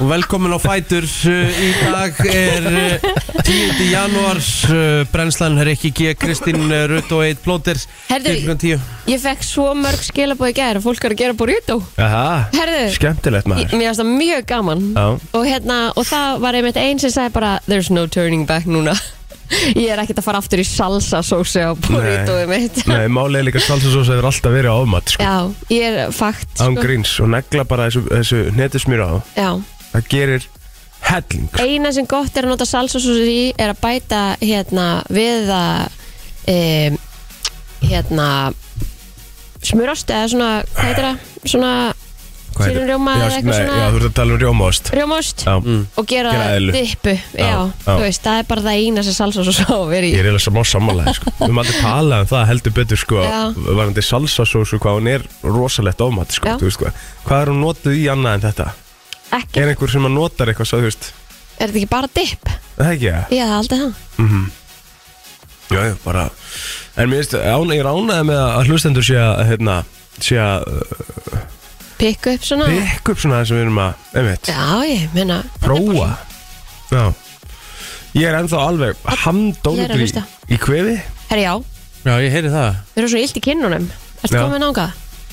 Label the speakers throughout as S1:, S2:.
S1: og velkomin á Fætur uh, Í dag er uh, 10. janúar uh, Brennslan er ekki G. Kristín uh, Rutt og Eitt Plóter
S2: Herðu, Ég fekk svo mörg skilabóð í gæri Fólk er að gera burrito
S3: Aha,
S2: Herðu,
S3: skemmtilegt
S2: ég-
S3: maður
S2: mér finnst það mjög gaman
S3: Já.
S2: og, hérna, og það var einmitt einn sem sagði bara There's no turning back núna Ég er ekkert að fara aftur í salsa sósi á burritoði mitt
S3: Nei, málið er líka salsasósa hefur alltaf verið á ofmat sko.
S2: Já, ég er fakt
S3: Án
S2: sko.
S3: gríns og negla bara þessu, þessu netusmýra á
S2: Já.
S3: Það gerir helling sko.
S2: Eina sem gott er að nota salsa sósi í er að bæta hérna við að e, hérna smurast eða svona, hvað heitir það? Svona
S3: Hvað heitir-
S2: sírumrjóma
S3: Já,
S2: eða eitthvað
S3: nei,
S2: svona-
S3: Já, þú ert að tala um rjómaost
S2: rjómaost
S3: Já,
S2: og gera,
S3: Gera eðlu.
S2: dippu já,
S3: já.
S2: þú veist, það er bara það eina sem salsa svo svo
S3: Ég
S2: verið í
S3: er eiginlega smá sammálaði sko. Við höfum aldrei talað um það heldur betur sko,
S2: Já.
S3: Varandi salsasósu hvað hún er rosalegt ofmat sko,
S2: Já.
S3: þú veist, hvað, hvað er hún notuð í annað en þetta?
S2: ekki,
S3: Er
S2: er,
S3: einhver sem að notar eitthvað svo, þú veist
S2: þetta ekki bara dipp?
S3: Það er ekki það?
S2: Já, það er alltaf það
S3: Já, já, bara En mér veist, án, ég er ánæði með að hlustendur sé að hérna, sé að uh,
S2: pikku upp svona
S3: pikk upp svona það sem við erum að einmitt,
S2: Hmm. já, ég meina
S3: prófa Já Ég er ennþá alveg
S2: Ég er að
S3: hamdóndur í,
S2: hlusta.
S3: í kvefi
S2: herri, já,
S1: Já, ég heyri það
S2: við erum svona illt í kinnunum ertu
S3: Já.
S2: komin ánga?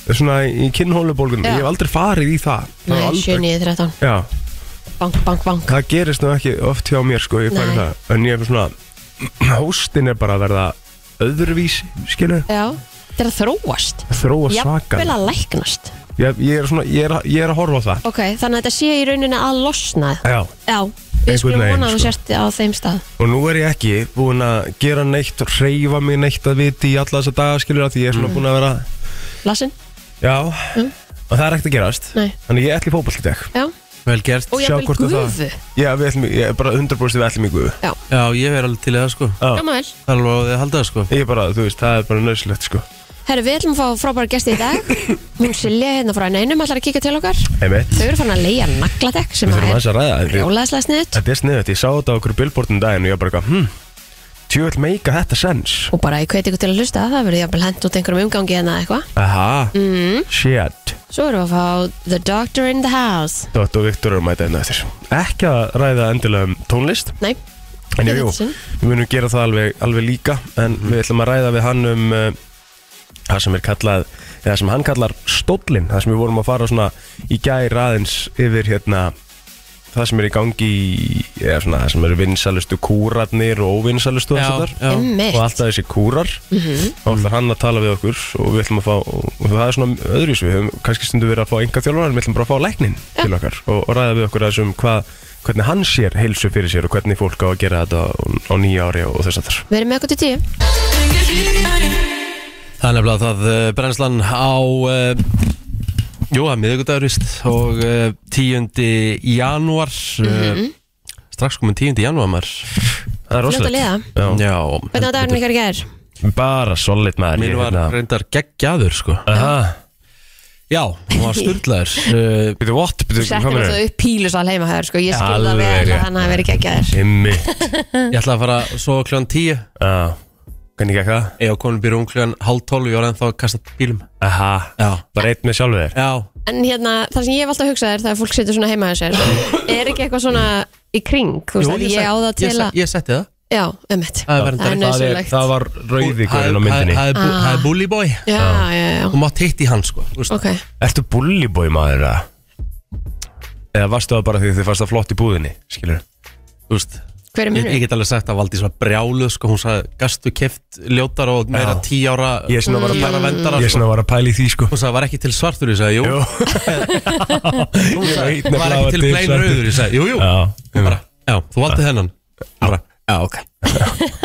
S3: Svona í kinnhólubólgun
S2: Já.
S3: Ég hef aldrei farið í það Það
S2: Nei,
S3: er
S2: 7,
S3: aldrei
S2: 9, 13,
S3: Já,
S2: bank, bank, bank
S3: það gerist nú ekki oft hjá mér sko, ég fari
S2: Nei.
S3: það En ég er svona Hóstin er bara að verða öðruvísi, skilur
S2: já, þetta er að þróast
S3: Þróa svakar
S2: jafnvel að læknast
S3: ég, ég, er svona, ég, er, ég er að horfa á það
S2: ok, þannig að þetta sé í rauninni að losna
S3: Já,
S2: já, við
S3: Einhvern
S2: skulum
S3: veginn,
S2: vona að þú
S3: sko.
S2: sért á þeim stað
S3: og nú er ég ekki búin að gera neitt og reyfa mig neitt að viti í alla þessa daga skilur af því ég er
S2: Mm.
S3: svona búin að vera
S2: lasin,
S3: Já, og það er ekkert að gerast
S2: Mm. Nei.
S3: Þannig ég ætlum fótboll í dag
S2: já,
S1: Vel gert
S2: og
S3: Sjá
S2: jafnvel
S3: hvort að það-
S2: gufu
S3: Já, við ætlum, ég er bara 100% við ætlum í guðu
S1: Já, ég er alveg til í það sko
S3: Já,
S2: gaman vel
S1: Það er alveg að þið halda það sko
S3: ég er bara, þú veist, það er bara nöðsilegt sko
S2: Herru, við ætlum að fá frábæra gesti í dag Hún Silja hérna frá neinum ætlar að kíka til okkar
S3: Einmitt,
S2: Þau eru farin að leia nagladekk sem
S3: við þurfum
S2: að
S3: aðeins að ræða
S2: er
S3: þetta.
S2: rjólaðislega sniðut
S3: Þetta er sniðut, ég sá þetta á okkur billboardum um daginn og ég var bara eitthvað, hm, tjöld meika þetta sens
S2: Og bara ég hveti ykkur til að hlusta það verður jafnvel hent út einhverjum umgangi en eitthvað
S3: Aha,
S2: Mm.
S3: shit
S2: Svo erum við að fá The Doctor in the House
S3: Dótt og Viktor eru að mæta hérna eftir Ekki að ræða endilega um tónlist
S2: Nei,
S3: En
S2: Í þetta
S3: jú, jú,
S2: sinn.
S3: við munum gera það alveg, alveg líka En við ætlum að ræða við hann um uh, Það sem er kallað Eða sem hann kallar stóllin Það sem við vorum að fara svona í gæri aðeins Yfir hérna Það sem er í gangi í- Eða svona það sem eru vinsalustu kúrarnir Og óvinsalustu og
S1: Já,
S3: allt þetta.
S1: já.
S3: Og
S2: emmitt
S3: alltaf þessi kúrar
S2: Mhm.
S3: Þá ætlar hann að tala við okkur Og við ætlum að fá Og og það er svona öðruvísu Við höfum kannski stundu verið að fá enga þjálfur En við ætlum bara að fá læknin til okkar Og, og ræða við okkur aðeins um hvað Hvernig hann sér heilsu fyrir sér Og hvernig fólk á að gera þetta á, á nýja ári og, og þess að þar
S2: Við erum með okkur til tíu
S1: Það er nefnilega það uh, brennslan á uh, Jú, það er miðvikudagur víst og uh, 10. janúar
S2: Mhm.
S1: uh, strax komin 10. janúar maður
S3: Það er
S2: Fljótt að
S3: rosalegt
S2: liða
S3: Já.
S1: Já,
S2: Hvernig á dagurinn ykkar í gær?
S3: Bara solid maður
S1: Mín
S3: ég
S1: var
S3: hérna-
S1: reyndar geggjaður sko
S3: Aha.
S1: Já, hún var styrlaður uh,
S3: Býtu what? Býtu
S2: Þú settir
S3: meinar
S2: náttúrulega upp pílusal heima hér sko. Ég skil það
S3: Alveg
S2: vel
S3: rétt.
S2: að hann hafi verið geggjaðir
S3: Himmi
S1: Ég ætlaði að fara svo kljóðan 10
S3: Já. Hvernig gekk það?
S1: Ég og konum byrjum kljóðan hálf 12 Ég var ennþá að kasta bílum
S3: Aha
S1: Já,
S3: Bara einn með sjálfu þér
S1: já
S2: En hérna, það sem ég hef alltaf hugsað er það að fólk setur svona heima hjá sér Er ekki eitthvað svona í kring? Þú veist,
S1: Jú,
S2: að ég á það
S1: ég,
S2: til
S1: se-
S2: að
S1: ég setti það
S2: Já, emmitt
S1: Það
S2: Það
S1: er
S2: er
S1: verndari
S3: Það er-
S2: nöðsynlegt
S3: Það var rauði gurinn á myndinni
S1: Það er bú-
S2: Ah.
S1: það er bully boy
S2: Já, já, já,
S1: Þú mátt hitt í hann sko þú veist.
S2: ok
S3: Ertu bullibói maður eða? Eða varstu það bara því þið fannst það flott í búðinni, skilur?
S1: Þú veist
S2: Hver er
S1: Ég, ég
S2: munurinn?
S1: get alveg sagt að Valdís var brjáluð sko, hún sagði gastu keft ljótar og meira 10
S3: Já.
S1: ára
S3: Ég er svona að vara að
S1: 10 ára vendara
S3: Ég er
S1: sko.
S3: svona að var að pæla í því, sko.
S1: hún sagði var ekki til svartur ég sagði jú,
S3: Jú.
S1: hún
S3: Ég veit
S1: sagði
S3: nefnilega
S1: var
S3: að
S1: ekki til
S3: til
S1: plain
S3: svartur.
S1: rauður ég sagði jú jú
S3: Já.
S1: Hún bara, já þú valdi þennan Hún bara, já ok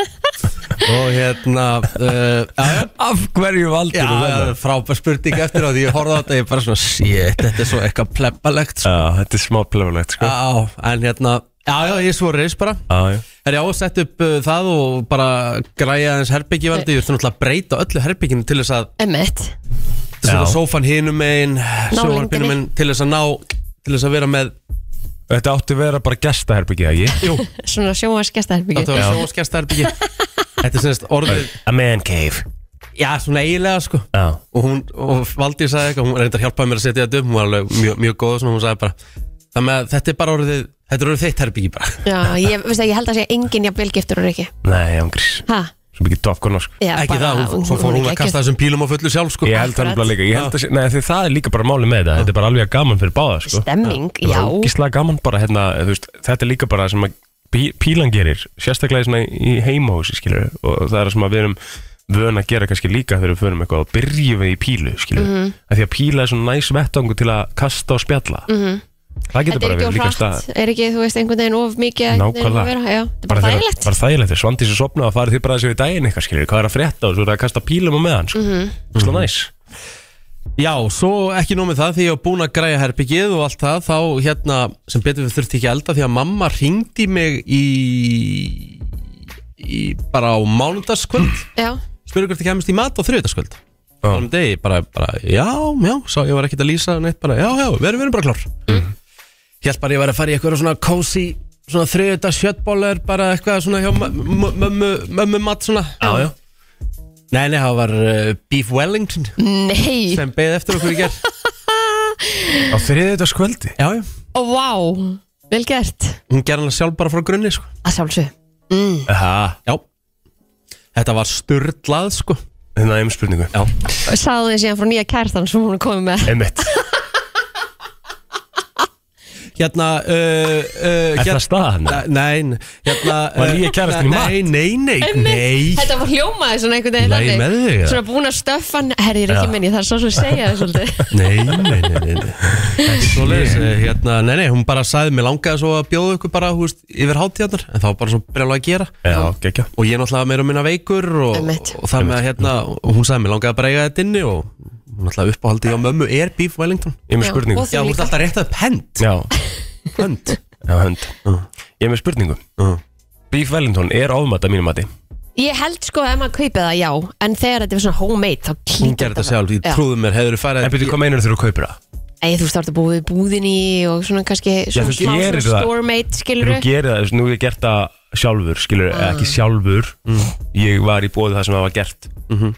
S1: og hérna uh, já, já
S3: Af hverju valdur
S1: Já, já, frábær spurning eftir á því ég horfði á þetta ég bara svona, shit, þetta er svo eitthvað plebbalegt sko.
S3: Já, þetta er smá plöfulegt, sko.
S1: Já, en hérna, já, já, ég er svo reis bara
S3: Já, já.
S1: Er já, sett upp uh, það og bara græja aðeins herbyggjivandi Ég þurfti náttúrulega að breyta öllu herbygginu til þess að
S2: Emmitt
S1: Svona
S3: Já.
S1: sófan hinum megin, sjónarpinum
S2: lengdinni.
S1: megin Til þess að ná, til þess að vera með
S3: Þetta átti að vera bara gestaherbyggið, ekki?
S1: Jú,
S2: Svona sjónvarsgestaherbyggi
S1: þetta var sjónskjæstaherbyggi Þetta er semst orðið,
S3: A man cave.
S1: já, svona eiginlega sko
S3: Já.
S1: og hún, og Valdi sagði eitthvað, hún reyndar hjálpaði mér að setja þetta upp, hún var alveg mjög, mjög góð og svona, hún sagði bara Þannig að þetta er bara orðið Þetta er orðið þitt herbyggi bara
S2: Já, ég, veist það, ég held að segja enginn jafn velgiftur og Rikki
S3: Nei, ángrís
S2: Ha?
S3: Svo mikið top gun sko.
S2: Já,
S1: Ekki það, hún, svo fór hún að kasta þessum pílum á fullu sjálf sko
S3: Ég held það
S2: Akkurat.
S3: nefnilega líka Ég held að, sé- nei, því það er líka bara máli með þetta Þetta er bara alveg gaman fyrir báða sko.
S2: Stemming,
S3: Það
S2: já
S3: er ógislega gaman bara hérna, þú veist, Þetta er líka bara sem að pí- pílan gerir Sérstaklega svona í heimahúsi skilur Og það er sem að við erum vön að gera kannski líka þegar við förum eitthvað og byrjum við í pílu skilur mm
S2: Mhm.
S3: því að píla er svona næs vettangu til að kasta og spjalla -hmm. það
S2: Mhm. Þetta
S3: getur
S2: er
S3: bara
S2: ekki
S3: verið
S2: of
S3: líka
S2: hratt,
S3: stað
S2: er ekki, þú veist, einhvern veginn of mikið einhvern veginn
S3: Nákvæmlega.
S2: að vera, já, þetta er
S3: bara
S2: bara
S3: þegar-
S2: þægilegt
S3: bara þægilegt þegar Svandís er sopnað að fara því bara þessi við daginn eitthvað skilur hvað er að frétta og svo er það að kasta pílum á meðan sko.
S2: Mhm.
S3: mm -hmm. næs
S1: Já, svo ekki nómið það því ég var búin að græja herbyggið og allt það þá hérna, sem betur við þurfti ekki að elda því að mamma ringdi mig í, í bara á mánudagskvöld
S2: Já,
S1: spurði hvort ég kemist í mat á þriðudagskvöld
S3: Já.
S1: um degi, bara, bara, já, já sá, ég var ekkert að lýsa neitt, bara, já, já, við erum, við erum bara klár mm.
S3: Mhm.
S1: Hjælt bara ég var að fara í eitthvað svona cozy svona þriðudags sjöttbólar, bara eitthvað svona hjá m- m- mömmu mömmu mat svona
S3: Já, já.
S1: Nei, nei, það var uh, Beef Wellington
S2: nei,
S1: sem beðið eftir okkur í gerð
S3: á þriðjudagskvöldi
S1: Já, já
S2: og vá, vel gert
S1: hún gerði hana sjálf bara frá grunni sko.
S2: Að sjálfsög,
S3: Aha,
S1: já þetta var sturdlað sko.
S3: hérna er um spurningu
S1: já.
S2: sagði þið síðan frá nýja kærtan sem hún er komið með
S3: Einmitt,
S1: hérna uh, uh,
S3: er það staðan?
S1: Nein, hérna
S3: Var
S1: eh,
S3: nýja kærastinn í mat?
S1: Nei, nei, nei, nei
S2: Þetta var hljómaði svona einhvern veginn
S1: Lagi með þig, eða?
S2: Svona búin að stöffan, herri, ég er ekki minni, það er svo sem segja það svolítið
S1: Nei, nei, nei, nei, nei. Ekki svoleiðis, eh, hérna, nei, nei, hún bara sagði mér langaði svo að bjóða ykkur bara húst, yfir hátíðarnar en það var bara svo brjálega að gera
S3: Já, gekkja
S1: og ég náttúrulega meira og minna veikur og,
S2: Einmitt.
S1: og það með að hérna, og hún sagði mér langaði bara að eiga þetta inni og hún náttúrulega uppáhaldi á mömmu er Beef Wellington
S3: Ég er með
S2: Já,
S3: spurningu
S2: og þú-
S1: Já, hún er alltaf rétt að pent
S3: Já,
S1: Pent
S3: já, hönd
S1: Mm.
S3: Ég er með spurningu
S1: Uh.
S3: Beef Wellington er ofmat að mínu mati
S2: Ég held sko ef maður kaupið það, já En þegar þetta er svona homemade, þá klítur
S1: Hún gerði þetta sjálf, ég
S2: Já.
S1: trúði mér, hefur þið farið
S3: En byrju, hvað meinar þú að kaupa það?
S2: Ei, þú veist, þá ertu búið í búðinni og svona kannski
S3: þú
S2: svona smá
S3: gerir
S2: svona
S3: það.
S2: store-made, skilur
S3: Þú gerir það, þess, nú hef ég gert það sjálfur Skilur, eða ekki
S1: Mm.
S3: sjálfur Ég var í bóði það sem það var gert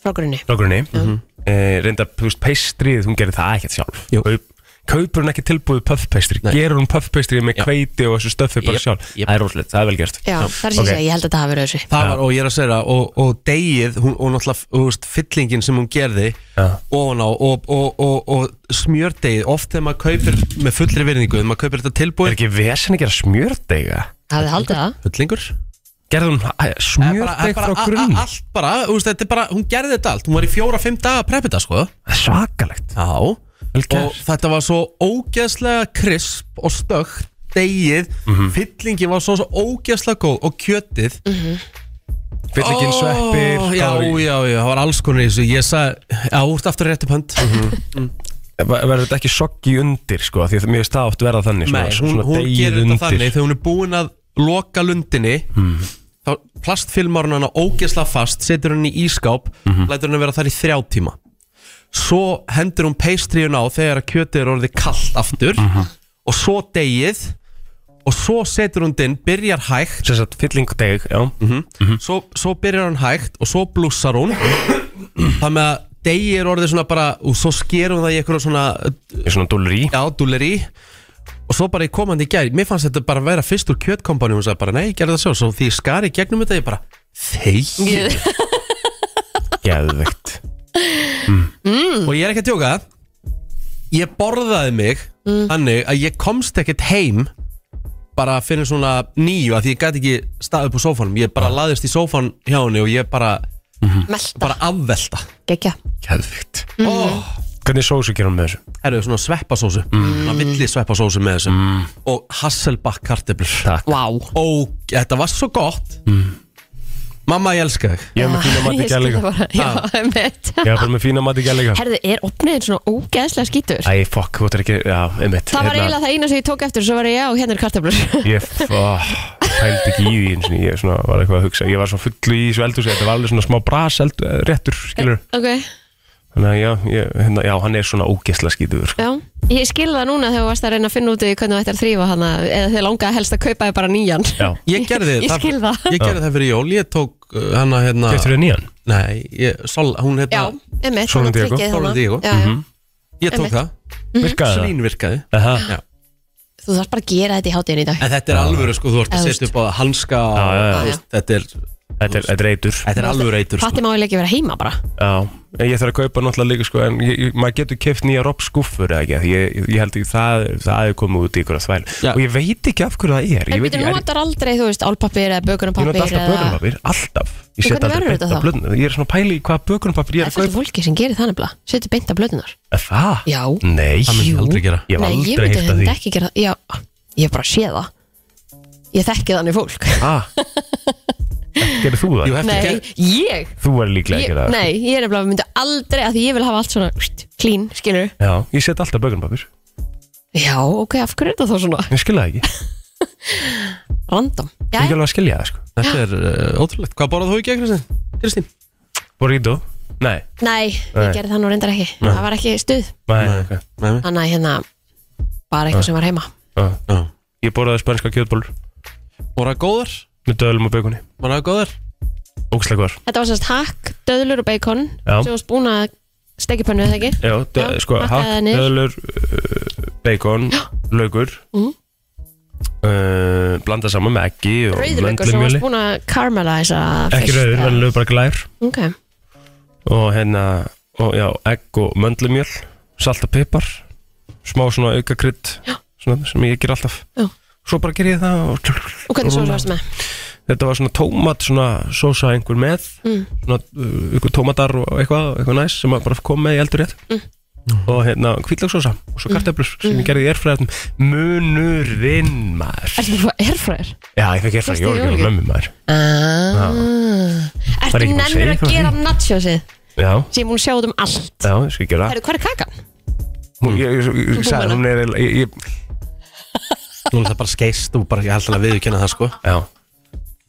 S2: frá grunni
S3: Nógrunni mm
S1: Mm-hmm.
S3: -hmm. eh, Reyndar, þú veist, peistrið, hún gerir það ekkert sjálf
S1: Jú.
S3: Kaup, Kaupur hún ekki tilbúið puffpeistri
S1: Nei.
S3: Gerur hún puffpeistri með
S1: Já.
S3: kveiti og þessu stöffi bara
S1: Jep,
S3: sjálf
S1: jep.
S3: Það er rosalegt, það er vel gert
S2: Já, það er sem
S3: ok.
S2: ég segi, ég held að það hafi verið þessu
S1: Það var, og ég er að segja það, og, og degið, hún, og náttúrulega, þú veist, fyllingin sem hún gerði
S3: Já.
S1: ofan á, og, og, og, og smjördegið, oft þegar maður kaupir með fullri virðingu, þegar maður kaupir þetta
S3: Er
S1: tilbúið
S3: ekki vesen að gera smjördega?
S2: Hafði haldið það
S1: Fullingur?
S3: Gerði hún hæ, smjördeg frá grunn?
S1: Allt bara, þú veist, þetta er bara, hún gerði þetta allt, hún var í fjóra-fimm daga að preppa þetta, sko
S3: Það er Svakalegt
S1: Já,
S3: Vel gert.
S1: og þetta var svo ógeðslega krisp og stögt degið,
S3: Mhm.
S1: fyllingin var svo, svo ógeðslega góð og kjötið
S3: Fyllingin
S1: Ó,
S3: sveppir
S1: Já, já, já, það var alls konar í þessu Ég sagði, já, þú ert aftur rétt upp hönd
S3: Verður þetta ekki soggi undir sko Því að mér veist það oft verða þannig
S1: Nei,
S3: svona,
S1: hún,
S3: svona
S1: hún
S3: deigið
S1: gerir þetta
S3: undir.
S1: þannig Þegar hún er búin að loka lundinni Þá plastfilmar hún hana ógesla fast Setur hún í ískáp
S3: Mhm.
S1: Lætur hún að vera þar í þrjá tíma Svo hendur hún peistriðun á Þegar að kjötið er orðið kallt aftur
S3: Mhm.
S1: Og svo degið Og svo setur hún dinn, byrjar hægt
S3: Sem sagt, fylling og deg, já
S1: Mhm.
S3: Mhm.
S1: svo, svo byrjar hann hægt og svo blússar hún Það með að degi er orðið svona bara og svo sker hún það í eitthvað svona uh,
S3: Ég er svona dúlur í
S1: já, dúleri og svo bara í komandi í gær, mér fannst þetta bara vera fyrst úr kjötkompani og hún sagði bara, nei, ég gerði það sjálf svo því ég skari í gegnum þetta, ég bara þegi,
S3: Geðvegt
S1: og ég er ekki að tjóka ég borðaði mig þannig að ég komst ekkert heim bara fyrir svona nýju að því ég gæti ekki staðið upp á sófanum ég bara laðist í sófan hjá henni og ég bara,
S2: Melta,
S1: bara afvelta
S2: gekkja
S3: Geðvegt
S1: mm
S3: Hvernig sósu gerum við með þessu?
S1: Herru, svona sveppasósu Svona villi sveppasósu með þessu Og Hasselbach karteblur
S3: Takk
S2: Vá
S1: Og þetta var svo gott
S2: Mm.
S1: Mamma, ég elska þig
S3: Ég er með fína mati
S2: Ég skil það
S3: gæleika
S2: bara, Já, einmitt
S3: Ég er bara með fína mati gæleika
S2: Herðu, er opniðin svona ógeðslega skítur?
S3: Æ, fokk, þú ert ekki, já, einmitt
S2: Það var
S3: Hérna,
S2: eiginlega það eina sem ég tók eftir Svo var ég, já, hérna er kartöflur
S3: Ég fælt ekki í því eins og ég svona var eitthvað að hugsa Ég var svo fullu í þessu eldhúsi Þetta var alveg svona smá bras eld, eh, réttur, skilur
S2: Ok,
S3: Þannig að já, ég, hérna, já, hann er svona ógeðslega skítuður sko.
S2: já Ég skil það núna þegar þú varst að reyna að finna út í hvernig þú ætti að þrýfa hana eða þið langaði helst að kaupa þið bara nýjan
S3: Já,
S1: Ég gerði
S2: Ég skil það.
S1: Ég gerði það fyrir jól Ég tók uh, hana hérna
S3: getur þið nýjan?
S1: Nei, ég, sol, hún
S2: Já, hérna.
S1: hérna
S2: einmitt
S3: Sólon
S2: þannig að
S3: Diego. Mhm.
S2: tryggið
S1: Sólon
S2: hana.
S1: Diego.
S2: Já, já.
S1: Ég tók
S2: Einmitt.
S1: það
S3: Virkaði það?
S1: Slín virkaði
S3: Aha.
S1: Já.
S2: þú þarf bara að gera þetta í hátíðin í dag
S1: En þetta er alvöru sko, þú ert að
S2: Eða,
S1: setja upp á hanska og,
S3: Já, já, já.
S1: þú veist, Þetta er,
S3: Þetta er, þetta er eitur
S1: þetta er alvöru eitur sko.
S2: Patti má eiginlega ekki vera heima bara
S3: Já, en ég þarf að kaupa náttúrulega líka sko, en ég, ég- maður getur keft nýja roppskúffur eða ekki, ég, ég- ég held ekki það, það er komið út í ykkur að þvæl
S1: Já.
S3: og ég veit ekki af hverju það er, ég
S2: En
S3: veit
S2: betur
S3: ekki, er,
S2: notar aldrei, þú veist, álpappir eða
S3: ég nota
S2: bökunarpappir
S3: alltaf bökunarpapir, alltaf, ég
S2: En
S3: set
S2: hvernig
S3: aldrei
S2: verður
S3: beint
S2: þetta
S3: að
S2: þá?
S3: blöðnum, ég er svona að pæla í hvaða bökunarpapir ég
S2: Það
S3: er
S2: er fullt af
S3: að kaupa,
S2: fólki sem gerir það nefnilega Setur beint af blöðunar
S3: Er það,
S2: Já
S3: nei,
S1: Það myndi ég aldrei gera
S3: ég hef
S2: Nei, ég myndi
S3: aldrei heilt að
S2: þetta
S3: því,
S2: ekki gera það Já, ég hef bara séð það Ég þekki þannig fólk
S3: ah, gerir þú
S1: Jú,
S3: það,
S1: hefði
S2: Nei,
S1: ekki-
S2: ég,
S3: þú er líklega
S2: ég
S3: ekki það,
S2: Nei, ég er nefnilega myndi aldrei að Því ég vil hafa allt svona pst, clean, skilur
S3: já, ég set alltaf bökunarpapir,
S2: Já, ok, af hverju er þetta þá svona
S3: ég skilja það ekki,
S2: random
S3: ég
S2: Já,
S3: er alveg að skilja það sko,
S1: Þetta er uh, ótrúlegt Hvað borðað þú í gegn Kristín? Kristín?
S3: burrito, nei,
S2: nei,
S3: Nei.
S2: ég gerði það nú reyndar ekki Það var ekki stuð
S3: nei, ok,
S1: Nei, nei.
S2: Þannig að hérna, bara eitthvað sem var heima
S3: ah.
S1: Já.
S3: ég borðaði spænska kjötbólur
S1: Borðað góðar?
S3: með döðlum og bökunni
S1: Borðað góðar?
S3: Ókslega góðar
S2: Þetta var semst hakk, döðlur og bacon
S3: Já.
S2: sem varst búin að steikja pönnu eða ekki
S3: Já, dö-
S2: Já,
S3: sko,
S2: hakkaði
S3: hakk,
S2: niður.
S3: döðlur, uh, bacon, laukur
S2: Mhm.
S3: uh, Blanda saman með eggi og
S2: Rauðurlaukur sem
S3: möndlumjöli.
S2: varst búin að caramelisa
S3: Ekki
S2: fyrst,
S3: rauður,
S2: eða-
S3: venjulegur bara glær
S2: Ok,
S3: Og hérna, og, já, egg og möndlumjöl Salt og pipar Smá svona auka krydd Svona sem ég ger alltaf
S2: Já.
S3: Svo bara ger ég það og
S2: og hvernig svo varst með?
S3: Þetta var svona tómat, svona sósa einhver með
S2: Mm.
S3: Svona uh, ykkur tómatar og eitthvað, eitthvað næs Sem að bara kom með í eldur rétt
S2: Mm.
S3: Og hérna hvítlagsósa og svo kartöflur Sem ég gerði í erfræðum Munurinn maður
S2: Ertu búin að erfræður?
S3: Já, ég fekk erfræð,
S2: Fyrsti
S3: ég var ekki alveg
S2: jólagjöf.
S3: mömmu maður
S2: Ah.
S3: Það er
S2: Ertu
S3: ekki búin að
S2: nennir
S3: segja
S2: að
S3: frá
S2: gera
S3: því.
S2: nachosið
S3: Já,
S2: sem ég búin að sjá út um allt
S3: já, ég skal gera
S2: Herru, hvað er kakan?
S3: Hún, ég, ég, ég, ég
S2: Þú
S3: sagði,
S2: búin
S3: hún er eiginlega- ég, ég,
S1: Nú er það bara skeist og bara ég held alveg að viðurkenna það sko
S3: Já,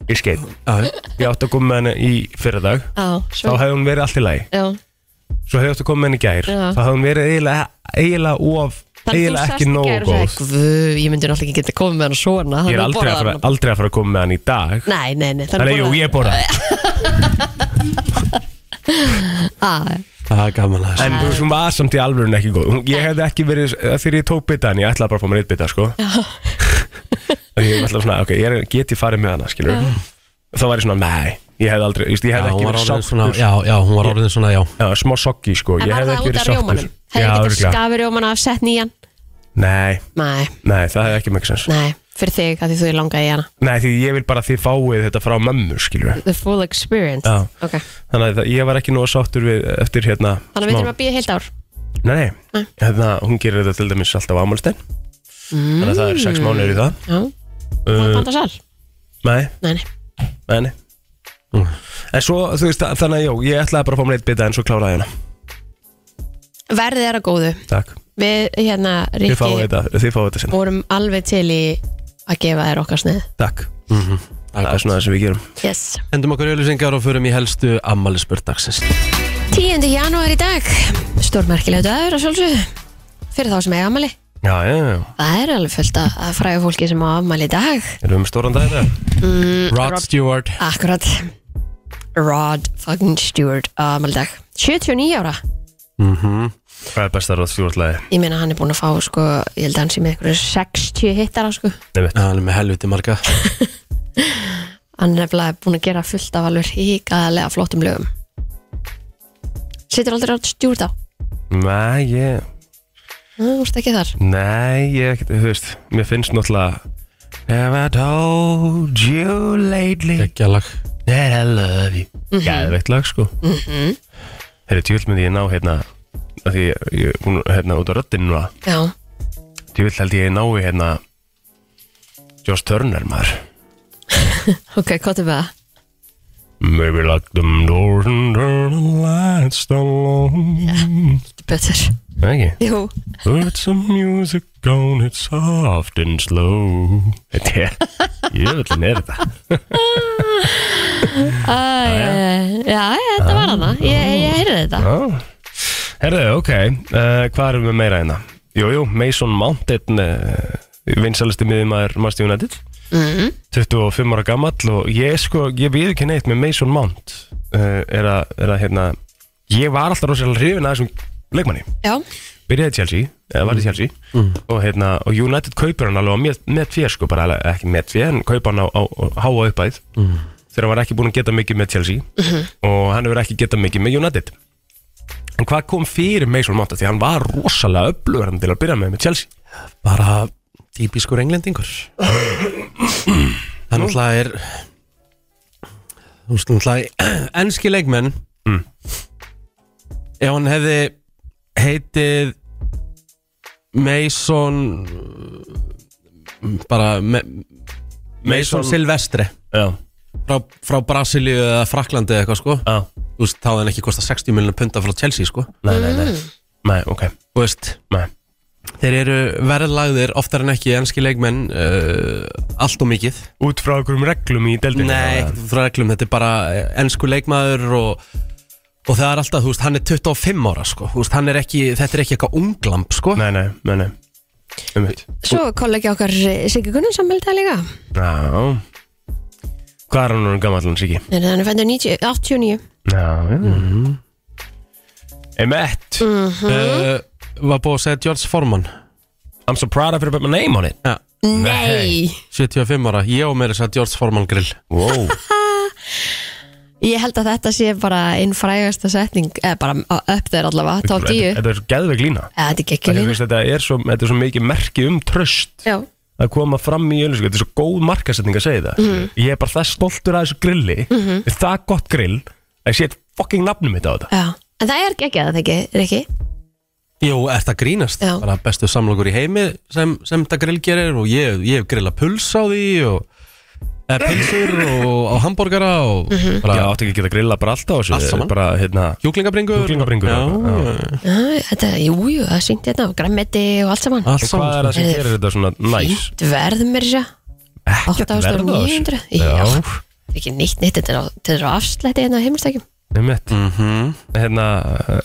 S3: ég skeið
S1: Já,
S3: Ég átti að koma með henni í fyrradag
S2: Já,
S3: Þá
S2: svo
S3: hefði hún verið allt í lagi
S2: Já,
S3: Svo hefði átti að koma með henni í gær
S2: Já.
S3: Þá hefði hún verið eiginlega, eiginlega of Eiginlega ekki nógu góð
S2: Guð, ég myndi náttúrulega ekki geta komið með hann svona
S3: Ég er
S2: þannig
S3: aldrei að, fara,
S2: borðaði hann.
S3: aldrei að fara að koma með hann í dag
S2: Nei, nei, nei
S3: Þannig, jú, ég borða
S2: ah,
S1: það er gaman að
S3: En þú veist, hún var samt í alvörun ekki góð Hún- Ég hefði ekki verið, eh, þegar ég tók bita hann Ég ætlaði bara að fá mér eitt bita, sko Og ég ætlaði svona, ok, ég er, get ég farið með hana, skilur Þá var ég svona, nei Ég hefði aldrei, þú veist, ég
S1: Já,
S3: hefði
S1: hún
S3: ekki
S1: var
S3: verið
S1: orðin svona,
S3: sáttur
S1: já, já, hún var orðin svona, já
S3: Já, smá soggi, sko
S2: En
S3: Ég
S2: var
S3: hefði
S2: það
S3: ekki
S2: út
S3: verið
S2: af
S3: sáttur
S2: rjómanum? Hefði ekki
S3: örugglega.
S2: það skafið rjóman af sett nýjan?
S3: Nei,
S2: Nei,
S3: nei, það hefði ekki mikið sens
S2: nei, fyrir þig að því þú er langað í hana
S3: Nei, því ég vil bara að þið fáið þetta frá mömmu, skilur
S2: The full experience
S3: Já.
S2: Ok,
S3: Þannig að það- ég var ekki nóg sáttur við eftir hérna
S2: þannig að við
S3: smá-
S2: þurfum að býja heilt ár
S3: Nei, nei,
S2: Nei.
S3: Hérna, hún gerir þetta til dæmis alltaf á ámálstein
S2: mm.
S3: Þannig að það eru sex mánuður í það
S2: Já, búin að
S3: uh,
S2: panta sal
S3: Nei,
S2: Nei, nei,
S3: nei, nei Mm. En svo, þú veist, þa- þannig að já, ég ætlaði bara að fá mér eitt bita en svo kláraði ég hana
S2: verðið er að góðu
S3: Takk,
S2: Við, hérna,
S3: þið fáið
S2: Rikki
S3: þetta, þið fáið þetta sinna
S2: vorum alveg til í að gefa þér okkar snið
S3: Takk,
S1: Það
S3: það
S1: er
S3: er svona það sem við gerum
S2: Yes
S1: Endum okkur öllusengar og förum í helstu ammali spurtaksins
S2: 10. janúar í dag Stórmerkilega dagur að sjálfsögðu Fyrir þá sem eiga afmæli
S3: Já, já, já, já.
S2: Það er alveg fullt að fræðu fólki sem á afmæli í dag
S3: erum við með stóran dag þetta?
S1: Rod Stewart
S2: Akkurat Rod fucking Stewart á afmæli í dag 79 ára
S3: Mhm. Hvað er besta ráð stjórnlega?
S2: Ég meina hann er búinn að fá sko, ég held að hann sé með einhverju 60 hittara sko.
S3: Nei, veit,
S1: Já, Hann er með helviti marga
S2: Hann er nefnilega búinn að gera fullt af alveg híkaðlega flottum lögum. Sittur aldrei átt stjúrt á.
S3: nei, ég,
S2: Þú veist ekki þar.
S3: nei, ég, ekkert, þú veist, mér finnst náttúrulega Have I told you lately
S1: Gekkjalag
S3: that I love you Gæðveikt lag sko mm -hmm. Herri, tjúl myndi ég ná hérna af Því ég, ég- hún hérna út á röddinn núna
S2: Já.
S3: Tjúl held ég nái hérna Josh Turner maður
S2: Ok, hvað er með það?
S3: Maybe like them doors and turn the lights down low
S2: Þetta er betur.
S3: Nei ekki
S2: Jú.
S3: Put some music on it soft and slow Þetta er Jöfullin er þetta
S2: Æ, já, já, þetta var hana. Ég, ég heyrði þetta.
S3: Já. Herðu, ok, uh, hvað erum við meira hérna? Jú, jú, Mason Mount einn uh, vinsalisti miðjumæður Master United
S2: Mm.
S3: 25 ára gamall og ég sko, ég við ekki neitt með Mason Mount Eh, uh, er að, er að hérna, ég var alltaf rosalega hrifin að þessum leikmanni
S2: Já.
S3: byrjaði í Chelsea, eða var í Chelsea og, hérna, og United kaupir hann alveg á met- met fér sko, bara alveg- ekki met fér en kaupa hann á, á, á háa uppæð þegar hann var ekki búin að geta mikið með Chelsea og hann hefur ekki getað mikið með United en hvað kom fyrir Mason Mount því hann var rosalega öflugur hann til að byrja með með Chelsea
S1: bara típiskur englendingur það náttúrulega er þú veist náttúrulega enski leikmenn
S3: Mm.
S1: ef hann hefði heitið Mason bara Me Mason
S3: Mason-
S1: Silvestre
S3: Já,
S1: frá, frá Brasilíu eða Fraklandi eða eitthvað sko
S3: já,
S1: þú veist þá hefði hann ekki kostað 60 miljonar punta frá Chelsea sko
S3: nei, nei, nei Nei, ok,
S1: þú veist
S3: nei
S1: Þeir eru verðlagðir oftar en ekki enski leikmenn uh, allt og mikið
S3: Út frá einhverjum reglum í deildinu
S1: Nei, ekkert frá reglum, þetta er bara ensku leikmaður og, og það er alltaf, þú veist, hann er 25 ára sko, þú veist, hann er ekki, þetta er ekki eitthvað unglamp sko
S3: Nei, nei, nei, nei Um Umhvitt
S2: Svo kollegi okkar eh, Siggi Gunnar sammælda líka
S3: Já Hvað er hann orðinn gamall hann Siggi?
S2: Þannig að hann er fændur 90 89
S3: Já, já mm. Emmett
S1: uh, Var búið að segja George Foreman
S3: I'm so proud of you but my name on it
S1: ja,
S2: Nei,
S1: 75 ára, ég og mér þess að segja George Foreman grill
S3: Wow
S2: ég held að þetta sé bara einn frægasta setning eða bara upp þeir allavega, top 10
S3: Þetta þetta er svo geðveik lína
S2: Eða þetta er
S3: Af því
S2: geggjulíð
S3: þú veist, Þetta er svo, þetta er svo mikið merki um tröst
S2: Já,
S3: að koma fram í öllu sko. þetta er svo góð markasetning að segja það ég er bara það stoltur að þessu grilli mm -hmm. það gott grill að ég sé fucking nafnum mitt á þetta
S2: já En það er geggjað þetta ekki, Rikki?
S1: Jú, er þetta grínast,
S2: Já.
S1: bara bestu samlokur í heimi sem, sem þetta grill gerir og ég, ég hef grilla puls á því og eh, pilsur og, og hambúrgara og
S3: Mhm.
S1: bara
S3: ég átti ekki að geta grilla bara alltaf á þessu
S1: Allt saman.
S3: bara hérna
S1: Hjúklingabringur
S3: Kjúklingabringur,
S1: Já,
S3: já.
S2: Já, Þetta, jú, jú, það syngt þetta og græmmeti og allt saman
S1: Allt
S3: En hvað er
S1: saman sko.
S3: það sem gerir þetta svona næs? Ah, Nice?
S2: Fínt verð mér sér
S3: Ekkert
S2: 8.900 Já,
S3: Já,
S2: ekki nýtt nýtt, þetta er á- þetta er á afslætti hérna á heimilstækjum
S3: einmitt
S1: Mhm.
S3: Hérna,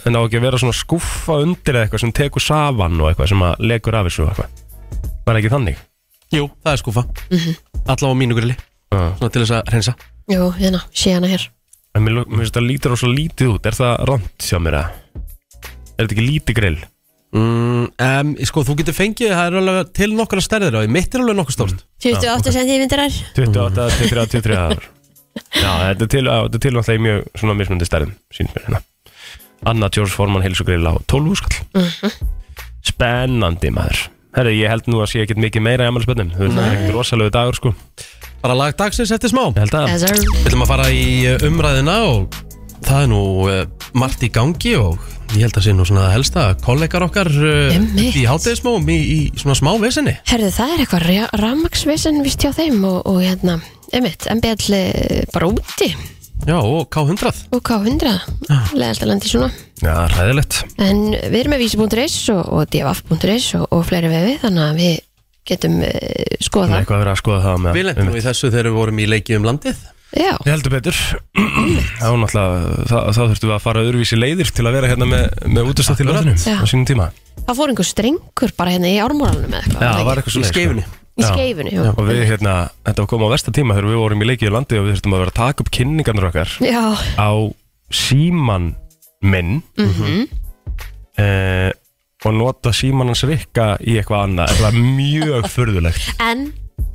S3: en á ekki að vera svona skúffa undir eða eitthvað sem tekur safann og eitthvað sem að legur af þessu og eitthvað Var ekki þannig?
S1: Jú, það er skúfa Alla á mínu grilli,
S3: Já.
S1: svona til þess að reynsa
S2: Jú, hérna, sé hana hér
S3: En mér lo- mér finnst það lítur á svo lítið út, er það rámt sjá mér að? Er þetta ekki lítið grill?
S1: mm, um, Sko, þú getur fengið, það er alveg til nokkra stærðir á því Mitt er alveg nokkuð stórt
S3: Mm. Ah,
S2: 28 centimetrar
S3: 28, 23, 23 ár Já, þetta er til, á, þetta er til náttúrulega í mjög svona mismundi stærðum, sínst mér hérna Anna Tjórs Forman heilsugrilla á 12 skall
S2: Mhm.
S3: Spennandi maður Herri, ég held nú að sé ekkert mikið meira í amalisbönnum Þú veist, það er ekkert rosalegu dagur sko Ég
S1: Bara lag dagsins eftir smá Við
S3: held að
S2: Yes, sir.
S1: ætlum að fara í eh, umræðina og það er nú uh, margt í gangi og ég held að sé nú svona það helsta kollegar okkar uh,
S2: Einmitt.
S1: í hátegismóum í, í svona smá vesinni
S2: Herðu, það er eitthvað rammaksvesen vist hjá þeim og, og hérna, einmitt, MBL eh, bara úti
S1: Já, og K100
S2: og K100 leðalt að landi svona
S3: Já, ræðilegt
S2: en við erum með vísi.is og, og df.is og, og fleiri vefi þannig að við getum uh,
S3: Það er
S2: skoða það
S3: eitthvað að vera að skoða það með um
S1: Við lentum nú í þessu þegar við vorum í leiki um landið
S2: Já,
S3: Ég heldur betur Þá náttúrulega, þá, þá þurftum við að fara öðruvísi leiðir til að vera hérna með, með útastátt í
S1: Akkurat.
S3: löðinu
S2: Já.
S3: á sínum tíma
S2: það fór einhver strengur bara hérna í ármólanum eða eitthvað
S3: Já,
S2: var
S3: það var
S2: það ekki?
S3: eitthvað
S1: Í
S3: svoleiðis, sko.
S1: skeifinni
S2: í
S3: já.
S2: skeifinu, já.
S3: Og við hérna, þetta var komið á versta tíma þegar við vorum í leikið í landi og við þurftum að vera að taka upp kynningarnar okkar
S2: Já,
S3: á síman minn mm
S2: Mhm.
S3: og nota síman hans rikka í eitthvað annað. Það var mjög furðulegt.
S2: en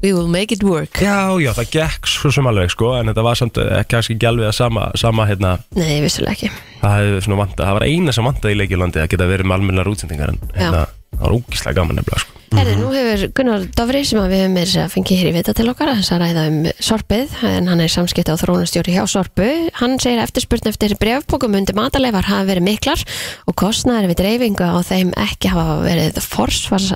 S2: we will make it work
S3: Já, já, það gekk svo sem alveg sko en þetta var samt eh, kannski ekki alveg að sama, sama hérna,
S2: Nei, vissulega ekki
S3: það hefði svona vantað, það var eina sem vantaði í leikjulandi að geta verið með almennar útsendingar en hérna, það var ógislega gaman nefnilega sko.
S2: Herði, nú hefur Gunnar Dofri sem að við hefum með að fengið hér í vita til okkar þess að ræða um sorpið en hann er samskipta á þróunastjóri hjá sorpu hann segir að eftirspurn eftir brefbókum undir mataleifar hafa verið miklar og kostnæður við dreifingu á þeim ekki hafa verið forsvars,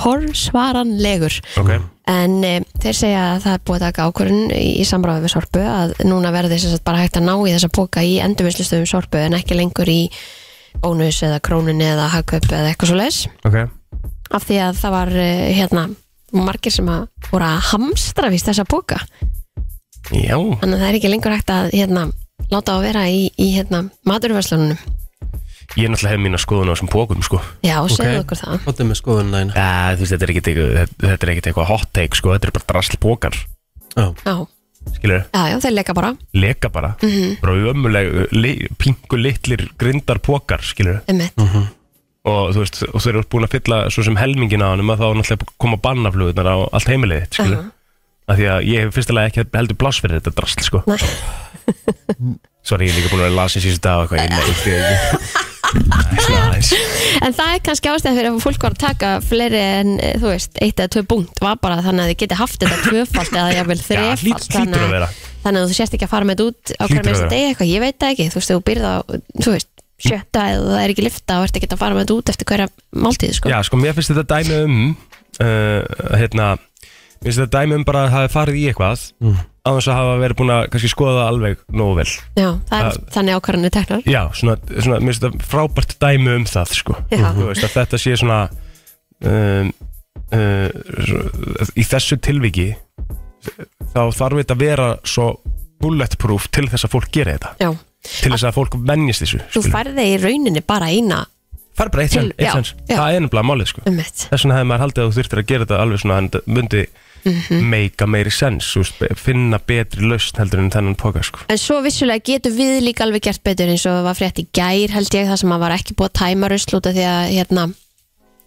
S2: forsvaranlegur
S3: okay.
S2: en e, þeir segja að það er búið að taka ákvörðun í, í samráði við sorpu að núna verði þess að bara hægt að ná í þessa póka í endurvinnslustöðum sorpu en ekki lengur í bónus eða krónunni eða hagkaup eða eitthvað svo
S3: Okay.
S2: af því að það var eh, hérna margir sem að voru að hamstra víst þessa bóka
S3: Já,
S2: þannig að það er ekki lengur hægt að hérna láta á að vera í, í hérna maturverslunum
S3: ég náttúrulega hef mína skoðun á þessum pókum sko
S2: já, segðu
S1: Ok.
S2: okkur það
S1: Hvað er með skoðunina eina?
S3: Já, þú veist, þetta er ekkit eitthvað, þetta er ekkit eitthvað hot take sko, þetta er bara draslpókar
S1: Já,
S2: já,
S3: skilur,
S2: já, já þeir leika bara
S3: leka bara mm
S2: Mhm.
S3: -hmm. bara ömuleg, li, pingu litlir grindar pókar, skilur
S2: um mitt,
S3: og og þú veist, og þeir eru búin að fylla svo sem helmingin á honum að þá er náttúrulega koma bannaflugunar á allt heimilið þitt, skilur
S2: Aha.
S3: af því að ég hef fyrstilega ekki heldur pláss fyrir þetta drasl, sko
S2: Nei.
S3: Sorry, ég er líka búin að vera lasin síðustu dag og eitthvað, ég neitt því ekki Næs, næs
S2: En það er kannski ástæð fyrir að fólk var að taka fleiri en, eh, þú veist, eitt eða tvö punkt var bara þannig að þið geti haft þetta tvöfalt eða jafnvel
S3: Já, hlýt-
S2: þrefalt
S3: hlýtur að vera
S2: þannig að þú sérst ekki að fara með þetta út á
S3: Hlýtur
S2: hverjum
S3: að
S2: einsta
S3: vera.
S2: degi eitthvað, ég veit það ekki þú veist, þú byrð á, þú veist, sjötta eða það er ekki lifta og ert ekki að fara með þetta út eftir hverja máltíð, sko.
S3: Já, sko, mér finnst þetta dæmi um uh, hérna, mér finnst þetta dæmi um bara að það hafi farið í eitthvað mm. á þess að hafa verið búin að kannski skoða það alveg nógu vel.
S2: Já, það er þannig ákvarðanir teknar
S3: Já, svona, svona mér finnst þetta frábært dæmi um það, sko.
S2: Já.
S3: Þú veist að þetta sé svona um, uh, svo- í þessu tilviki þá þarf þetta að vera svo bulletproof til þess að fólk gera þetta
S2: Já,
S3: til þess að fólk vennjist þessu
S2: þú færði í rauninni bara eina
S3: fær bara eitt
S2: til-
S3: sens, eitt
S2: já,
S3: sens.
S2: já.
S3: það er ennabla málið sko
S2: um mitt
S3: þess vegna hefði maður haldið að þú þurftir að gera þetta alveg svona en þetta myndi mm
S2: Mhm.
S3: meika meiri sens þú veist, be- finna betri lausn heldur en þennan poka sko.
S2: En svo vissulega getum við líka alveg gert betur eins og var frétt í gær held ég það sem að var ekki búið að tæma rusl út af því að hérna,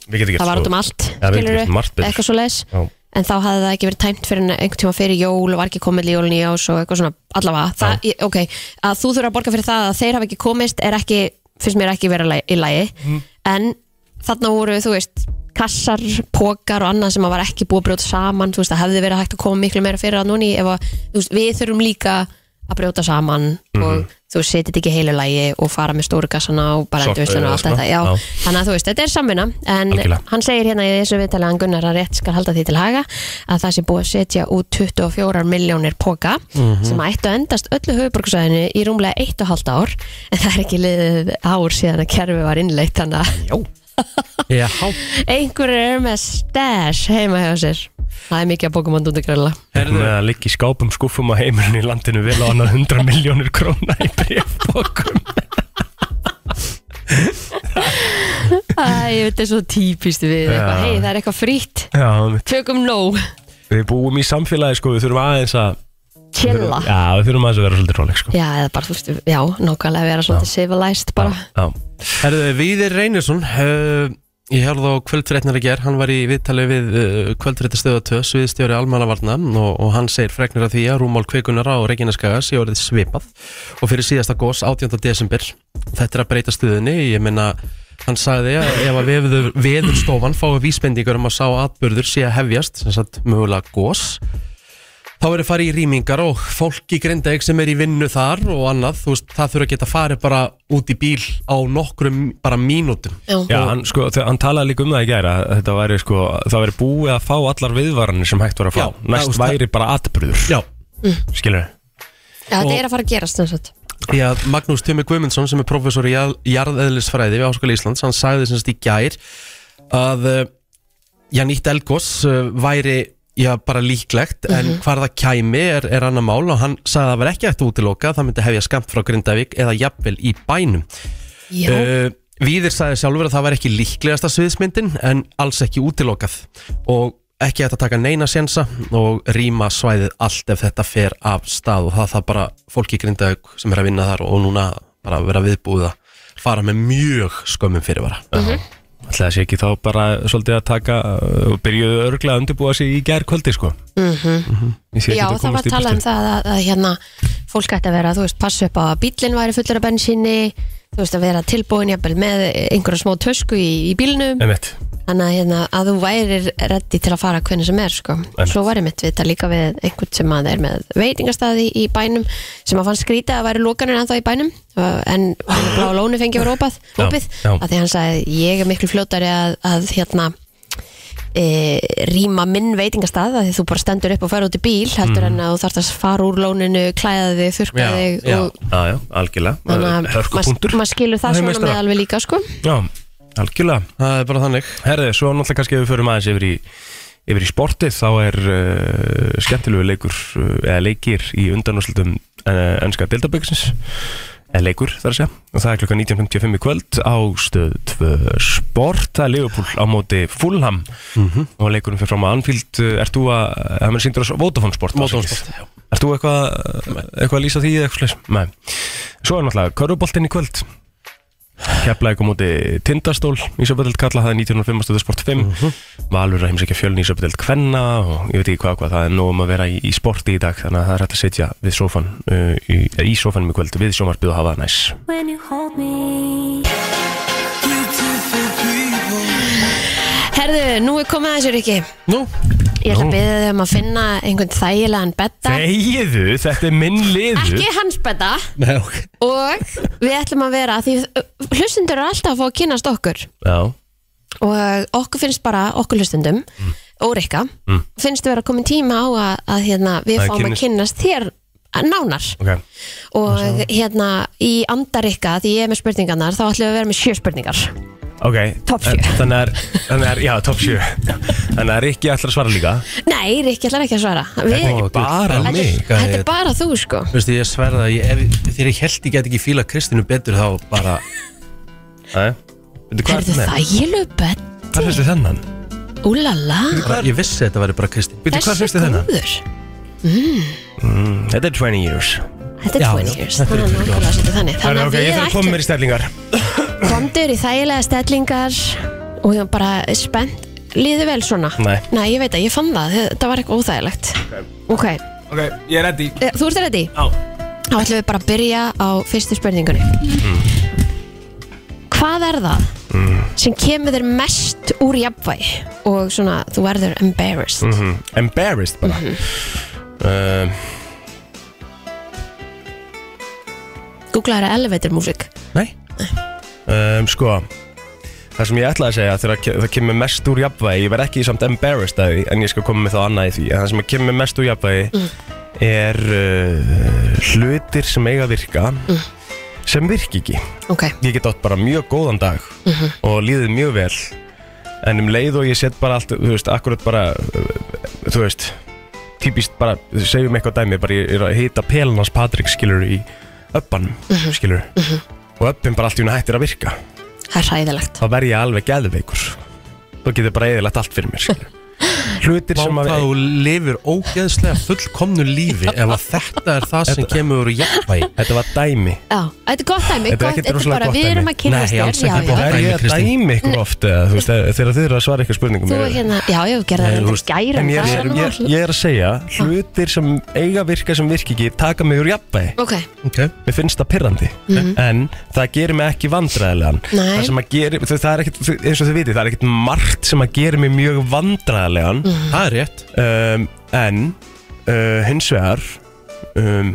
S3: við getum gert
S2: það var út um allt
S3: Já, við getum
S2: skilurðu,
S3: gert margt betur.
S2: eitthvað svo leis
S3: Já.
S2: en þá hafði það ekki verið tæmt fyrir einhvern tíma fyrir jól og var ekki komið í jólun í ás og eitthvað svona allavega, það, ég, ok, að þú þurfa að borga fyrir það að þeir hafa ekki komist er ekki, finnst mér ekki vera læ- í lægi
S3: Mhm.
S2: en þarna voru, þú veist kassar, pókar og annað sem að var ekki búið að brjóta saman, þú veist, það hefði verið hægt að koma miklu meira fyrir að núni ef að, þú veist, við þurfum líka að brjóta saman
S3: Mhm.
S2: og þú veist, setjit ekki heilu lægi og fara með stóru kassana og bara
S3: Sorpa
S2: endurvislun og allt
S3: eða
S2: þetta, já,
S3: svona. Já.
S2: þannig að þú veist, þetta er samvinna en
S3: Algjörlega.
S2: hann segir hérna í þessu viðtali að hann Gunnar að rétt skal halda því til haga að það sé búið að setja út 24 miljónir póka
S3: Mhm.
S2: sem ættu að endast öllu höfuborgsvæðinu í rúmlega 1,5 ár en það er ekki liðið ár síðan að kerfi var innleitt þannig að
S1: Já,
S2: einhverjur er með stash heima hjá sér það er mikið að bókum hann út að grilla
S3: með að liggja í skápum skúfum á heimurinn í landinu vel á annað 100 miljónir króna í brefbókum
S2: Æ, þetta er svo típist við eitthvað,
S3: Já.
S2: hei það er eitthvað frýtt
S3: já, mitt.
S2: tökum nóg,
S3: við búum í samfélagi sko, við þurfum aðeins að
S2: chilla
S3: já, við þurfum aðeins að vera svolítið róleg sko.
S2: já, eða bara, þú veist, já, nákvæmlega vera svolítið civilized bara
S3: já,
S1: Herðu, Víðir Reynisson uh, Ég hefði á kvöldfrétnar í ger Hann var í viðtali við uh, kvöldfréttastöða 2 Sviðstjóri Almannavarna og, og hann segir fregnir af því að rúmál kvikunar á Reykjaneskaga sé orðið svipað og fyrir síðasta gós 18. desember Þetta er að breyta stöðunni Ég meina, hann sagði að ef að veður, veðurstofan fái vísbendingar um að sá atburður sé að hefjast sem sagt mögulega gós þá verður farið í rýmingar og fólk í Grindavík sem er í vinnu þar og annað, þú veist, það þurfa að geta farið bara út í bíl á nokkrum bara mínútum.
S3: já hann, sko, þe- hann talaði líka um það í gæra þetta væri sko, það væri búið að fá allar viðvaranir sem hægt var að fá
S1: Já,
S3: næst
S1: það-
S3: væri bara atbröður,
S1: Já.
S3: skilur
S2: Já, þetta er að fara að gerast sem sagt.
S1: Því að Magnús Tumi Guðmundsson sem er professor í jarð- jarðeðlisfræði við Háskóla Íslands, hann sagði sem sagt í gær að uh, já, nýtt elgos uh, væri já, bara líklegt, en hvar það kæmi er, er annar mál og hann sagði að það var ekki eftir útiloka, það myndi hefja skamt frá Grindavík eða jafnvel í bænum.
S2: Já,
S1: Uh, Víðir sagði sjálfur að það var ekki líklegasta sviðsmyndin en alls ekki útilokað og ekki hægt að taka neina sjensa og rýma svæðið allt ef þetta fer af stað og það það bara fólki í grindaug sem er að vinna þar og núna bara vera viðbúið að fara með mjög skömmum fyrirvara
S3: Ætli það sé ekki þá bara svolítið að taka uh, og byrjuðu örglega að undirbúa sig í gær kvöldi sko mm -hmm.
S2: Mhm. Já það var að tala um það að, að hérna, fólk ætti að vera, þú veist, passa upp á að bílinn væri fullur af bensinni þú veist, að vera tilbúin jafnvel með einhverja smá tösku í, í bílnum
S3: Emmett,
S2: þannig að, hérna, að þú værir reddi til að fara hvernig sem er, sko. Svo var ég mitt við þetta líka við einhvern sem að er með veitingastæði í bænum sem að fann skrýta að væri lókanir ennþá í bænum uh, en hann blá lónu fengi var opað,
S3: Já,
S2: opið
S3: já.
S2: að því hann sagði ég er miklu fljótari að, að hérna e, rýma minn veitingastað að því þú bara stendur upp og fer út í bíl heldur en að þú þarft að fara úr lóninu klæða þig, þurrka
S1: Já,
S2: þig
S1: já.
S2: og
S3: Mhm. já já, algjörlega
S2: þannig að
S3: Hörkupunktur
S2: maður mað skilur það
S3: Það er
S2: svona
S3: meistara.
S2: með alveg líka sko
S3: Já, algjörlega
S1: Það er bara þannig
S3: Herði, svo náttúrulega kannski ef við förum aðeins yfir í yfir í sportið, þá er uh, skemmtilegu leikur, uh, eða leikir í undanúslutum uh, ennska deildaböksins eða Eh, leikur þar að segja og það er klukkan 19.55 í kvöld á stöð 2 sport, það er Liverpool á móti Fulham
S1: Mhm.
S3: og leikurinn fyrir fram að Anfield, uh, ert þú að það mér síndur á Vodafone sport
S1: Vodafone
S3: afsakið.
S1: Sport, já.
S3: Ert þú eitthvað, eitthvað að lýsa því eða eitthvað slags? Nei. Svo er náttúrulega Köruboltinn í kvöld Keflæk á móti Tindastól í Söpudeld kalla, það er 1905 sport 5 Valur að heimsækja fjölni í Söpudeld Kvenna og ég veit ekki hvað, hvað það er nóg um að vera í, í sporti í dag þannig að það er hægt að sitja við sófan uh, í, eða í sófanum í kvöld við sjómarpið og hafa það næs
S4: when you hold me.
S2: Herðu, nú er komið aðeins, Ríkki
S1: Nú,
S2: Ég ætla
S3: Nú.
S2: að byrja þig um að finna einhvern þægilegan betta
S3: Þegiðu, þetta er minn liður
S2: Ekki hans betta
S1: nei, ok
S2: Og við ætlum að vera Því uh, hlustendur eru alltaf að fá að kynast okkur
S3: Já,
S2: Og okkur finnst bara, okkur hlustendum mm. Og Rikka
S3: Mm.
S2: Finnst vera komin tíma á að, að hérna, við
S3: Að
S2: fáum að
S3: kynnist-
S2: kynnast þér nánar
S3: ok
S2: og hérna í andarikka því ég er með spurningarnar þá ætlum við að vera með sjö spurningar
S3: Ok,
S2: Topp sjö.
S3: En Þannig er, þannig er, já, top 7 Þannig er ekki allra svara líka
S2: Nei, Rikki ætlar ekki að svara við,
S1: Ó,
S3: Ekki bara
S1: djöfull.
S2: þetta,
S3: mig.
S2: er- þetta er bara þú sko
S1: Þú veist, ég sverða að ég, ef, þegar ég held ég get ekki fíla Kristínu betur þá bara
S3: Æ, veitu hvað
S2: Herðu
S3: ertu með?
S2: þægilu bett,
S3: Hvað finnst þið þennan?
S2: úlala
S1: bara- Ég vissi að þetta væri bara Kristín
S3: Veitu hvað finnst þið þennan?
S2: góður
S3: Þetta er 20 years
S2: Þetta er
S1: Já,
S2: 20
S1: já,
S2: years,
S1: þetta
S2: það er
S1: er 20 years.
S2: nákvæmlega svolítið þannig
S3: Þannig
S2: Þannig að
S3: ok, ég
S2: við
S3: þarf að koma
S2: ættum
S3: mér í stællingar
S2: komdur í þægilega stellingar og ég var bara spennt Líðu vel svona?
S3: Nei.
S2: ég veit að ég fann það, þetta var eitthvað óþægilegt Ok,
S3: Ok, ég er ready
S2: Eh, þú ert ready?
S3: Já
S2: Þá ætlum við bara að byrja á fyrstu spurningunni
S3: Hmm.
S2: Hvað er það sem kemur þér mest úr jafnvægi og svona þú verður embarrassed
S3: Hmm. Mhm. Embarrassed bara Ehm, mm
S2: Googlaður að elevator music
S1: Nei,
S3: um, Sko Það sem ég ætlaði að segja þegar ke- það kemur mest úr jafnvægi Ég verð ekki samt embarrassed að því En ég skal koma með þá annað í því En það sem kemur mest úr jafnvægi Er uh, hlutir sem eiga að virka Sem virki ekki
S2: Ok,
S3: Ég get átt bara mjög góðan dag
S2: Mhm.
S3: Og líðið mjög vel En um leið og ég set bara allt Þú veist, akkurat bara uh, Þú veist, típist bara Segjum eitthvað dæmi, bara ég er að hita Pelunars Patrik skilur í öppanum
S2: Mhm.
S3: Skilur Og öppin bara allt í hún hættir að virka
S2: það er hræðilegt
S3: þá verð ég alveg geðveikur þá getur bara eðilegt allt fyrir mér skilur. hlutir
S1: Vá,
S3: sem að
S1: hvað þú lifir ógeðslega fullkomnu lífi ef að þetta er það sem kemur úr jafnvægi
S3: þetta var dæmi
S2: Já, þetta er gott dæmi,
S3: Þetta er
S2: gott,
S3: ekkert
S2: þetta er
S3: rosalega
S2: bara
S3: gott
S2: við erum
S3: dæmi.
S2: að kynast
S1: Nei, alls
S2: þér
S1: ekki
S2: já,
S1: gott.
S2: já.
S3: er ég að
S1: Kristín.
S3: dæmi ykkur oft eða, þú veist, eða þegar þið eru að svara ykkur spurningum
S2: Þú er hérna, já, ég gerði
S1: Nei,
S2: það
S1: þú
S2: þetta
S1: veist,
S2: gæra
S3: en ég, er, ég, er- ég er að segja hlutir sem eiga að virka sem virki ekki taka mig úr jafnvægi
S2: Ok,
S1: okay.
S3: mér finnst það pirrandi en það gerir mig ekki vandræðilegan
S2: Mhm. Nei.
S3: það sem að gerir, það það er ekkit eins og þið vitið, það er ekkit margt sem að gerir mig mjög
S2: Mhm.
S3: vandræðilegan
S1: Það er rétt
S3: um, En uh, hins vegar um,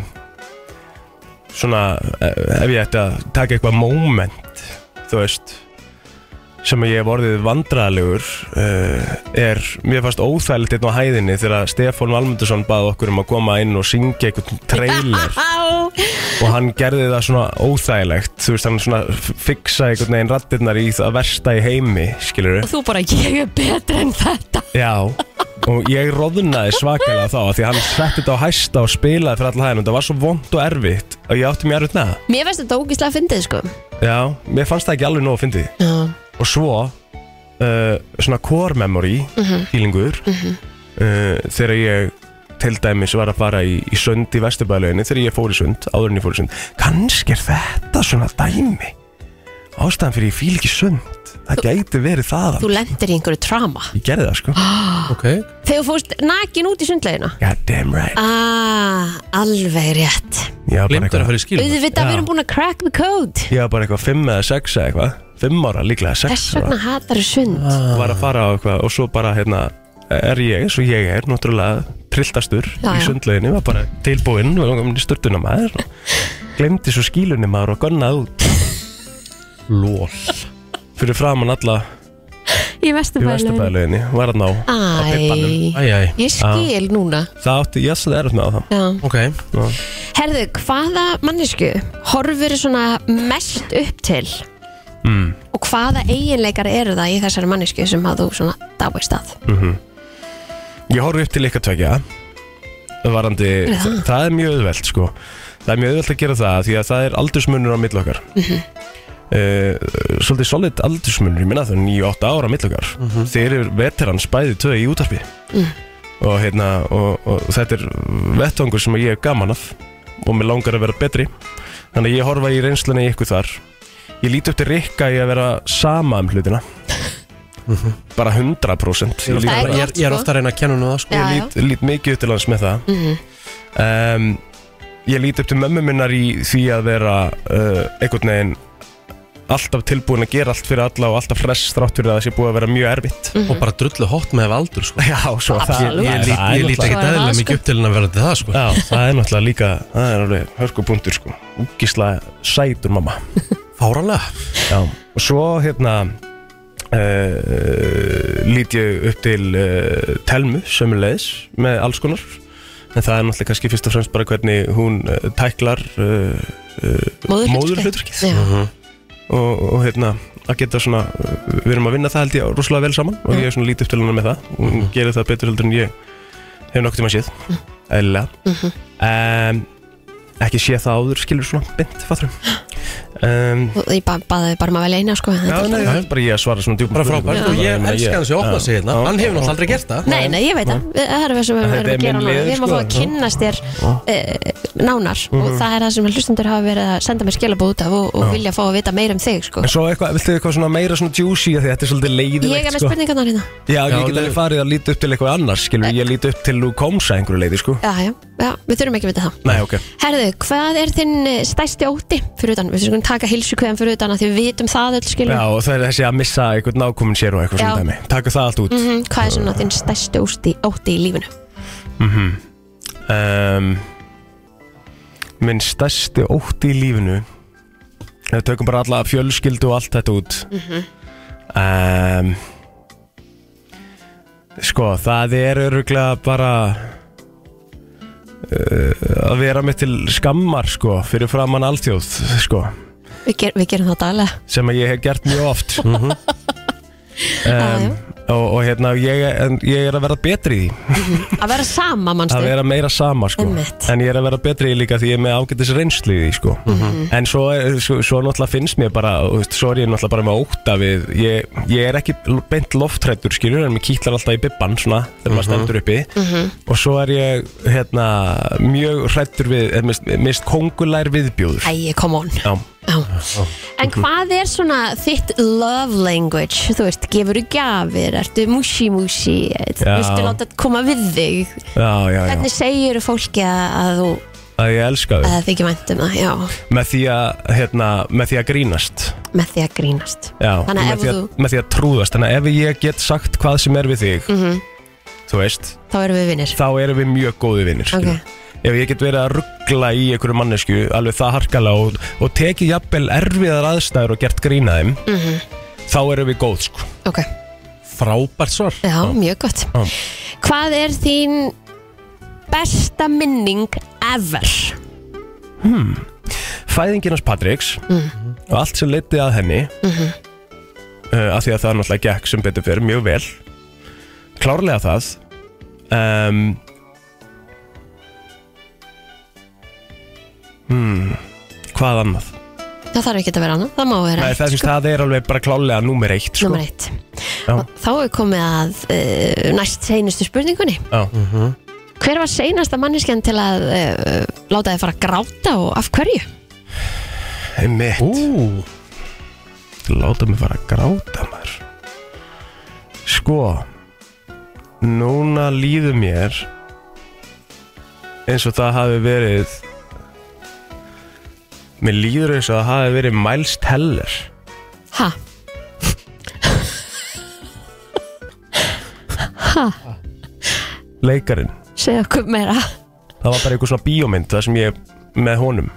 S3: Svona uh, Ef ég ætti að taka eitthvað moment Þú veist sem ég hef orðið vandræðalegur uh, er mér fast óþægilegt einn á hæðinni þegar Stefán Valmundursson bað okkur um að koma inn og syngja einhvern trailer
S2: á,
S3: og hann gerði það svona óþægilegt þú veist hann svona fixa einhvern veginn rattirnar í það versta í heimi skilur
S2: þú bara, ég er betra en þetta
S3: Já Og ég roðnaði svakalega þá af Því að hann setti þetta á hæsta og spilaði fyrir alla hæðin Og það var svo vond og erfitt Og ég átti mér erfitt með það
S2: Mér finnst þetta ógislega fyndið, sko
S3: Já, mér fannst það ekki alveg nóg að fyndi
S2: Já,
S3: Og svo uh, Svona core memory Fílingur uh, Þegar ég til dæmis var að fara í, í sund í vesturbæðalöginni Þegar ég fór í sund, áður en ég fór í sund Kannski er þetta svona dæmi Ástæðan fyrir ég fíl ekki sund Það gæti verið það
S2: þú lendir í einhverju trama
S3: Ég gerði það sko
S1: okay.
S2: Þegar þú fórst nakin út í sundlegina
S3: God damn right
S2: Ah, alveg rétt
S3: Ég var bara
S1: Glimtur
S3: eitthvað-
S1: að fara í skil
S2: Auðvitað, við erum búin að crack the code
S3: Ég var bara eitthvað 5 eða 6 eða eitthvað 5 ára líklega 6
S2: Þess vegna hatar þú sund
S3: ára Var að fara á eitthvað og svo bara hérna er ég, svo ég er náttúrulega trilltastur
S2: Já,
S3: í
S2: já.
S3: sundleginni var bara tilbúinn, var komin í sturtuna maður glemdi svo skílunni maður og gannað út
S1: Lól
S3: fyrir framann alla
S2: Í
S3: í
S2: vesturbælum
S3: vesturbæðalöginni var hann á
S2: Æ,
S1: Æj, æj,
S2: ég skil núna
S3: það átti, ég svo það erut með á það
S2: Já.
S1: ok
S2: Herðu, hvaða mannesku horfur svona mest upp til mm.
S3: Hmm.
S2: og hvaða eiginleikar eru það í þessari mannesku sem að þú svona dáist að
S3: Ég horfi upp til ykkar tvekja varandi, það, það er mjög auðvelt sko. það er mjög auðvelt að gera það því að það er aldursmunur á milli okkar mm
S2: Mhm.
S3: svolítið solid aldursmunur ég minna það er 9-8 ára á milli okkar þeir eru veterans bæði tvö í útarpi
S2: Mm.
S3: og, hérna, og, og þetta er vettvangur sem ég er gaman af og mér langar að vera betri þannig að ég horfa í reynslunni í ykkur þar Ég líti upp til Rikka í að vera sama um hlutina Bara 100% Ég
S1: Ég,
S2: Það er
S3: lít,
S1: ég, er, ég er
S2: gott, sko.
S1: ofta að reyna að kenna nú það sko
S2: Já,
S3: ég lít, lít mikið upp til hans með það um, Ég líti upp til mömmu minnar í því að vera uh, einhvern veginn alltaf tilbúin að gera allt fyrir alla og alltaf fress þrátt fyrir að það sé búið að vera mjög erfitt
S1: Og bara drullu hot með ef aldur sko
S3: Já, svo það,
S1: Ég,
S2: Mhm. Absolutt.
S1: ég, lít-
S3: það er
S1: ég lít
S2: Svo
S1: ekki
S3: náttúrulega-
S2: er það,
S1: dæðilega
S2: sko.
S1: mikið upp til en að vera til það sko
S3: Já, það er náttúrulega líka það er alveg hörkupunktur sko úkislega sætur mamma
S1: Fáranlega
S3: Já. og svo hérna uh, lít ég upp til uh, Telmu sömulegis með alls konar en það er náttúrulega kannski fyrst og fremst bara hvernig hún uh, tæklar uh, móðurhlutverkið
S2: Já,
S3: og, og hérna að geta svona, eh, við erum að vinna það held ég rosalega vel saman og ég er svona lítið upp til hennar með það og
S1: Mhm.
S3: hún gerir það betur heldur en ég hef nokkuð tíma séð, eðlilega um, ekki sé það áður skilur svona bynd, fattur um,
S2: og ég ba baðið bara maður vel eina sko
S3: Já,
S2: þetta er
S3: nei,
S2: bara-
S3: það er bara ég að svara svona djúpum
S1: Bara
S3: spurningum.
S1: frábært Og
S3: Bara,
S1: ég
S3: meina,
S1: elska hans í opna sig hérna
S3: Já.
S1: Hann hefur náttúrulega aldrei gert það
S2: Nei, nei, ég veit það, það er það sem við
S3: Þetta
S2: verðum
S3: er
S2: að gera
S3: minn
S2: núna
S3: liður,
S2: Við erum að
S3: sko. Mhm.
S2: fá að kynnast þér uh, nánar og það er það sem hlustundur hafa verið að senda mér skilabóð út af og, og vilja fá að vita meira um þig sko.
S3: En svo eitthvað, viltu eitthvað svona meira svona juicy af því að þetta er svolítið leiðilegt
S2: Ég er með
S3: sko.
S2: spurningarnar hérna
S3: Já, ég
S1: Já,
S3: get alveg
S1: leiðilegt.
S3: farið að líti upp til eitthvað annars skilur, ég líti upp til Luke Holmes að einhverju leiði sko.
S2: Já, já, já, við þurfum ekki að vita það
S3: Nei, ok
S2: Herðu, hvað er þinn eh, stærsti óti fyrir utan? Við þurfum að taka hilsukveðan fyrir utan að því við vitum það öll skilur
S3: Já, og það er þessi að missa eitthvað nákominn sér og eitthvað
S2: Já.
S3: svona dæmi Taka það allt út
S2: Mhm, Hvað er svona þinn stærsti óti, óti í lífinu?
S3: Mhm. um, minn stærsti ótti í lífinu ef við tökum bara alla fjölskyldu og allt þetta út um, sko það er öruglega bara uh, að vera með til skammar sko fyrir framann alltjóð sko
S2: Við, ger, við gerum það daglega
S3: sem að ég hef gert mjög oft um,
S2: já.
S3: og, og hérna ég, en ég er að vera betri í því
S2: Að vera sama, mannstu
S3: að vera meira sama sko.
S2: Einmitt.
S3: en ég er að vera betri í líka því ég er með ágætis reynslu í því sko.
S2: Mhm.
S3: en svo, er- svo, svo náttúrulega finnst mér bara þú veist, svo er ég náttúrulega bara með óta við ég, ég er ekki beint loftrættur skilur en mér kýtlar alltaf í bibban svona, þegar maður stendur uppi og svo er ég hérna, mjög hrættur við eh, mist, mist kongulær viðbjóður
S2: Æi, come on
S3: Já.
S2: Já. En hvað er svona þitt love language? Þú veist, gefur þú gjafir, ertu mushi mushi,
S3: Já.
S2: viltu láta koma við þig?
S3: Já, já, já.
S2: Hvernig segir þú fólki að, að þú
S3: að ég elska þau
S2: að þið ekki væntum það? Já,
S3: með því að, hérna, með því að grínast
S2: með því að grínast.
S3: Já,
S2: Þannig að
S3: með,
S2: ef
S3: því að,
S2: þú-
S3: með því að trúðast Þannig að ef ég get sagt hvað sem er við þig
S2: Mhm.
S3: Þú veist,
S2: Þá erum við vinnir.
S3: þá erum við mjög góði vinnir
S2: Ok.
S3: Ef ég get verið að ruggla í einhverju mannesku Alveg það harkalega og, og tekið jafnvel erfiðar aðstæður og gert grína þeim
S2: Mhm.
S3: Þá erum við góð sko
S2: Ok,
S1: Frábært svar
S2: já, mjög gott.
S3: Já.
S2: Hvað er þín besta minning ever?
S3: Fæðinginans Patriks
S2: Mhm.
S3: Og allt sem leiti að henni uh, Af því að það náttúrulega gekk sem betur fyrir mjög vel Klárlega það um, hmm, Hvað annað?
S2: Það þarf ekki að vera annað, það má vera
S3: Nei,
S2: eitt,
S3: það, sko? það er alveg bara klárlega númer eitt sko.
S2: Númer eitt.
S3: Já.
S2: Og Þá er komið að uh, næst seinustu spurningunni.
S3: Já.
S2: Hver var seinasta manneskjan til að uh, láta þið fara að gráta og af hverju?
S3: Einmitt
S1: Ú,
S3: Láta mig fara að gráta maður Sko Núna líður mér eins og það hafi verið Mér líður eins og það hafi verið Miles Teller
S2: Ha? ha?
S3: leikarinn
S2: Segðu okkur meira.
S3: Það var bara einhver svona bíómynd það sem ég með honum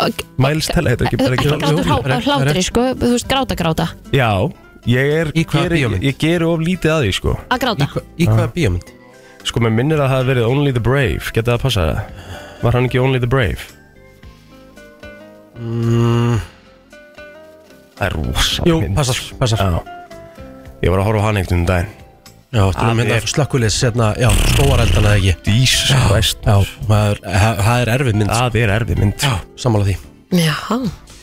S2: Og,
S3: Miles Teller, þetta er ekki,
S2: ekki
S3: er ekki
S2: gráta
S1: jú,
S2: úr
S1: rétt,
S2: hlátri,
S1: rétt.
S2: sko. Þú veist, gráta, gráta.
S3: Já, ég er
S1: Í hvaða
S3: geri,
S1: bíómynd?
S3: Ég geri of lítið að því sko
S2: Að
S1: í,
S2: gráta.
S1: hva, í hvaða bíómynd?
S3: Sko, mér minnir að það hafi verið Only the Brave Getið það að passa það? Var hann ekki Only the Brave? Það er rosa
S1: Mm. Jú,
S3: mynd.
S1: passar, passar
S3: Já Ég var að horfa á hann einhvern veginn um
S1: Já, þú erum
S3: Það
S1: mynda
S3: er-
S1: slökkulis hérna, já, skóareldana eða ekki
S3: daginn Jesus Christ
S1: Já, það er, það- það er erfið mynd
S3: Það er erfið mynd
S1: Já, sammála því
S2: Já,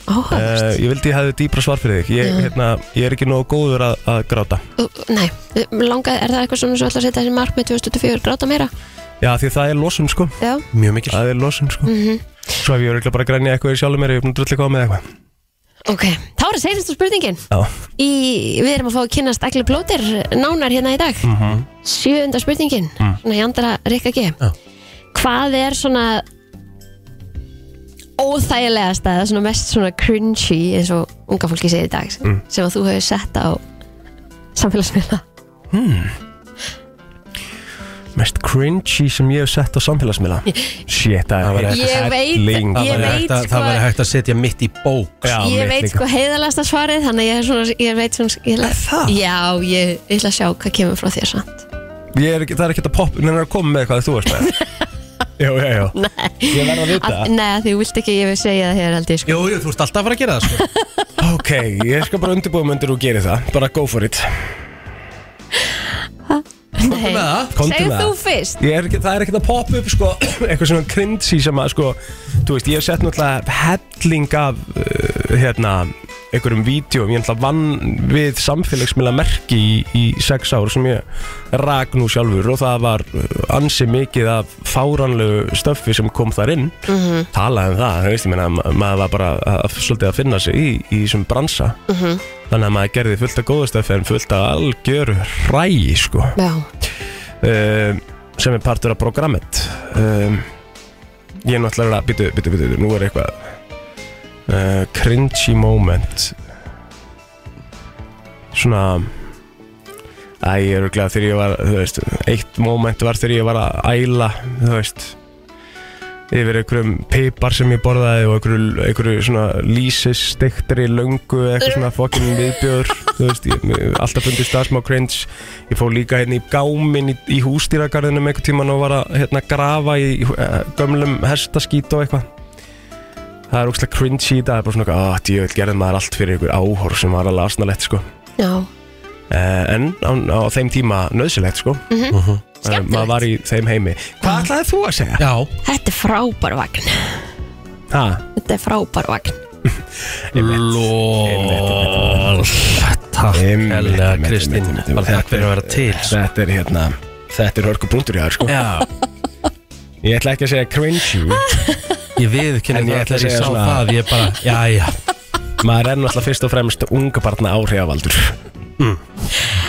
S2: áhugavert.
S3: Uh, ég vildi ég hefði dýpra svar fyrir þig Ég, hérna, ég er ekki nógu góður að, að gráta
S2: Uh, Nei, langaði, er það eitthvað svona sem ætla að setja þessi markmið 2024 gráta meira?
S3: Já því það er losun sko
S2: Já,
S1: Mjög mikil
S3: Það er losun sko Svo hef ég örgulega bara grænja eitthvað í sjálfum mér Ég er búin að drulli koma með eitthvað
S2: Ok, þá er það seinasta spurningin
S3: Já,
S2: í, Við erum að fá að kynnast allir plótir nánar hérna í dag
S3: Mhm.
S2: Sjöunda spurningin
S3: Mm.
S2: Svona í andra Rikka G
S1: Já.
S2: Hvað er svona óþægilegast eða svona mest svona cringy eins og unga fólki segir í dag
S3: Mm.
S2: sem að þú hefur sett á samfélagsmiðla
S3: mest cringy sem ég hef sett á samfélagsmiðla Shit,
S1: Það
S3: það
S1: var
S3: er
S1: ekki
S2: Ég veit-
S3: helling.
S2: ég
S1: Það væri
S2: veit
S1: hægt að-
S2: sko-
S1: Það væri hægt að setja mitt í bók
S3: Já,
S2: Ég
S3: mitt
S2: veit
S3: líka.
S2: sko heiðalasta svarið þannig að ég, er svona, ég veit svona ég er
S3: það?
S2: Já, ég, ég ætla að sjá hvað kemur frá þér samt
S3: Ég er, ekki- það er ekkert að popp Nennar að koma með hvað þú varst með Jú, jú, jú
S2: Nei,
S3: Ég verð að vita
S2: að, nei því þú vilt ekki ég vil segja það hér held ég sko
S1: Jú, jú, þú ert alltaf að fara að gera það sko.
S3: Ok, ég skal bara undirbúa myndir og gera það Bara go for it
S1: Komdu með það.
S3: Komdu
S2: Segðu
S3: með
S2: þú
S3: það.
S2: fyrst
S3: Ég er ekki, það er ekkert að poppa upp sko, eitthvað svona cringy sem að sko, þú veist, ég hef sett náttúrulega helling af uh, hérna, einhverjum vídjum, ég náttúrulega vann við samfélagsmiðla merki í, í sex ár sem ég rak nú sjálfur og það var uh, ansi mikið af fáranlegu stöffi sem kom þar inn talaði um það, þú veist, ég meina ma- maður var bara að, að, svolítið að finna sig í, í þessum bransa þannig að maður gerði fullt af góðu stöffi en fullt af algjöru rægi sko
S2: Já,
S3: um, sem er partur af programmet um, ég er náttúrulega að byttu, byttu, byttu, nú er eitthvað uh, cringy moment svona Æ, ég er örglega þegar ég var, þú veist, eitt moment var þegar ég var að æla, þú veist, yfir einhverjum pipar sem ég borðaði og einhverju, einhverju svona lýsistektri löngu eða eitthvað svona fokkin viðbjör, þú veist, ég, mér- alltaf fundist það smá cringe. Ég fór líka hérna í gámin í, í hústýragarðinum einhvern tíman og var að hérna grafa í eh, gömlum hestaskít og eitthvað. Það er ógslag cringe í dag, það er bara svona eitthvað, að djövel gerði maður allt fyrir einhver áhor sem var alveg asnalett, sko.
S2: já,
S3: Eh, en á, á þeim tíma nöðsilegt sko
S1: Mm,
S3: uh
S2: Skemmtilegt.
S3: maður var í þeim heimi hvað ætlaði þú að segja?
S1: Já,
S2: þetta er frábær vagn
S3: ha,
S2: Þetta er frábær vagn
S1: lól Takk,
S3: Einmitt,
S1: Elga
S3: einmitt,
S1: Kristín
S3: einmitt, einmitt.
S1: Bara takk fyrir að vera til Eh. sko.
S3: þetta er hérna þetta er hörku brúndur í það sko
S1: Já,
S3: ég ætla ekki að segja cringy
S1: ég viðkynna
S3: En
S1: það
S3: ég ætla
S1: þegar
S3: að
S1: ég
S3: segja
S1: sá
S3: svona-
S1: það Ég bara, já, já
S3: maður er náttúrulega fyrst og fremst unga barna áhrifavaldur Mm.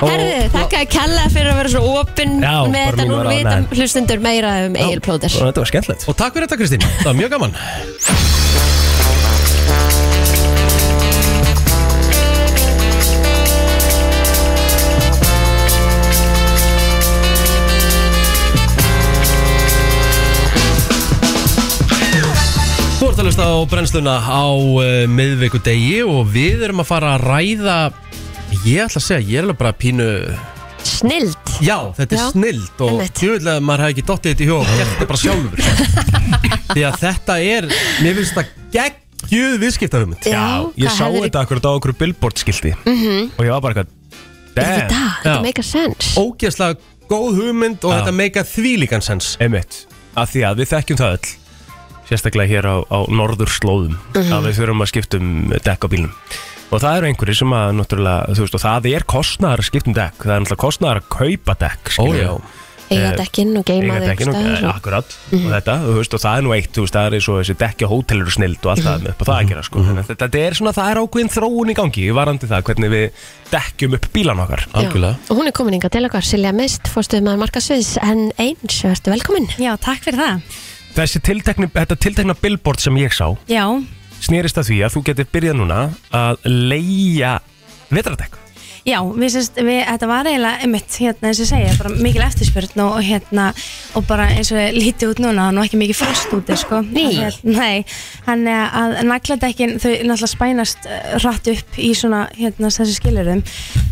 S2: Herðu, þakka að kella fyrir að vera svo opinn
S3: Já,
S2: með
S3: bara
S2: þetta
S3: mín
S2: nú
S3: var
S2: vita
S3: ánægð.
S2: hlustundur meira um Egil Plóter
S3: og þetta var skemmtilegt
S1: Og takk fyrir þetta Kristín, það var mjög gaman Þú ert að hlusta á brennsluna á uh, miðvikudegi og við erum að fara að ræða Ég ætla að segja, ég er alveg bara pínu
S2: Snild
S1: Já, þetta er
S2: Já,
S1: snild og
S2: einmitt.
S1: tjóðlega maður hefði ekki dottið þetta í hjóð og gert þetta bara sjálfur Því að þetta er, mér finnst þetta geggjuð viðskiptahugmynd
S3: ég
S2: hvað
S3: sá
S2: hefðir- Mhm.
S3: þetta akkurat á okkur billboard skildi og ég var bara eitthvað
S2: Þetta,
S3: damn,
S1: Já.
S2: þetta make a sense
S1: Ógeðslega góð hugmynd og þetta meika þvílíkan sens
S3: einmitt af því að við þekkjum það öll sérstaklega hér á, á norðurslóðum
S2: Mhm.
S3: að við þurfum að skipta um dekk á bílum og það eru einhverjir sem að náttúrulega, þú veist, og það er kostnæðar að skipta um dekk það er náttúrulega kostnæðar að kaupa dekk skilurðu.
S1: Ójá.
S2: Eiga
S3: eh,
S2: dekkin og
S3: Eiga
S2: geima þau
S3: dekkin og- eh,
S2: og...
S3: akkurat og þetta, þú veist, og það er nú eitt þú veist, það er eins og þessi dekkja hótelur og snild og allt það upp á það að gera, sko þannig að þetta, þetta er svona, það er ákveðin þróun í gangi varandi það, hvernig við dekkjum upp bílan okkar
S1: Algjörlega.
S2: Og hún er komin inga til okkar, Silja Mist, fórstuð maður Markasviðs en eins, verður velkomin
S5: Já, takk fyrir það.
S3: þessi tiltekni, þetta tiltekna billboard sem ég sá
S5: Já,
S3: snýrist að því að þú getur byrjað núna að leia vetradekk
S5: já, við sérst, við, þetta var eiginlega einmitt, hérna eins og ég segja, bara mikil eftirspurn og, og hérna, og bara eins og lítið út núna, það er nú ekki mikið frost úti, sko.
S2: Nei.
S5: Hérna, Nei, hann er að nagladekkin, þau náttúrulega spænast eh, hratt upp í svona, hérna, þessi skilurðum.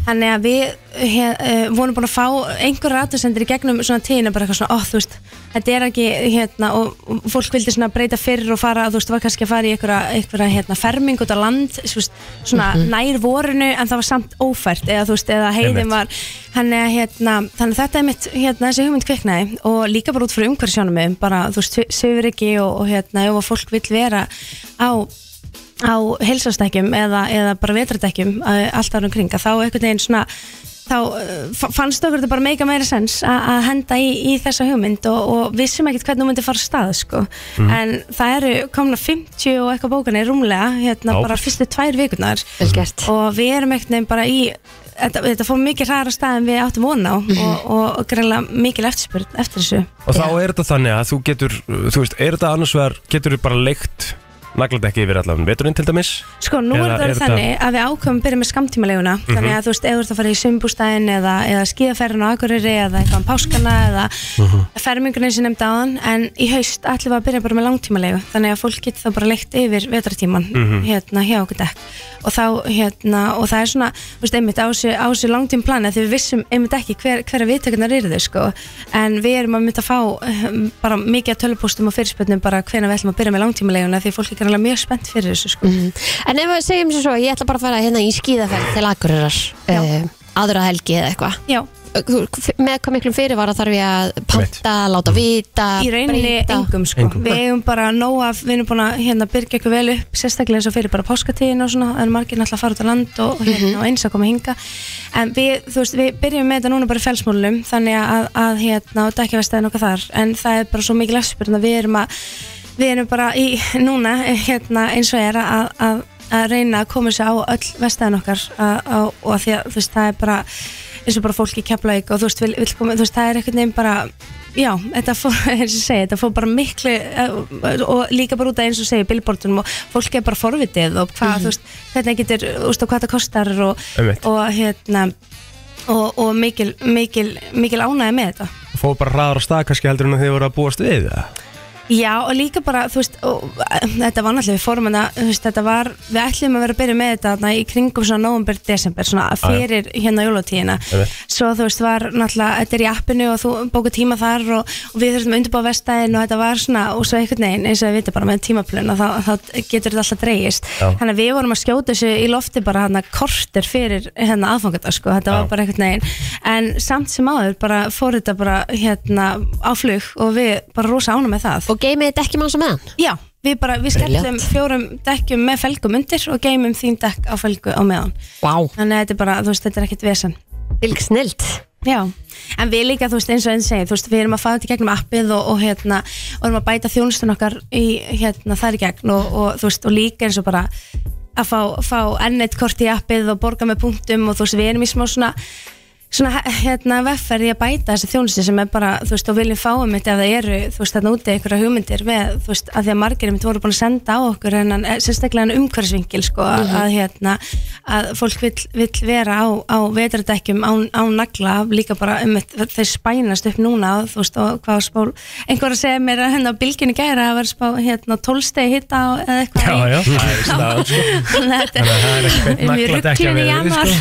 S5: Þannig að við he, uh, vorum búin að fá einhverja aðtöðsendir í gegnum svona tíðina, bara eitthvað svona, ó, þú veist, þetta er ekki, hérna, og, og fólk vildi svona breyta fyrir og fara, þú veist, var kannski að fara í einhverja, einhverja hérna, ferming út á land, þú veist, svona nær vorinu, en það var samt ófært, eða, þú veist, eða heiðin
S3: Einmitt.
S5: var, þannig að, hérna, þannig að þetta er mitt, hérna, þessi hugmynd kviknaði og líka bara út frá umhverfisjónum, bara, þú veist, sögur ekki og, og, hérna, ef að fólk vill vera á eh, á heilsastækjum eða, eða bara vetardækjum alltaf um kringa þá einhvern veginn svona þá eh, fa- fannst okkur þetta bara meika meira sens a- að henda í, í þessa hugmynd og, og vissum ekkert hvernig hún myndi fara af stað sko. en það eru komna 50 og eitthvað bókanir rúmlega hérna,
S3: Já.
S5: bara fyrstu tvær vikunar
S2: vel gert
S5: og við erum ekkert nefn bara í þetta, þetta fór mikið hræðar af stað en við áttum von á og, og, og greinlega mikil eftirspurn eftir þessu
S3: Og þá er þetta þannig að þú getur, þú veist, er þetta annars vegar, getur þú bara leikt nagladekki yfir allan veturinn til dæmis?
S5: Sko, nú
S3: Eða
S5: er
S3: er
S5: það Mhm.
S3: þetta-
S5: þannig að við ákveðum að byrja með skamtímaleiguna þannig að þú veist, ef þú ert að fara í sumbústæðin eða, eða skíðaferðin á Akureyri eða eitthvað um páskana eða uh fermingunin sem nefndi áðan en í haust ætlum við að byrja bara með langtímaleigu þannig að fólk getur þá bara leikt yfir vetratíman hérna hjá okkur dekk og þá hérna, og það er svona þú veist, einmitt á þessu, á þessu langtíma plana því við vissum einmitt ekki hver, hverja viðtökunar eru þau sko, en við erum að mynda að fá eh, bara mikið af tölupóstum og fyrirspöndum bara hvenær við ætlum að byrja með langtímaleiguna því fólk er greinlega mjög spennt fyrir þessu sko.
S3: Mm.
S2: En ef við segjum sem svo, ég ætla bara að fara hérna í skíðaferð til Akureyrar
S5: Já.
S2: uh, aðra helgi eða eitthvað
S5: Já,
S2: Þú- f- með hvað miklum fyrirvara þarf ég að panta, láta vita
S5: í rauninni
S2: breyta?
S5: engum sko
S3: Engum.
S5: Við eigum bara nóg af, við erum búin að hérna byrja ykkur vel upp Sérstaklega eins og fyrir bara páskatíðin og svona Það eru margir náttúrulega að fara út á land og, og, hérna, og eins að koma hinga En við, þú veist, við byrjum með þetta núna bara í felsmúlum Þannig að, að hérna, og dekkjavestæðin okkar þar En það er bara svo mikil efspurn að við erum að Við erum bara í, núna, hérna, eins og er að, að, að reyna að koma sér á öll vestæðin okkar að, að, og að því að, þú veist, það er bara eins og bara fólk í Keflavík og þú veist, vil, vil koma, þú veist, það er einhvern veginn bara Já, þetta fór, eins og ég segi, þetta fór bara miklu eh, og líka bara út af eins og segi billboardunum og fólk er bara forvitið og hvað, þú veist, hvernig getur, þú veist, og hvað það kostar og,
S3: Einmitt.
S5: og hérna og, og mikil, mikil, mikil ánæði með þetta.
S3: Fóðu bara hraðar á stað kannski heldur en þið voru að búast við það?
S5: Já, og líka bara, þú veist, og, eh, þetta var náttúrulega við fórum að, þú veist, þetta var, við ætlum að vera að byrja með þetta þarna, í kringum svona november, desember, svona fyrir hérna jólatíðina.
S3: Einmitt.
S5: Svo þú veist, var náttúrulega, þetta er í appinu og þú bókuð tíma þar og, og við þurfum að undirbáða vestæðin og þetta var svona, og svo einhvern veginn, eins og við veitum bara með tímaplun og þá, þá getur þetta alltaf dreigist.
S3: Já.
S5: Þannig að við vorum að skjóta þessu í lofti bara hérna kortir fyrir hérna aðfangadag, sko,
S3: Já.
S5: þetta var bara einhvern veginn. En samt sem áður bara fór þetta bara hérna á flug og við bara rosa ánum með það.
S2: Og geymið þetta ekki mann sem meðan
S5: Já, við bara, við skellum
S2: Brilliant.
S5: fjórum dekkjum með felgum undir og geymum þín dekk á felgu á meðan.
S2: Vá,
S5: Þannig að þetta er bara, þú veist, þetta er ekkert vesen.
S2: fylg snilt
S5: Já, en við líka, þú veist, eins og eins segið, þú veist, við erum að fara þetta í gegnum appið og, og hérna, og erum að bæta þjónustun okkar í, hérna, þar í gegn og, og þú veist, og líka eins og bara að fá, fá enn eitt kort í appið og borga með punktum og þú veist, við erum í smá svona, svona, hérna, vefferð í að bæta þessi þjónustu sem er bara, þú veist, og viljum fáum þetta ef það eru, þú veist, þarna úti einhverja hugmyndir með, þú veist, að því að margir einmitt voru búin að senda á okkur hennan, eh, sérstaklega hennan umhverfisvingil, sko, að, að hérna, að fólk vill, vill vera á, á vetrardekjum á, á nagla, líka bara um þetta, þeir spænast upp núna, og, þú veist, og hvað spól, einhver að segja mér að hérna hennar bylginu gæra að vera spá, hérna, tólstegi hitta á- eða eitthvað.
S3: já. Það er staðan, sko.
S5: Þannig að þetta
S3: Þannig að það er ekkert sko. nagladekki
S5: er mjög rugglun í januar.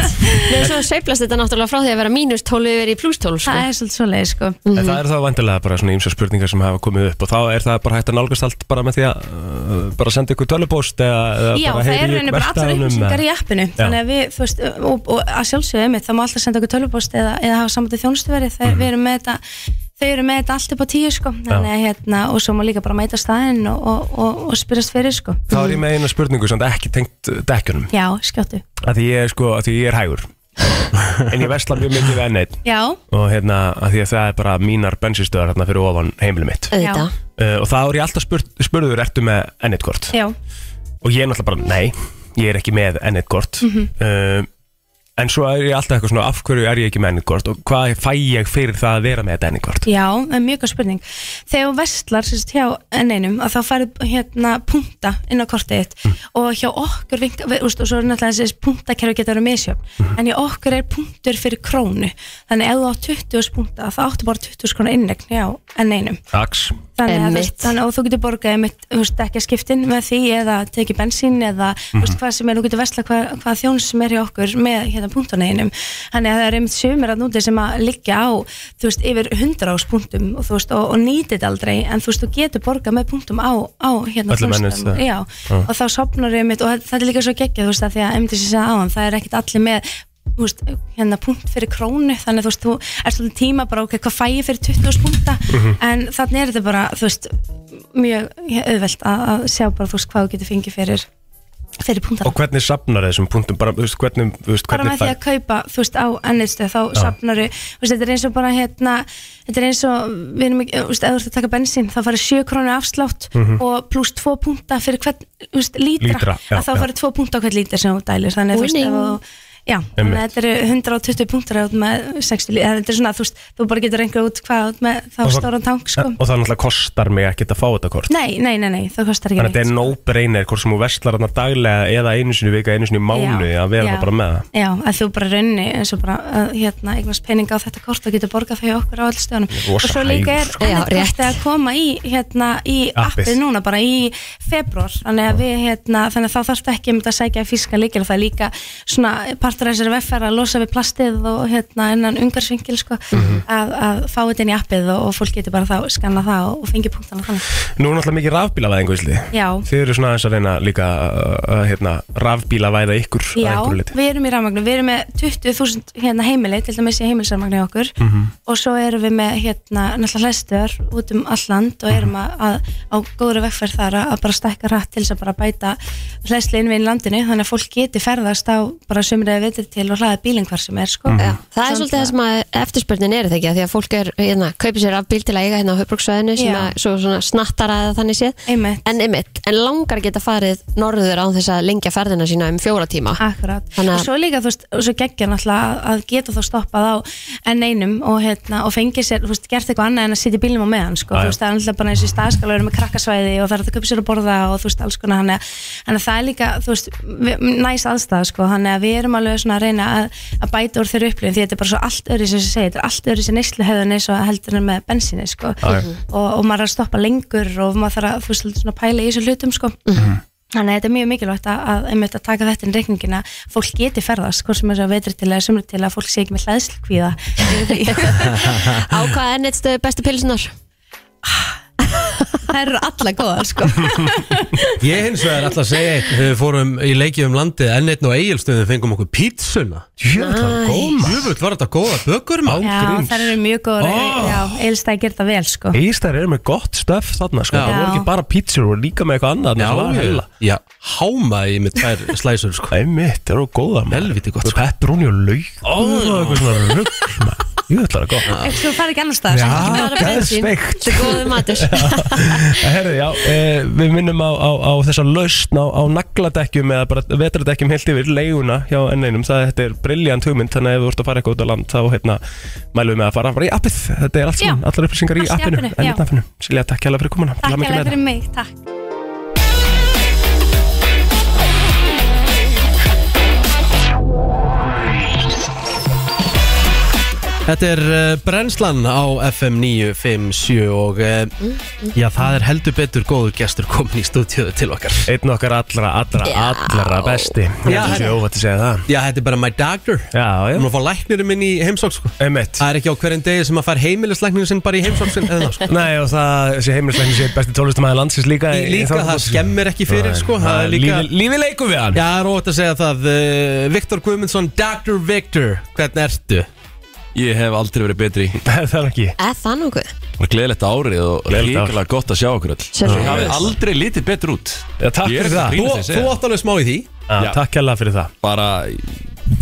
S2: Nei, svo sveiflast þetta náttúrulega frá því að vera mínus 12 yfir í pluss 12 sko.
S5: Það er svolítið svoleið, sko.
S3: En það er þá vandilega bara svona ýmsa spurningar sem hafa komið upp og þá er það bara hægt að nálgast allt bara með því að uh, bara senda ykkur tölupóst eða, eða
S5: Já,
S3: bara
S5: það er
S3: heyri
S5: reyni bara allar upplýsingar í appinu þannig að við, þú veist, og, og að sjálfsögðu einmitt, það má alltaf senda okkur tölupost eða, eða hafa samvætið þjónustuveri, þegar
S3: Mhm.
S5: við erum með þetta þau eru með þetta allt upp á tíu sko þannig að hérna, og svo má líka bara mæta staðinn og, og, og, og spyrjast fyrir sko
S3: Þá er ég með eina spurningu sem er ekki tengt uh, dekkjunum
S5: Já, skjóttu
S3: að því ég er sko, að því ég er hægur en ég vesla mjög mikið við enneitt
S5: Já,
S3: og hérna, að því að það er bara mínar bensinstöðar hérna fyrir ofan heimilið mitt
S5: Eh.
S3: uh,
S2: Þetta
S5: Já.
S3: og þá er ég alltaf spurt, spurður, ertu með enneitt kort?
S5: já,
S3: og ég er náttúrulega bara, nei, ég er ekki með ennett kort
S5: Mhm.
S3: uh, en svo er ég alltaf eitthvað svona, af hverju er ég ekki með ennett kort og hvað fæ ég fyrir það að vera með þetta ennett kort?
S5: já, það er mjög góð spurning Þegar þú vestlar sérst hjá enneinum að þá færðu hérna punta inn á kortið þitt og hjá okkur vinka, við, úst, og svo er náttúrulega þessi puntakerfi getur að vera misjöfn en hjá okkur er punktur fyrir krónu þannig ef þú á 20 punta þá áttu bara 20 krónu innegn hjá enneinum
S3: Dags,
S5: þannig að þú veist,
S2: Einmitt.
S5: þannig að þú getur borgað einmitt, þú veist, ekki að skiptin með því eða tekið bensín eða þú veist, hvað sem er, þú getur vesla hvað, hvað þjóns sem er hjá okkur með hérna punktuneinum þannig að það er einmitt sömur að núti sem að liggja á, þú veist, yfir 100 ás punktum og þú veist, og, og nýtit aldrei en þú veist, þú getur borgað með punktum á, á hérna
S3: Öllum
S5: þjónustunum.
S3: ennið það.
S5: Já, og þá sopnar einmitt og það er líka svo geggja, þú veist, að því að einmitt þessi sagði áðan, það er ekkit allir með þú veist, hérna punkt fyrir krónu þannig að þú veist, þú ert svolítið tíma bara ok, hvað fæ ég fyrir 20 punta en þannig er þetta bara, þú veist mjög auðvelt að, að sjá bara þú veist hvað þú getur fengið fyrir fyrir punktana
S3: Og hvernig sapnar þessum punktum, bara, þú veist, hvernig, þú veist,
S5: bara
S3: hvernig
S5: með því að kaupa, þú veist, á ennitstöð þá safnaru, þú veist, þetta er eins og bara hérna, þetta er eins og við erum ekki, þú veist, ef þú ert að taka bensín, þá farið 7 krónu afslátt og pluss 2 punta fyrir hvern, þú veist, lítra,
S3: Mhm. Lítra, já,
S5: að þá
S3: já.
S5: farið 2 punta á hvern lítra sem þú dælir, þannig að þú veist,
S2: Winning.
S5: ef þú Já, þannig að þetta eru 120 punktar át með 60 lítra, þetta er svona, þú veist, þú bara getur rengur út hvað át með þá
S3: Og það-
S5: stóran tank, sko.
S3: Og það náttúrulega kostar mig ekkert að fá þetta kort
S5: Nei, nei, nei, nei, það kostar ekki
S3: Þannig að þetta er no-brainer hvort sem þú vestlar þarna daglega eða einu sinni í vika, einu sinni í mánu
S5: Já,
S3: að vera
S5: já.
S3: það bara með það
S5: Já, að þú bara raunni eins og bara að, hérna, eignast peninga á þetta kort og getur borgað þau okkur á öll stöðunum
S3: er rosa
S5: og svo líka er
S3: hægur,
S2: sko. Já, rétt.
S5: ennetkortið að koma í, hérna, í
S3: Appið.
S5: appið núna bara í februar þannig að, við, hérna, þannig að þá þarfst ekki um þetta að sækja físka líkil það er líka svona partur af þessari vefferð að losa við plastið og hérna innan ungarsvingil sko,
S3: Mhm.
S5: að, að fá þetta inn í appið og, og fólk getur bara þá skanna það og, og fengi punktana þannig
S3: Nú er náttúrulega mikið rafbílavæðingu í slið
S5: Já,
S3: Þið eru svona aðeins að reyna líka uh, uh, hérna, rafbílavæða ykkur að
S5: Já,
S3: einhverju leyti.
S5: við erum í rafmagnu, við erum með 20.000 hérna heimili, til dæmis í heimilsarmagnu í okkur
S3: Mhm.
S5: og svo erum við með hérna náttúrulega hlæstur út um all land og
S3: Mhm.
S5: erum að, að á góðri vegferð þar að, að bara stækka rætt til þess að bara bæta hlæsli inn við landinu þannig að fólk geti ferðast á bara sömriða vetur til og hlaða bílinn hvar sem er sko.
S3: Mhm.
S2: Já, það er svolítið það sem að eftirspurnin er það ekki, af því að fólk er, hérna, kaupir sér af bíl til að eiga hérna á höfbruksvæðinu sem
S5: Já.
S2: að svo svona snattar að þannig séð
S5: Einmitt.
S2: en einmitt, en langar geta farið norður án þess að lengja ferðina sína um fjóra tíma
S5: Akkurat,
S2: Þannig að-
S5: og svo líka þú veist, og svo geggja náttúrulega að- að geta þá stoppað á enn einum og, hérna, og fengið sér, þú veist, gert eitthvað annað en að sitja í bílnum á meðan, sko,
S3: Já,
S5: þú
S3: já.
S5: veist, það er náttúrulega bara eins og staðskala, við erum með krakkasvæði og það er hægt að köpa sér að borða og þú veist, alls konar, þannig að, þannig að það er líka, þú veist, við- næs aðstæða, sko, þannig að við erum alveg svona að reyna að, að bæta úr þeirra upplifin, því þetta er bara svo allt öðru sem ég segi, þetta er allt öðru sem neysluhefðun eins og heldur en með bensinni, sko,
S3: Já, já.
S5: og, og maður er að stoppa lengur og maður þarf að, þú veist, svolítið svona pæla í þessu hlutum, sko.
S3: Mhm.
S5: Þannig að þetta er mjög mikilvægt að, að, einmitt að taka þetta inn í reikningina fólk geti ferðast, hvort sem er svo vetri til eða sumri til að fólk sé ekki með hlæðslkvíða
S2: á hvað er neitt bestu pilsunar?
S5: Það eru alla góða sko
S6: Ég hins vegar alltaf að segja eitt Þegar við fórum í leikið um landið enn einn og eigilstöðum fengum okkur pítsuna
S3: Jöfull var það
S2: Oh
S3: góð maður.
S6: Jöfull var þetta góða bökur maður
S5: Já,
S3: gríns. Ah.
S5: það eru mjög góður
S6: Ó.
S5: Já, eilstæði gert það vel sko
S3: Ístæðir eru með gott stöf þarna sko.
S6: Já.
S3: Það voru ekki bara pítsur, voru líka með eitthvað annað þarna sem var að
S6: Já,
S3: hella.
S6: já, hámaði ég með tvær slæsur sko
S3: Einmitt, það eru góða maður.
S6: Helviti gott, sko.
S3: Pepperoni og lauk Ó, það var eitthvað svona rugg Jöfull var það góð
S5: Ef þú farið ekki annars staðar
S3: Já.
S5: sko.
S2: Bara bensín.
S3: geðveikt.
S2: Þetta er góður matur
S3: Herðu, já, eh, við minnum á, á, á þessa lausn á, á nagladekkjum eða bara vetradekkjum heilt yfir leiguna hjá enneinum, það þetta er briljant hugmynd þannig að ef þú ert að fara eitthvað út á land þá hérna mælum við með að fara bara í appið þetta er allt
S5: Já.
S3: saman, allar upplýsingar í
S5: Allt í
S3: appinu,
S5: appinu, já.
S3: enninn appinu Silja, takk hérlega fyrir komuna Til
S5: Takk
S3: hamingju með
S5: alveg
S3: þetta.
S5: fyrir mig, takk
S1: Þetta er uh, brennslan á FM 957 og uh, já, það er heldur betur góður gestur komin í stúdíuðu til okkar.
S3: Einn okkar allra, allra,
S2: Já.
S3: allra besti Ég
S1: Já,
S3: held að sé
S1: herra.
S3: óvægt að segja það
S1: Já, þetta er bara my doctor.
S3: Já,
S1: Hún er
S3: já,
S1: að fá læknirinn minn í heimsók, sko.
S3: einmitt
S1: Það er ekki á hverjum degi sem að fær heimilislæknirinn sinn bara í heimsók sinn eða það, sko.
S3: Nei, og það sé heimilisleikni sé besti tólestamæði landsins líka
S1: Í- líka,
S3: Þorvaldsson.
S1: það skemmir ekki fyrir, sko,
S3: Nei,
S1: það er líka-
S3: lífi- Lífið leikum við hann
S1: Já, það er ótt að segja það. Uh, Viktor Guðmundsson, Dr. Victor, hvernig ertu?
S7: Ég hef aldrei verið betri
S3: Það er ekki
S2: eða það nokkuð
S7: Bara gleðilegt árið og
S3: Gleðilegt ár.
S7: ríkilega gott að sjá okkur öll
S2: Sérðu.
S7: Ég hef aldrei litið betur út
S3: Já, takk
S7: Ég
S3: fyrir
S7: er ekki að
S3: það.
S1: Þú,
S7: grína þess
S1: þú átt alveg smá í því.
S3: Já,
S7: Já.
S3: Takk hérlega fyrir það
S7: Bara,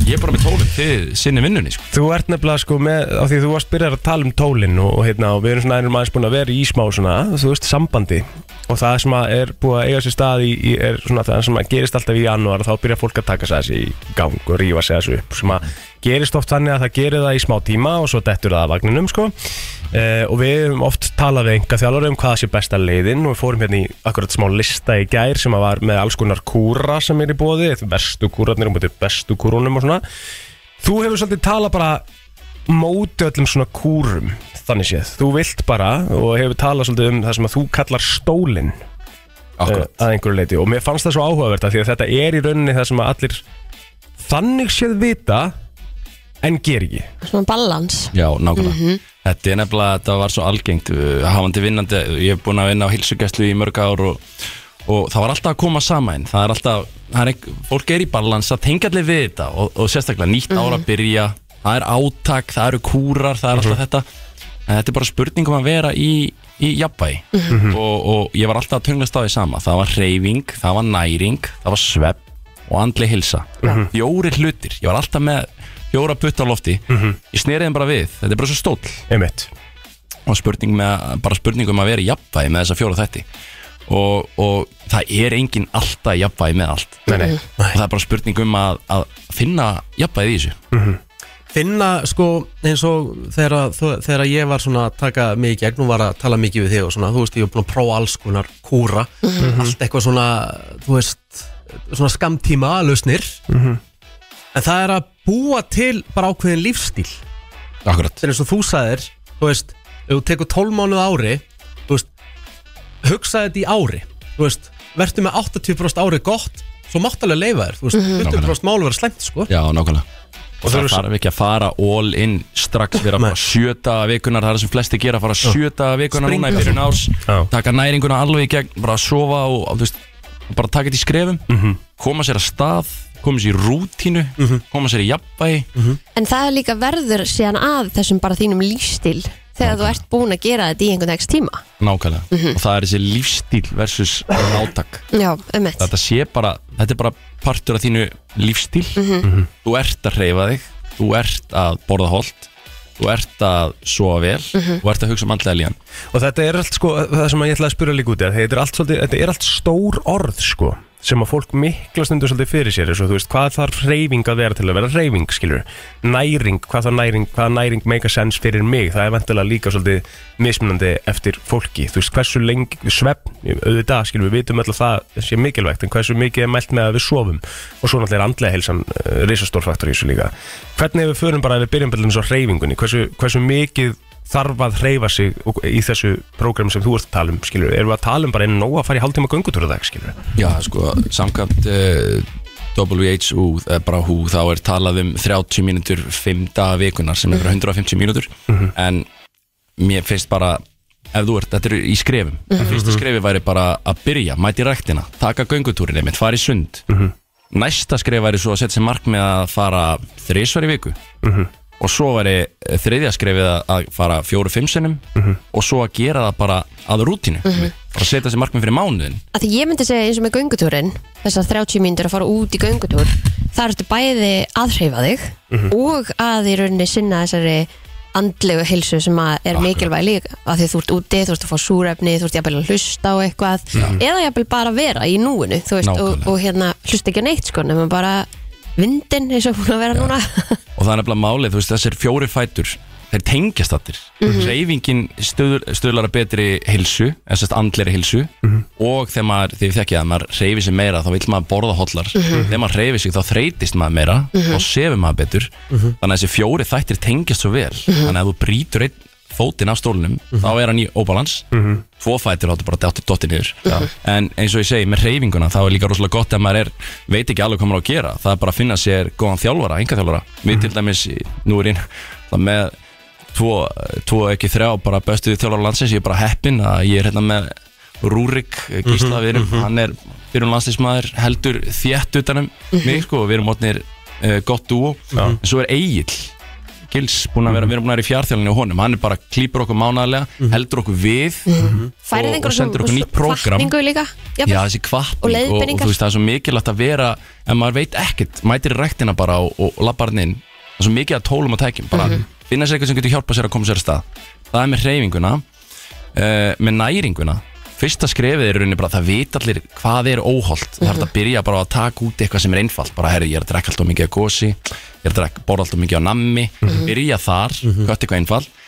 S7: ég er bara með tólum Þið sinni vinnunni sko.
S3: Þú ert nefnilega sko með, á því þú varst byrjar að tala um tólinn og, og hérna og við erum svona einum aðeins búin að vera í smá svona, þú veist, sambandi og það sem að er búið að eiga sér stað í, í er svona það sem að gerist alltaf í janúar þá byrjar fólk að taka sér þessi í gang og rífa sér þessu upp sem að gerist oft þannig að það gerir það í smá tíma og svo dettur það að vagninum sko eh, og við höfum oft talað við enga þjálfari um hvaða sé besta leiðin og við fórum hérna í akkurat smá lista í gær sem að var með alls konar kúra sem er í bóði, bestu kúrarnir og bestu kúrunum og svona Þú hefur svolítið talað bara móti öllum svona kúrum þannig séð, þú vilt bara og hefur talað svolítið um það sem að þú kallar stólinn uh,
S7: Akkurat
S3: að einhverju leiti og mér fannst það svo áhugavert að því að þetta er í rauninni það sem að allir þannig séð vita en ger ekki
S2: Svona balans
S7: Já, nákvæmlega Þetta er nefnilega, þetta var svo algengt uh, hafandi vinnandi, ég hef búin að vinna á hilsugæslu í mörg ár og, og það var alltaf að koma sama inn, það er alltaf það er ekki, fólk er í balans, það tengja allir við þetta og, og sérstaklega nýtt ára að byrja það er átak, það eru kúrar það er alltaf þetta, en þetta er bara spurning um að vera í, í jafnvægi og, og ég var alltaf að tunglast á því sama, það var reyfing, það var næring það var svepp og andli hilsa
S3: Mhm.
S7: fjórir hlutir, ég var alltaf með fjóra putta á lofti,
S3: Mhm.
S7: ég sneri þeim bara við þetta er bara svo stóll
S3: einmitt
S7: og spurning með, bara spurning um að vera í jafnvægi með þessa fjóra þætti og, og það er engin alltaf í jafnvægi með allt
S3: Nei, nei.
S7: og það er bara spurning um að, að finna jafnvægi í þessu
S6: finna sko eins og þegar, að þú- þegar að ég var svona að taka mig í gegn og var að tala mikið við þig og svona þú veist ég var búin að prófa alls konar kúra allt eitthvað svona þú veist svona skamtíma lausnir en það er að búa til bara ákveðin lífstíl
S7: Akkurat
S6: þegar eins og þú sagðir þú veist, ef þú tekur 12 mánuð á ári þú veist, hugsa þetta í ári þú veist, verður með 80% ári gott, svo máttalega leifa þér þú veist,
S3: Mhm.
S6: 20% málu verður slæmt sko
S7: Já, nákvæmlega Og
S3: það
S7: það
S3: eru-
S7: þarf ekki að fara all in strax vera bara sjöta vikunar, það er það sem flesti gera fara sjöta vikunar núna í
S6: Springa.
S7: byrjun árs
S3: Já.
S7: taka næringuna alveg í gegn bara að sofa og, og þú veist, bara taka þetta í skrefum koma sér að stað koma sér í rútínu, koma sér í jafnvægi
S2: En það er líka verður síðan að þessum bara þínum lífstíl þegar þú ert búin að gera þetta í einhvern veginn tíma.
S7: nákvæmlega og það er þessi lífstíl versus nátak
S2: Já, um eitt.
S7: þetta sé bara, þetta er bara partur af þínu lífstíl þú ert að hreyfa þig þú ert að borða holt þú ert að sofa vel þú ert að hugsa um andlega líðan
S3: Og þetta er allt sko, það sem ég ætlaði að spyrja líka út í að þetta er allt, svolítið, þetta er allt stór orð sko sem að fólk mikla stundur svolítið fyrir sér eins og þú veist, hvað þarf reyfing að vera til að vera reyfing, skilur, næring hvað þarf næring, hvað næring make a sense fyrir mig það er vantilega líka svolítið mismunandi eftir fólki, þú veist, hversu lengi svefn, auðvitað, skilur, við vitum alltaf það sé mikilvægt, en hversu mikið er mælt með að við sofum og svo náttúrulega er andlega heilsan uh, risastórfaktor í þessu líka hvernig ef við förum bara, ef við byrjum bara til þess að reyfingunni hversu, hversu mikið þarf að hreyfa sig og- í þessu prógram sem þú ert að tala um, skilur erum við að tala um bara einu nóg að fara í hálftíma göngutúru dag, skilur
S7: Já, sko, samkvæmt uh, WHO, eh, bara hú, þá er talað um 30 mínútur 5 daga vikunar sem er bara 150 mínútur en mér finnst bara ef þú ert, þetta er í skrefum fyrsta skrefi væri bara að byrja, mæti ræktina taka göngutúrin einmitt, fara í sund næsta skref væri svo að setja sér mark með að fara þrisvar í viku og svo væri eh, þriðja skrefið að- að fara fjóru-fimm sinnum og svo að gera það bara að rútinu og setja sér markmið fyrir mánuðin
S2: að því ég myndi segja eins og með göngutúrin þessar 30 mínútur að fara út í göngutúr þar ertu bæði að hreyfa þig
S7: Mhm.
S2: og að í rauninni sinna þessari andlegu hilsu sem að er mikilvæg líka að því þú ert úti, þú ert að fá súrefni þú ert jafnvel að hlusta á eitthvað eða jafnvel bara að vera í núinu þú veist, og,
S7: Nákvæmlega.
S2: og hérna hlusta ekki á neitt sko nema bara vindin eins og búin að vera núna
S7: og það er nefnilega málið, þú veist, þessir fjóri fætur þeir tengjast allir reyfingin stöður, stöðlar að betri hilsu, eða sérst andleri hilsu og þegar maður, þegar við þekkja að maður reyfi sig meira, þá vil maður borða hóllar þegar maður reyfi sig, þá þreytist maður meira þá sefur maður betur þannig að þessi fjóri þættir tengjast svo vel þannig að ef þú brýtur einn fótinn af stólnum þá er hann í óbalans tvo fætur áttu bara dáttir dottir niður en eins og ég segi með reyfinguna þá er líka rosalega gott að maður er, veit ekki alveg hvað maður á að gera það er bara að finna sér góðan þjálfara, enga þjálfara við til dæmis, í- nú er ég það með tvo, tvo ekki þrjá bara bestu þjálfara landsins, ég er bara heppin að ég er hérna með Rúrik eh, Gísla, við erum, hann er fyrir um landsliðsmaður, heldur þétt utanum mig sko, og við erum orðnir uh, gott dúo, en svo er Egil Gils búin að vera, við erum búin að vera í fjárþjálunni og honum, hann er bara klýpur okkur mánaðarlega, heldur okkur við
S2: færið
S7: Og- og
S2: einhverjum
S7: sendir okkur nýtt prógram.
S2: hvatningu líka jafnvel.
S7: Já, þessi kvartning
S2: Og
S7: og,
S2: leiðbeiningar.
S7: þú veist, það er svo mikilvægt að vera en maður veit ekkert, mætir í rektina bara og, og labbarinn inn, það er svo mikið að tólum og tækjum, bara
S2: Mhm.
S7: finna sér eitthvað sem getur hjálpað sér að koma sér að stað. Það er með hreyfinguna uh, með næringuna fyrsta skrefið er í rauninni bara að það veit allir hvað er óholt, það er hægt að byrja bara að taka út eitthvað sem er einfalt, bara herri ég er að drekka alltaf mikið af gósi, ég er að drekka, borða alltaf mikið af nammi, byrja þar mm eitthvað einfalt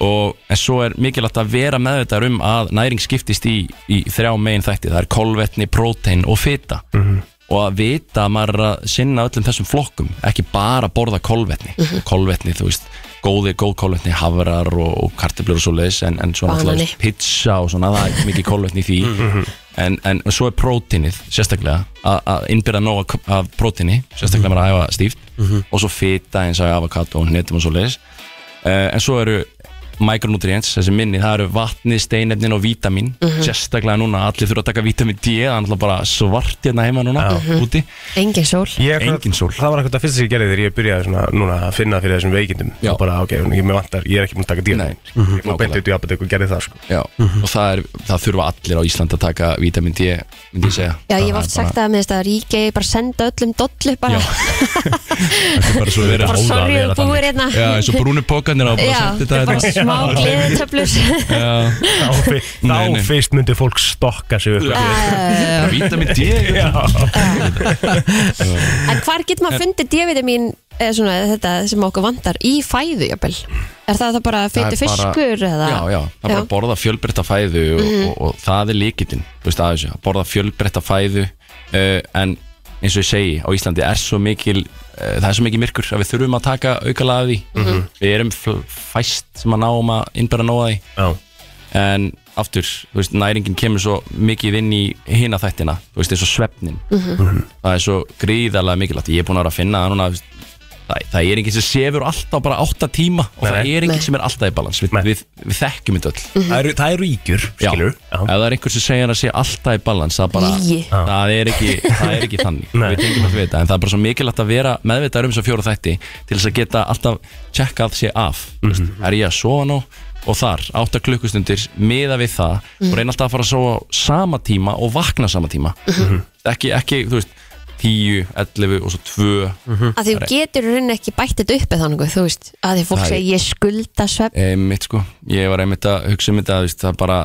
S7: og en svo er mikilvægt að vera meðvitaður um að næring skiptist í, í þrjá megin þætti, það er kolvetni, prótein og fita og að vita að maður er að sinna öllum þessum flokkum ekki bara borða kolvetni kolvetni, þú veist, góði, góð kolvetni hafrar og, og kartöflur og svo leis en, en svo
S2: Banani.
S7: náttúrulega pizza og svona það er mikið kolvetni í því
S2: Mhm.
S7: en, en svo er próteinið sérstaklega að- að innbyrða nóg af- af próteini sérstaklega
S2: Mhm.
S7: maður að æfa stíft og svo fita eins og avokado og hnetum og svo leis Eh, en svo eru micronutrients, þessi minni, það eru vatni, steinefnin og vítamin
S2: Mhm.
S7: sérstaklega núna, allir þurfa að taka vítamin D það er náttúrulega bara svart hérna heima núna úti,
S2: Engin sól
S3: Ég,
S7: Engin sól.
S3: Það var eitthvað það fyrsta sem ég gerði þegar ég byrjaði svona, núna að finna fyrir þessum veikindum
S7: Já.
S3: og bara ok, ég, mér vantar, ég er ekki búin að taka díla
S7: Nei.
S3: ég er
S7: Mhm.
S3: búin að
S7: Nákvæmlega.
S3: beinta út í apotek og gerði það sko.
S7: já,
S2: Mhm.
S7: og það, er, það þurfa allir á Ísland að taka vítamin D myndi ég segja
S2: Já, ég hef
S7: Það
S2: oft
S7: er bara-
S2: sagt að með þess að ríki bara senda öllum dollu bara,
S7: Já. Þetta er bara svo verið
S2: bara
S7: að
S2: sorry og búir hérna
S7: Já, eins og brúni pókarnir á bara
S2: Já,
S7: sendi
S2: þetta hérna. er bara
S7: þetta
S2: smá gleðitöflur
S7: hérna.
S3: þá, fi- þá
S7: Nei, nei.
S3: fyrst myndi fólk stokka sig upp
S7: Já, vítamin D
S2: En hvar getur maður fundið D-vitamin eða svona þetta sem okkur vantar í fæðu jafnvel? Er það það bara
S7: Það er
S2: feitu fiskur
S7: bara,
S2: eða?
S7: Já, já, það er bara að borða fjölbreytta fæðu og, og, og það er líkitinn, þú veist aðeins að borða fjölbreytta fæðu uh, en eins og ég segi, á Íslandi er svo mikil uh, það er svo mikil myrkur að við þurfum að taka aukala af því, við erum fl- fæst sem að náum að innbæra nóa því
S3: Já.
S7: en aftur, þú veist, næringin kemur svo mikið inn í hina þættina, þú veist, eins og svefnin
S3: Mhm.
S7: það er svo gríðarlega mikilvægt ég er búin að vera að finna það núna þú veist, það, það er enginn sem sefur alltaf bara 8 tíma og
S3: Nei,
S7: það
S3: nei.
S7: er enginn sem er alltaf í balans við,
S3: Nei.
S7: við, við þekkjum þetta öll
S3: það eru, það eru ígjur,
S7: Já.
S3: skilur
S7: ef það er einhver sem segir að sé alltaf í balans það, bara,
S2: Lygi.
S7: það, er, ekki, það er ekki þannig
S3: Nei.
S7: við tengjum alltaf við þetta en það er bara svo mikilvægt að vera meðvitaður um þess að fjóra þætti til þess að geta alltaf checkað sér af mm er ég að sofa nú og þar, 8 klukkustundir, miða við það og reyna alltaf að fara að sofa á sama tíma og vakna sama tíma ekki, ekki, þú veist 10, 11 og svo 2
S2: Að því þú getur í rauninni ekki bætt þetta upp eða þannig, þú veist, að því fólk
S7: Það er-
S2: segir ég skulda svefn.
S7: Einmitt sko, ég var einmitt að hugsa um þetta þú veist, það bara,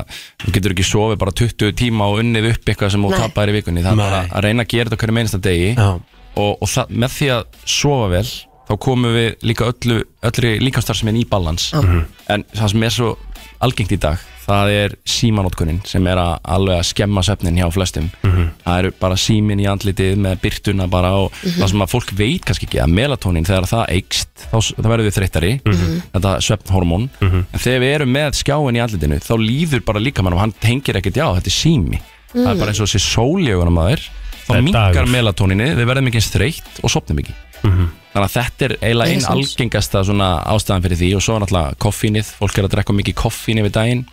S7: þú getur ekki sofið bara 20 tíma og unnið upp eitthvað sem þú
S2: Nei.
S7: tapar í vikunni, það er bara að reyna að gera þetta á hverju meinsta degi
S6: Já.
S7: og, og það, með því að sofa vel þá komum við líka öllu, öllu líkastarfsmenn í balans
S3: Mhm.
S7: en það sem er svo algengt í dag það er símanótkunin sem er að alveg að skemma svefnin hjá flestum
S3: Mhm.
S7: það eru bara símin í andlitið með byrtuna bara og
S3: Mhm.
S7: það sem að fólk veit kannski ekki að melatonin þegar það eikst þá, s- þá verður við þreyttari
S3: Mhm.
S7: þetta svefnhormón en þegar við erum með skjáin í andlitinu þá líður bara líkamann og hann tengir ekkert já þetta er sími það er bara eins og þessi sóljögun að maður
S3: Mm. Það
S7: þá
S3: er
S7: mingar
S3: dagur.
S7: melatoninni, við verðum ekki eins þreytt og sopnum ekki þannig að þetta er eiginlega einn
S2: Renaissance.
S7: algengasta svona ástæðan fyrir því og svo er náttúrulega koffínið, fólk er að drekka mikið koffín yfir daginn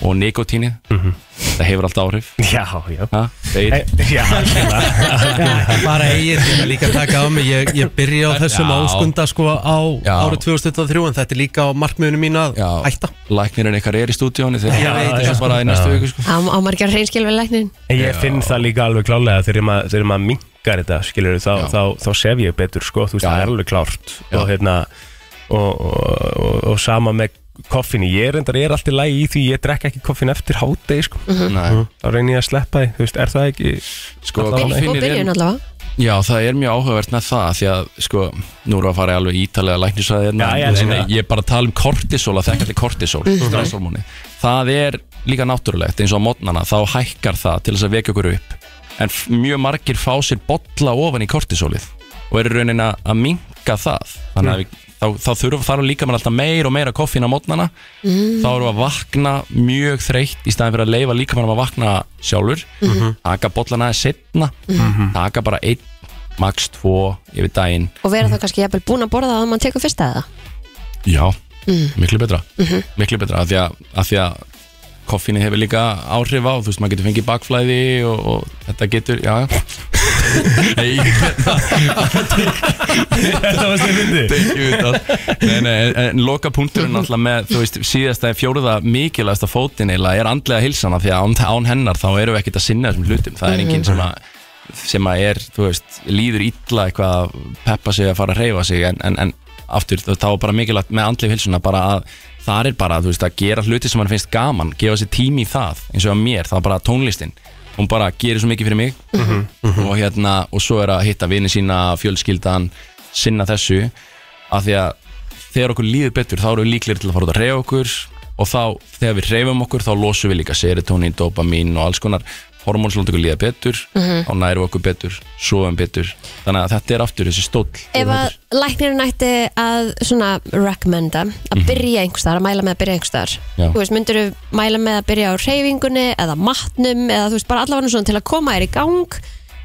S7: og nikotínið það hefur alltaf áhrif
S3: já, já
S7: ha? Hey.
S3: Já,
S6: bara eigin tíma líka að taka á mig ég, ég byrja á þessum
S7: Já.
S6: áskunda sko á
S7: Já.
S6: árið 2023 en þetta er líka á markmiðunum mín að
S7: Já,
S6: hætta
S7: læknirinn ykkar er í stúdíónu þegar
S6: Já,
S7: það
S3: já.
S7: er bara í næstu viku sko.
S2: Á, á margar reynskil við læknin.
S3: En ég finn það líka alveg klálega þegar maður, þegar maður mingar þetta skilur þá,
S7: Já.
S3: þá, þá sef ég betur sko, þú veist,
S7: Já.
S3: það er alveg klárt
S7: Já.
S3: og hérna og, og, og, og sama með koffinu ég er endar, ég er alltaf lægi í því, ég drekk ekki koffinu eftir hátegi sko,
S7: Nei,
S3: þá reynir ég að sleppa því, þú veist, er það ekki
S7: sko
S3: Góð
S2: Góð
S7: koffínið er
S2: byrjun allavega.
S7: Já, það er mjög áhugavert með það því að, sko, nú erum við að fara í alveg ítalega læknisræði hérna,
S3: Já, Mhm. ég
S7: en
S3: elska
S7: svona,
S3: það.
S7: ég er bara að tala um kortisol að þekka til kortisol, stresshormóni það er líka náttúrulegt eins og á modnana, þá hækkar það til þess að vekja okkur upp en f- mjög margir fá sér bolla ofan í kortisolið og eru raunin að, að minka það þannig
S3: Mm.
S7: að við, þá, þá þurfa þarf líka mann alltaf meira og meira koffín á modnana þá erum við að vakna mjög þreytt í staðin fyrir að leifa líka mann að vakna sjálfur taka bollana aðeins setna taka bara einn, max tvo yfir daginn
S2: Og vera þá kannski jafnvel búin að borða það að mann tekur fyrsta eða?
S7: Já, miklu betra Miklu betra, af því að, af því að koffínu hefur líka áhrif á þú veist, maður getur fengið bakflæði og, og þetta getur, já Nei,
S3: Þetta var sem fyndi
S7: Ég veit það. nei, nei, en, en loka punkturinn alltaf með, þú veist, síðasta en fjóruða mikilvægasta fótinn eiginlega er andlega hilsana því að án, án hennar þá erum við ekkert að sinna þessum hlutum, það er enginn sem að sem að er, þú veist, líður illa eitthvað að peppa sig að fara að reyfa sig en, en, en aftur, þú- þá er bara mikilvægt með andlega hilsuna bara að það er bara, þú veist, að gera hluti sem mann finnst gaman, gefa sér tími í það eins og að mér, það er bara tónlistin hún bara gerir svo mikið fyrir mig og hérna, og svo er að hitta vini sína fjölskyldan, sinna þessu af því að þegar okkur líður betur þá erum við líklegir til að fara út að reyfa okkur og þá þegar við reyfum okkur þá losum við líka serotonin, dopamin og alls konar hormón sem láta okkur líða betur
S2: Mhm.
S7: þá nærum við okkur betur, sofum betur þannig að þetta er aftur þessi stóll
S2: Ef að læknirinn ætti að svona recommenda að byrja einhverstaðar, að mæla með að byrja einhverstaðar
S7: Mhm. Já.
S2: þú veist, myndirðu mæla með að byrja á reyfingunni eða matnum eða þú veist, bara allavega svona til að koma þér í gang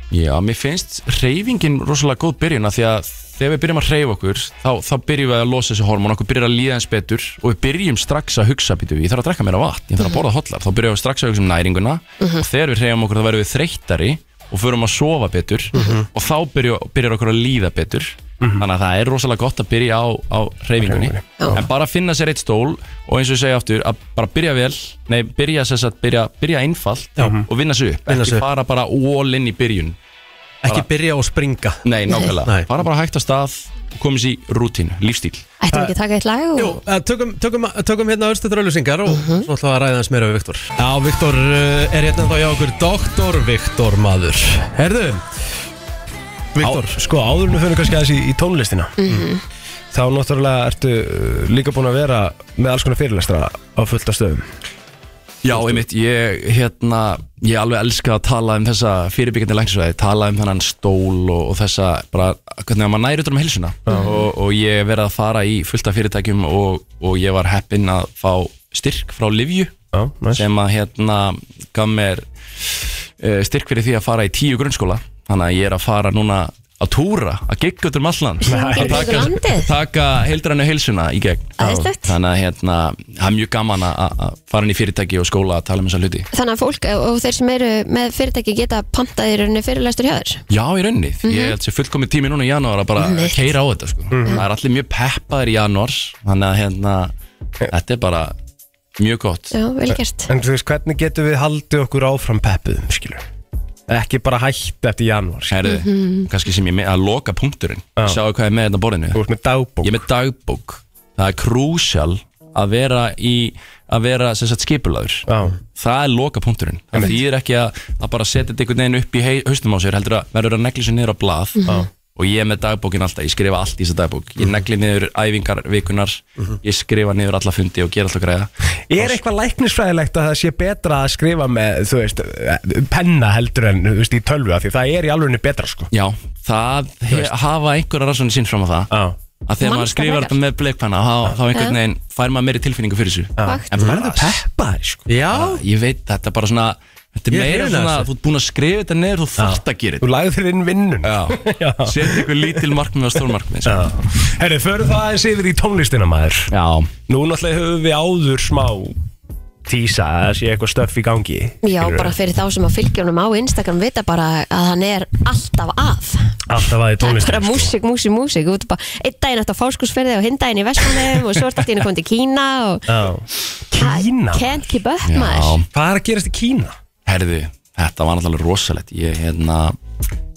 S7: Já, mér finnst reyfingin rosalega góð byrjun af því að þegar við byrjum að hreyfa okkur þá, þá byrjum við að losa þessi hormón okkur byrjar að líða eins betur og við byrjum strax að hugsa býtu, ég þarf að drekka meira vatn, ég þarf að borða hotlar þá byrjum við strax að hugsa um næringuna
S6: Mhm.
S7: og þegar við hreyfum okkur þá verðum við þreyttari og förum að sofa betur
S6: Mhm.
S7: og þá byrjum, byrjar okkur að líða betur þannig að það er rosalega gott að byrja á, á hreyfingunni en bara að finna sér eitt stól og eins og ég segja aftur að bara byrja vel nei, byrja, sem sagt, byrja, byrja einfalt og vinna sér upp,
S6: Mhm. Vinna sig
S7: ekki
S6: upp.
S7: fara bara all in í byrjun
S6: Ekki byrja og springa
S7: Nei, nákvæmlega.
S6: Nei.
S7: Fara bara hægt að stað og komið sér í rútínu, lífstíl.
S2: Ættum við ekki að taka eitt lag og...
S6: Jú, eh, tökum, tökum, tökum hérna örstuður auðlýsingar og svo ætlum við að ræða hans meira við Viktor Já, Viktor eh, er hérna þá hjá okkur Doktor Viktor maður Herðu, Viktor
S3: Á, sko áður með fyrir kannski aðeins í, í tónlistina þá náttúrulega ertu uh, líka búin að vera með alls konar fyrirlestra á fullta stöðum
S7: Já, einmitt, ég, hérna, ég alveg elska að tala um þessa fyrirbyggjandi læknisvæði, tala um þennan stól og, og þessa, bara, hvernig að maður næri utan um heilsuna og, og ég hef verið að fara í fullta fyrirtækjum og, og ég var heppinn að fá styrk frá Livju
S3: Já, næs
S7: sem að hérna gaf mér uh, styrk fyrir því að fara í tíu grunnskóla þannig að ég er að fara núna að túra, að gigga út um allan
S2: Hringdu út um
S7: taka,
S2: landið.
S7: taka heildrannu heilsuna í gegn
S2: Æðislegt.
S7: þannig að hérna, það er mjög gaman að- að að fara inn í fyrirtæki og skóla að tala um þessa hluti
S2: Þannig að fólk og og þeir sem eru með fyrirtæki geta pantað í rauninni fyrirlæstur hjá þér
S7: Já, í rauninni, mm -hmm. ég held sér fullkomið tími núna í janúar að bara
S2: Mhm. Einmitt.
S7: keira á þetta sko. það er allir mjög peppaðir í janúar þannig að hérna, þetta er bara mjög gott
S2: Já, vel gert
S3: En þú veist, hvernig getum við haldið okkur áfram peppuðum, skilur? Ekki bara hætt eftir janúar, skilur?
S7: Herðu, kannski sem ég með að loka punkturinn
S3: Já.
S7: sjáu hvað er með þetta á borðinu
S3: Þú ert með dagbók
S7: Ég er með dagbók Það er krúsjál að vera í að vera sem sagt skipulagur
S3: Já,
S7: Það er loka punkturinn Það þýðir ekki að, að bara setja þetta einhvern veginn upp í hei- haustum á sér heldur að verður að negli sér niður á blað og ég er með dagbókin alltaf, ég skrifa allt í þessa dagbók ég negli niður æfingar vikunar ég skrifa niður alla fundi og gera alltaf græða
S3: Er eitthvað læknisfræðilegt að það sé betra að skrifa með, þú veist, eh, penna heldur en, þú veist, í tölvu af því það er í alvegni betra, sko
S7: Já, það he, hafa einhverja rannsóni sín fram á það
S3: Já,
S7: að þegar maður
S2: Mannskan
S7: skrifar
S2: hægar.
S7: þetta með bleikpanna þá, þá einhvern veginn fær maður meiri tilfinningu fyrir þessu
S2: Vakt.
S7: En bara
S3: peppaði, sko
S6: Já,
S7: ég veit þetta er bara svona þetta er
S6: Ég er
S7: meira
S6: hrifinn af
S7: svona
S6: þessu.
S7: þú ert búin að skrifa þetta neður þú þarft að gera
S3: Þú lagði þér inn vinnun
S7: þetta já, setja einhver lítil markmið og stór markmið já.
S3: Herri, förum það eins yfir í tónlistina, maður
S7: sko. já,
S3: Nú náttúrulega höfum við áður smá tísa að það sé eitthvað stöff í gangi
S2: Já,
S3: skilurðu.
S2: bara fyrir þá sem að fylgja honum á Instagram vita bara að hann er alltaf að
S3: Alltaf aðeins
S2: Það er bara
S3: tónlistina sko.
S2: músík, músík, músík Þú ert bara einn daginn eftir fáskursferði og hinn daginn í Vestlunum og svo ert allt í einu komin til Kína og
S3: Já. Kína
S2: Can't keep up,
S7: já.
S2: maður
S3: Hvað er að gerast í Kína?
S7: herðu, þetta var náttúrulega rosalegt ég, hérna,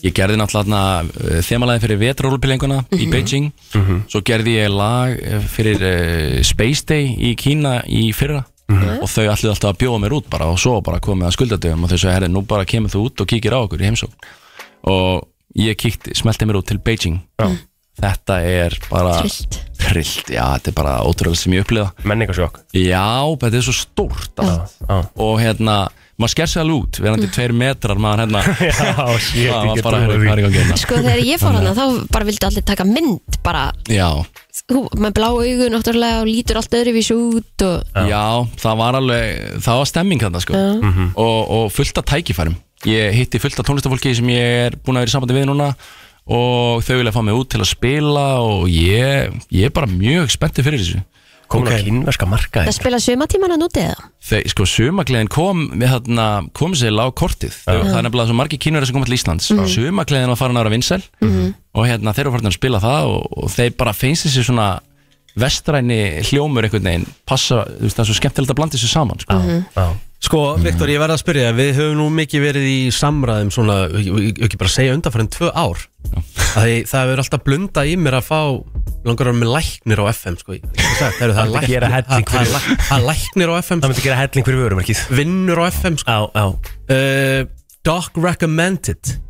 S7: ég gerði náttúrulega þemalæði fyrir vetrólupilenguna í Beijing svo gerði ég lag eh, fyrir uh, Space Day í Kína í fyrra og þau allir alltaf að bjóða mér út bara og svo bara komið að skuldadöfum og þau sagði, herðu, nú bara kemur þú út og kíkir á okkur í heimsókn og ég kíkti, smelti mér út til Beijing já. þetta er bara
S2: Trillt.
S7: trillt, já, þetta er bara ótrúlega sem ég upplifa
S3: Menningarsjokk
S7: Já, þetta er svo stórt allt.
S3: Já.
S7: Og hérna, maður sker sig alveg út Verandi tveir metrar maður hérna
S3: Já, shit, ég
S7: Það var
S3: get
S7: bara
S3: trúið því.
S7: hérna, hvað er í gangi hérna
S2: Sko þegar ég fór hann þá bara vildu allir taka mynd bara,
S7: Já,
S2: hú, með blá augu náttúrulega og lítur allt öðruvísi út og
S7: já, það var alveg Það var stemming þarna sko
S3: Mhm.
S7: og, og fullt af tækifærum Ég hitti fullt af tónlistafólki sem ég er búin að vera í sambandi við núna Og þau vilja fá mig út til að spila Og ég, ég er bara mjög spenntið fyrir þessu
S3: Komin á kínverska markaði
S2: Það spila sumatíman að núti eða?
S7: Þeir, sko, sumagliðin kom við þarna, kom sér lág kortið Þau, það er nefnilega svo margir kínverðar sem koma til Íslands
S1: Mhm.
S7: mm. sumagliðin var farin að vera vinsæl og hérna, þeir eru farin að spila það og, og þeir bara finnst þessi svona vestræni hljómur einhvern veginn passa, þú veist, það er svo skemmtilegt að blanda þessu saman sko.
S3: Já.
S6: Sko,
S3: Mhm.
S6: Viktor, ég verða að spyrja, við höfum nú mikið verið í samræðum svona, ég ég- ég ekki bara að segja undanfærin tvö ár að því, það hefur alltaf blunda í mér að fá mig langar að vera með læknir á FM sko. Ég- ég sagði, það eru það
S3: Það myndi gera
S6: læknir-
S3: helling
S6: það- það
S3: fyrir-
S6: læk- það læknir á FM
S3: Það myndi gera helling fyrir vörumarkið
S6: vinnur á FM sko.
S3: Já, já
S6: uh, Doc Recommended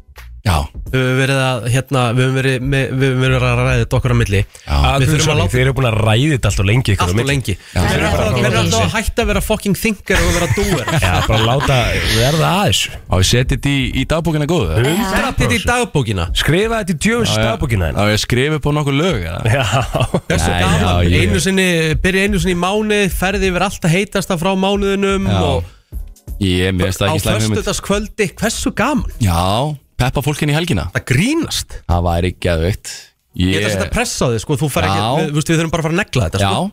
S7: já,
S6: við höfum verið að hérna, við höfum verið, með, við höfum verið að ræða þetta okkar á milli
S7: já,
S6: Við þurfum að láta-
S3: Þeir eru búin að ræði þetta allt og lengi ykkur á
S6: allt og
S3: milli.
S6: lengi
S7: Já.
S6: við
S2: Það er
S6: höfum
S2: bara að
S6: alltaf að hætta að vera fucking thinker og vera doer
S3: Já, bara láta verða aðeins
S7: á ég seti þetta í, í dagbókina góðu eða?
S6: Þetta er í dagbókina
S3: Skrifa þetta í djöfus stafbókina
S7: á ég að skrifa upp á nokkuð lög eða?
S3: Já
S6: Þessu
S7: Nei,
S6: gaman,
S7: já, ég-
S6: einu sinni, byrja einu sinni í mánuð, ferði yfir allt að heitasta frá mánuðinum
S7: Já,
S6: og
S7: ég mér veist það
S6: á
S7: ekki slæmi hugmynd.
S6: föstudagskvöldi, hversu gaman?
S7: já, peppa fólkin í helgina
S6: Það grínast.
S7: það væri geðveikt
S1: Ég ætla að setja pressa á þig, sko, þú fær ekki,
S7: Já.
S1: við, við, við þurfum bara að fara að negla þetta, sko.
S7: Já,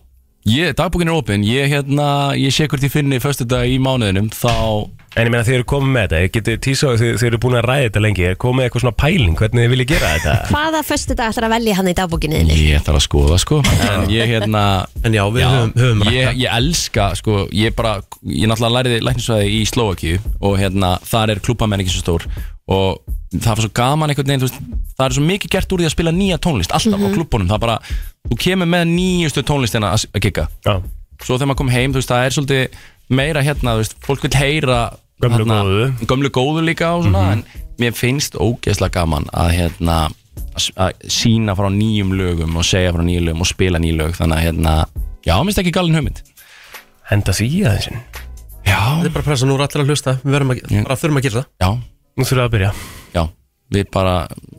S7: ég, dagbúkin er opinn Ég, hérna, ég sé hvort ég finni Föstu dag í mánuðinum Þá
S3: En ég meina þið eru komið með þetta, ég geti tísað þið, þið eru búin að ræða þetta lengi, ég er komið með eitthvað svona pæling hvernig þið viljið gera þetta
S2: Hvaða föstu dag ætlar að velja hann í dagbókinni þinni?
S7: Ég þarf að skoða sko En ég hérna
S1: En já, við höfum, höfum
S7: ég, ég elska sko Ég bara Ég náttúrulega læriði læknisvæði í Slovakíu Og hérna Þar er klubbamenn ekki svo stór Og það var svo gaman einhvern veginn þú veist, Það er svo mikið gert úr því að spila nýja tónlist Alltaf
S1: Mhm.
S7: á klubbunum Það bara Þú kemur með nýjustu tónlistina að, að gigga
S3: Já,
S7: Svo þegar maður kom heim Þú veist það er svolítið meira hérna Þú veist Fólk vil heyra
S3: Gömlu
S7: hérna,
S3: góðu. Mhm.
S7: Gömlu góðu líka og svona En mér finnst ógeðslega gaman að hérna að- að sína frá nýjum lögum og segja frá nýjum lögum og spila nýjum lög þannig að hérna, já, minnst ekki galin hugmynd
S3: henda því í aðeinsinn
S7: Já,
S1: Þetta er bara pressa, nú er allir að hlusta, við verðum að,
S7: Já.
S1: bara þurfum að gera það.
S7: já,
S3: Nú þurfum við að byrja
S7: já Við bara,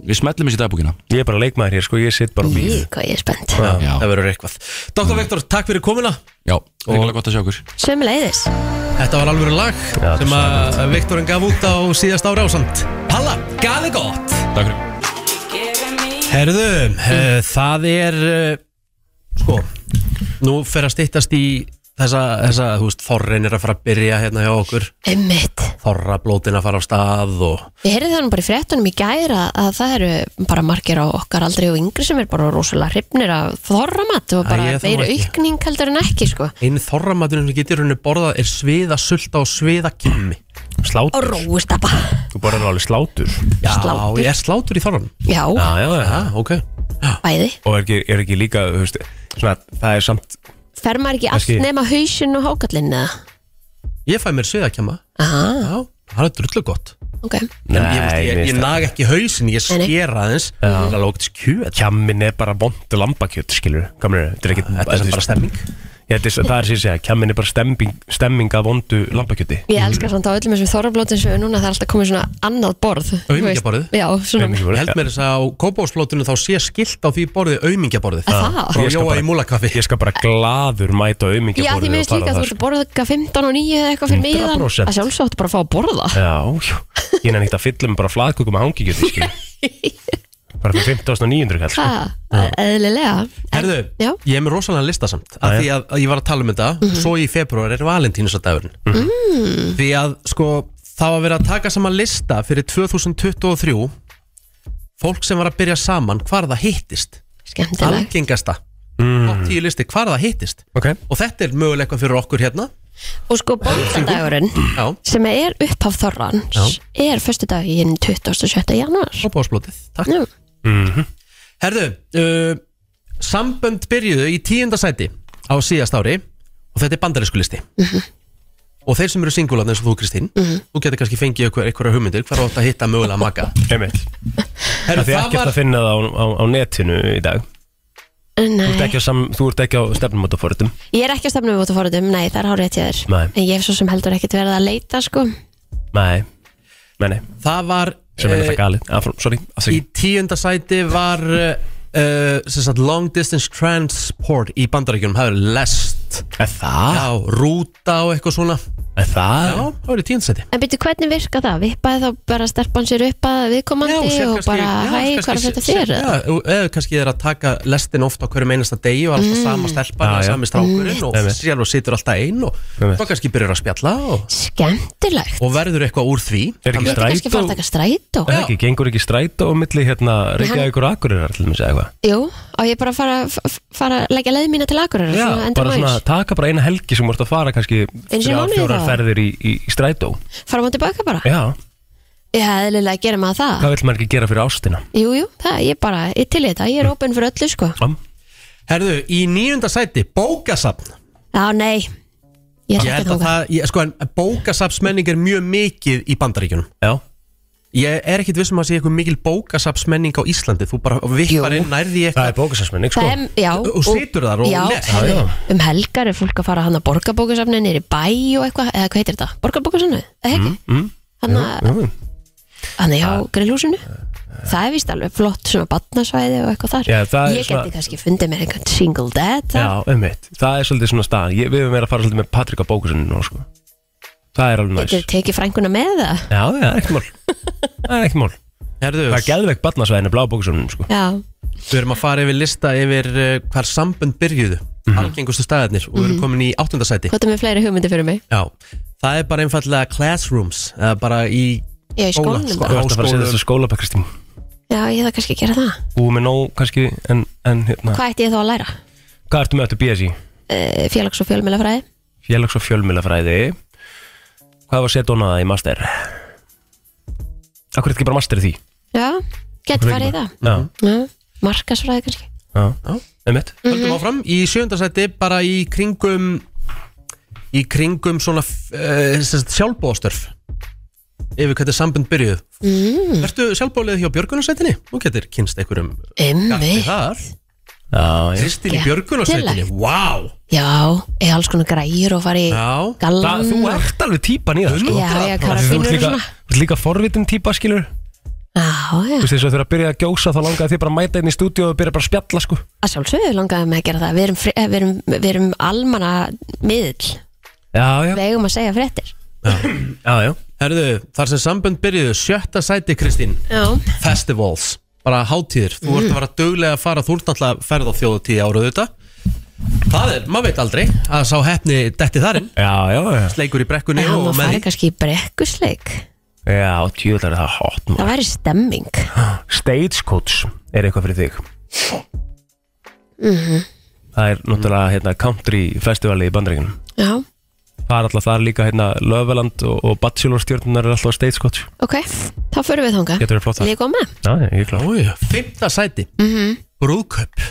S7: við smellum þessi dagbúkina
S3: Ég er bara leikmaður hér, sko, ég sitt bara og býð
S2: Í, hvað ég er spennt.
S7: Já, Mm.
S1: Það verður eitthvað. Dr. Vektor, takk fyrir komuna.
S7: já, virkilega gott að sjá okkur
S2: Sömuleiðis.
S1: Þetta var alveg lag
S3: Já,
S1: sem að Vektorin gaf út á síðast ára ásand. Palla, gaf þið gott!
S7: Takk fyrir
S1: Herðu, uh, það er uh, sko nú fer að styttast í þessa, þessa þú veist, þorrin er að fara að byrja hérna hjá okkur,
S2: Ummitt.
S1: þorrablótin að fara á stað og
S2: Ég heyrði það nú bara í fréttunum í gæra að það eru bara margir á okkar aldrei og yngri sem er bara rosalega hrifnir af þorramat og bara
S1: Æ, ég þarf
S2: meiri
S1: ekki.
S2: aukning heldur en ekki sko.
S1: einu þorramaturinn sem getur henni borðað er sviða sulta og sviða kymmi
S2: Og
S3: Slátur,
S2: róstapa.
S3: þú borðar alveg slátur
S1: Já,
S2: Slátur.
S1: ég er slátur í þorran
S2: Já,
S3: Já, já, já
S1: ah, ok
S2: bæði.
S3: Og er ekki, er ekki líka, þú veist, svona, það er samt
S2: Fer maður ekki allt
S3: Kannski-
S2: nema hausinn og hákallinn eða?
S1: Ég fæ mér sviða kemma
S2: Aha,
S1: Já, það er drullu gott
S2: ok.
S1: En ég, veist, ég, ég,
S3: veist
S1: ég
S3: það.
S1: nag ekki hausin, ég
S2: Nei, nei.
S1: skera aðeins Það er lókt skjöð
S3: Kjamin er bara bont lambakjöt, skilur Kamur, þetta er ekki
S1: Þetta er sem bara stemming
S3: Ég, þetta er- það er sér að segja, kjamin er bara stemming, stemming af vondu lambakjöti
S2: Ég elskar samt á öllum þessum þorrablótin sem er núna það er alltaf komið svona annað borð þú
S1: Aumingjaborðið?
S2: veist. Já, svona
S1: Ég held mér þess að á kópásflótunum þá sé skilt á því borðið aumingjaborðið
S2: Að það?
S1: Frá
S3: Ég skal
S1: Jóa
S3: bara-
S1: í múlakaffi
S3: Ég skal bara glaður mæta auðmingja
S2: Já, því minnst líka að þú
S1: sko.
S2: ert að borða 15 og 9 eða eitthvað fyrir miðan
S3: 100%.
S2: að sjálfsagt bara að fá að borða
S3: Já, já, ég nefnir ekkert að fylla mig bara flaðkökum með hangikjöti, skilur Bara fyrir 15.900 kall, sko
S2: Það, eðlilega En-
S1: Herðu,
S2: Já,
S1: ég er með rosalega lista samt af
S3: Jæja.
S1: því að, að ég var að tala um þetta svo í februar er valentínusadagurinn mm. því að sko það var verið að taka saman lista fyrir 2023 fólk sem var að byrja saman hvar það hittist
S2: skemmtileg
S1: algengasta mm. tíu listi hvar það hittist
S3: Ok
S1: og þetta er mögulega eitthvað fyrir okkur hérna
S2: Og sko bóndadagurinn
S1: já,
S2: sem er upphaf þorrans er förstu dag í hinn 27. januar
S1: og bóðsblótið, takk
S2: Já,
S3: Mhm.
S1: Herðu, uh, sambönd byrjuðu í tíunda sæti á síðast ári og þetta er bandarísku listi og þeir sem eru singularn eins og þú Kristín þú getur kannski fengið ykkur einhverja hugmyndir hvar þú átt að hitta mögulega maka
S3: Einmitt.
S1: Herðu,
S3: Það þið
S1: það
S3: ekkert
S1: var,
S3: að finna það á, á, á netinu í dag Þú ert
S2: Nei,
S3: ekki á, sam, þú ert ekki á stefnumótaforðum
S2: ég er ekki að stefna við út að fóruðum, nei það er hárið til þér
S3: Nei.
S2: En ég hef svo sem heldur ekkert verið að leita sko
S3: Nei, nei, nei,
S1: það var
S3: sem er
S1: eh,
S3: þetta galið Afram, Sorry,
S1: í
S3: afsakið
S1: tíunda sæti var uh, sem sagt long distance transport í bandaríkjunum, það er lest
S3: Er það?
S1: já, rúta og eitthvað svona
S3: Er það?
S1: já, það var í tíunda sæti
S2: En byrju, hvernig virka það? Vippaði þá bara stelpan sér upp að viðkomandi
S1: sér
S2: og
S1: kannski-
S2: bara,
S1: já,
S2: hæ,
S1: kannski
S2: hvað er þetta
S1: sér-
S2: fyrir?
S1: já, eða kannski þeir að taka lestin ofta á hverjum einasta degi og
S2: Mm.
S1: alltaf sama stelpan
S3: Já,
S1: eða
S3: já.
S1: sami strákurinn og
S3: Einmitt.
S1: sér og situr alltaf einn og
S3: Einmitt.
S1: þá kannski byrjar að spjalla og,
S2: Skemmtilegt.
S1: og verður eitthvað úr því
S3: Er ekki
S2: Ég ætti kannski að fara að
S3: strætó?
S2: taka strætó.
S3: Er ekki, gengur ekki strætó á milli hérna Reykjavíkur og Akureyrar til þess að eitthvað
S2: Jú, og ég bara að fara, f- fara að leggja leið mína til Akureyrar.
S3: Já,
S2: svona enda
S3: bara svona
S2: maís.
S3: taka bara eina helgi sem voru að fara kannski
S2: Einu sinni í
S3: þrjá,
S2: mánuði
S3: fjórar
S2: þá?
S3: ferðir í, í, í strætó
S2: Fara maður tilbaka bara.
S3: Já,
S2: Já, eðlilega gerir maður það.
S3: hvað vill maður ekki gera fyrir ástina?
S2: Jú, jú, það, ég bara, ég til í þetta, ég er opinn fyrir öllu, sko.
S3: Am?
S1: Herðu, í nýjunda sæti, bókasafn
S2: Já, nei, ég
S1: Ég
S2: er
S1: held
S2: ekki
S1: að
S2: þóka.
S1: það, ég, sko en bókasafnsmenning er mjög mikið í bandaríkjunum
S3: Já,
S1: Ég er ekkit vissum að sé eitthvað mikil bókasafnsmenning á Íslandi, þú bara vippar inn nærði í
S3: það
S1: eitthvað
S3: er bókasarsmenning sko
S2: Það er, já,
S1: Og- og situr þar og
S2: já,
S1: les.
S2: herri,
S3: Já, já.
S2: um helgar er fólk að fara hann að borgarbókasafni nýri bæ og eitthvað, eða hvað heitir þetta? Borgarbókasafni, eða ekki? Mm, mm,
S3: jú.
S2: Þannig á grillhúsinu Það er víst alveg flott svona batnasvæði og eitthvað þar
S3: Já, það er
S2: Ég
S3: svona-
S2: geti kannski fundið mér einhvern single dad þar.
S3: Já, einmitt, það er svolítið svona stað ég, Við höfum verið að fara svolítið með Patrik á bókusinu nú sko. Það er alveg næs
S2: Getur tekið frænguna með það
S3: Já, já, það er ekkert mál Það er ekkert mál
S1: Herðu,
S3: Það er geðveikt barnasvæðinu blá bókusunum sko.
S2: Já,
S1: Við erum að fara yfir lista yfir uh, hvar sambönd byrjuðu algengustu staðarnir og við erum komin í áttundasæti
S2: Hvað er með fleiri hugmyndi fyrir mig?
S1: Já, það er bara einfallega classrooms eða bara í
S2: Já, í
S1: Skóla,
S2: skólanum
S1: sko.
S2: bara.
S3: Þú ert að fara að setja þessu skóla bæk, Kristín
S2: Já, ég það kannski að gera það
S3: Þú er með nóg, kannski, en, en hérna
S2: Hvað ætti ég þá að læra?
S3: Hvað ertu með eftir BSI?
S2: Uh, félags- og fjölmjölafræði
S3: Félags- og fjölmjölafræði Hvað var setja honað í master? Akkur er ekki bara master í því?
S2: Já, getur farið í það
S3: Já,
S2: Já, markasfræði kannski
S3: já, einmitt
S1: höldum áfram í sjöndasæti bara í kringum í kringum svona uh, sjálfbóðstörf yfir hvernig sambund byrjuð mm. Ertu sjálfbóðlega hjá björgunarsætinni? Nú getur kynst einhverjum gatti
S2: Ummi,
S1: þar
S3: Já, já.
S1: Kristín í björgunarsætinni,
S2: Skemmtilegt.
S1: wow
S2: já, eða alls konar græjur og farið í
S1: Já,
S2: gallan
S3: Það, þú ert alveg típan í það sko.
S2: Já, já,
S3: Af því Þú ert
S2: karabínur og
S3: líka,
S2: svona
S3: þú ert líka forvitin típa skilur Þú
S2: Já, já,
S3: veist þess að þú ert að byrja að gjósa þá langaði þig bara að mæta inn í stúdíu og byrja bara að spjalla sko
S2: að sjálfsögðu langaði mig að gera það Við erum, fri- eh, við erum, við erum almanna miðl,
S3: Já, já,
S2: við eigum að segja fréttir
S3: já, já
S1: herðu, þar sem sambund byrjuðu sjötta sæti Kristín
S2: Já,
S1: festivals, bara hátíðir þú ert að vera duglega að fara, þú ert náttúrulega að ferða á þjóðutíð ára auðvitað það er, maður veit aldrei að sá hefni detti þarinn,
S3: Já, já, já
S1: sleikur í brekkunni
S2: en hann
S1: og
S2: var
S1: með
S2: farið
S1: því
S2: kannski í brekkusleik
S3: Já, tjóðlega er það hot
S2: Það
S3: maður
S2: væri stemming
S3: Stagecoach er eitthvað fyrir þig
S2: Mhm.
S3: Það er náttúrulega hérna, country festivali í bandaríkunum
S2: Já,
S3: Það er alltaf þar líka hérna Löfveland og, og Bachelor stjórnunar er alltaf stagecoach
S2: ok, þá förum við þangað
S3: Getur verið flott það
S2: Við komum með,
S3: Já, ég er klár
S1: Új, fymta sæti mm brúðkaup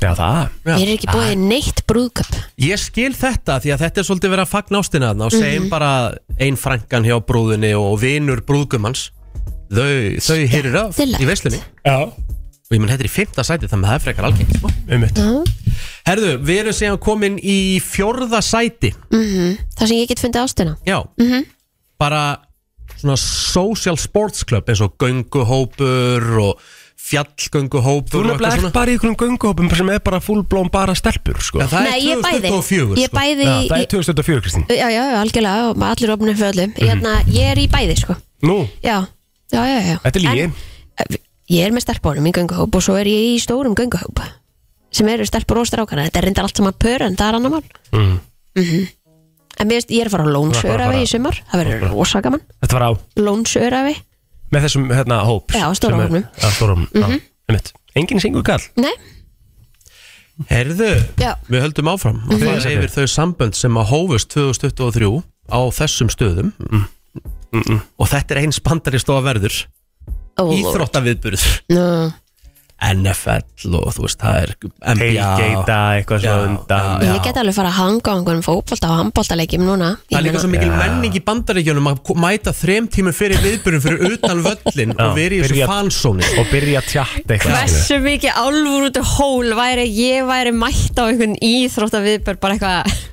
S3: Já, það
S1: Já.
S2: við erum Mhm. ekki búið í neitt brúðköp
S1: ég skil þetta því að þetta er svolítið verið að fagna ástina
S2: Mhm.
S1: þarna og segjum bara ein frankan hjá brúðinni og vinur brúðgumans þau, þau heyrir af í veislunni
S3: Já
S1: og ég menn þetta er í fymta sæti þannig að það er frekar algengt sko.
S3: Um mitt
S1: herðu, við erum síðan komin í fjórða sæti
S2: Mhm. Það sem ég get fundið ástina
S1: Já
S2: Mhm.
S1: Bara svona social sports club eins og gönguhópur og fjallgönguhópur
S3: Þú
S1: og eitthvað
S3: nefnilega
S1: svona.
S3: ert bara í einhverjum gönguhópum sem er bara fullblóm bara stelpur sko.
S1: Já, Það er
S2: Nei, ég bæði
S1: 2024
S2: Ég bæði
S3: Já, það
S2: í,
S3: er 2004 Kristín
S2: Já, já, já, algjörlega og allir opnum fyrir öllum hérna, Ég er í bæði, sko
S3: Nú,
S2: Já, já, já, já
S3: þetta er lígi
S2: En, eh, Ég er með stelpunum í gönguhóp og svo er ég í stórum gönguhóp sem eru stelpur og strákana Þetta er reyndar allt saman pör en það er annar mál mm. En mér veist, ég er að fara á
S3: Þú er bara
S2: lónsörafi
S3: að fara-
S2: í sumar Það verður rosa gaman
S3: Þetta var á
S2: Lónsörafi
S3: með þessum hérna hóp
S2: Já, stóra
S3: sem er-
S2: hópnum. Mhm.
S3: Já, stóra hópnum mm -hmm. Já, um mitt Engin singur kall
S2: Nei,
S1: Herðu,
S2: Já.
S1: við höldum áfram að fara
S3: sæti.
S1: yfir þau sambönd sem að hófust 2023 á þessum stöðum og þetta er eins bandarist og að verður
S2: ó,
S1: íþróttaviðburð
S2: nú,
S1: NFL og þú veist, það er NBA
S3: Heilgeita eitthvað
S1: Já,
S3: svona undan
S2: Ég get alveg fara að hanga á einhverjum fótbolta og handboltaleikjum núna Ég
S1: Það er líka
S2: meina-
S1: svo mikil menning í bandaríkjunum að ko- mæta þrem tímum fyrir viðbyrjun fyrir utan völlin
S3: Já,
S1: og verið í þessu sko.
S3: byrja-
S1: fansóni
S3: Og byrja að tjatta eitthvað skilur.
S2: Hversu mikið álfur út af hól væri ég væri mætt á einhvern íþróttaviðbör bara eitthvað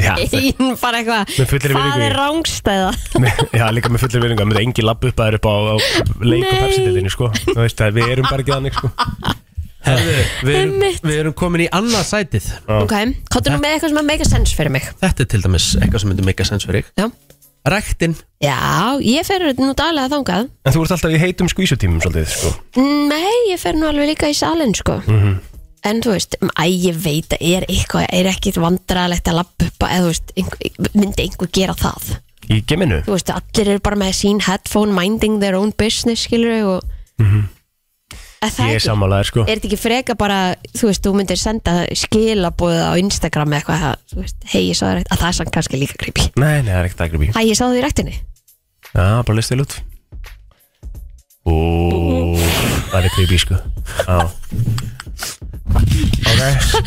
S3: Já,
S2: einn, bara eitthvað
S3: Með
S2: það
S3: fullri virðingu.
S2: er rángstæða
S3: með- Já, líka með fullir viðninga Mér engi lapp upp að það er upp á, á leik og
S2: Nei.
S3: pepsiðinni sko. Þú veist það, Við erum bara ekki þannig sko.
S1: Herðu, við erum,
S2: Einmitt.
S1: við erum komin í annað sætið
S2: ok, kottu nú með eitthvað sem að make a sense fyrir mig
S1: Þetta er til dæmis eitthvað sem myndi meika sens fyrir
S2: já,
S1: ykkur Ræktin
S2: já ég fer nú daglega þangað
S3: En þú ert alltaf í heitum skvísutímum svolítið sko.
S2: nei, ég fer nú alveg líka í salin sko
S3: Mhm.
S2: en þú veist, æ, ég veit að er eitthvað, er ekkit vandralegt að lappa upp að, eða þú veist, einhver, myndi einhver gera það
S3: Í geminu
S2: þú veist, allir eru bara með sín headphone minding their own business, skilur við og mm
S3: Mhm. Ég er sammálaðir sko.
S2: er þetta ekki freka bara þú veist, þú myndir senda skilabóðið á Instagram eða eitthvað, það, þú veist, hei ég sá þér rækt að það er sann kannski líka creepy
S3: Nei, nei, það er ekkert að gripa í
S2: hæ ég sá þér í ræktinni
S3: Já, bara listið lút Ó, það er creepy sko Já Ok,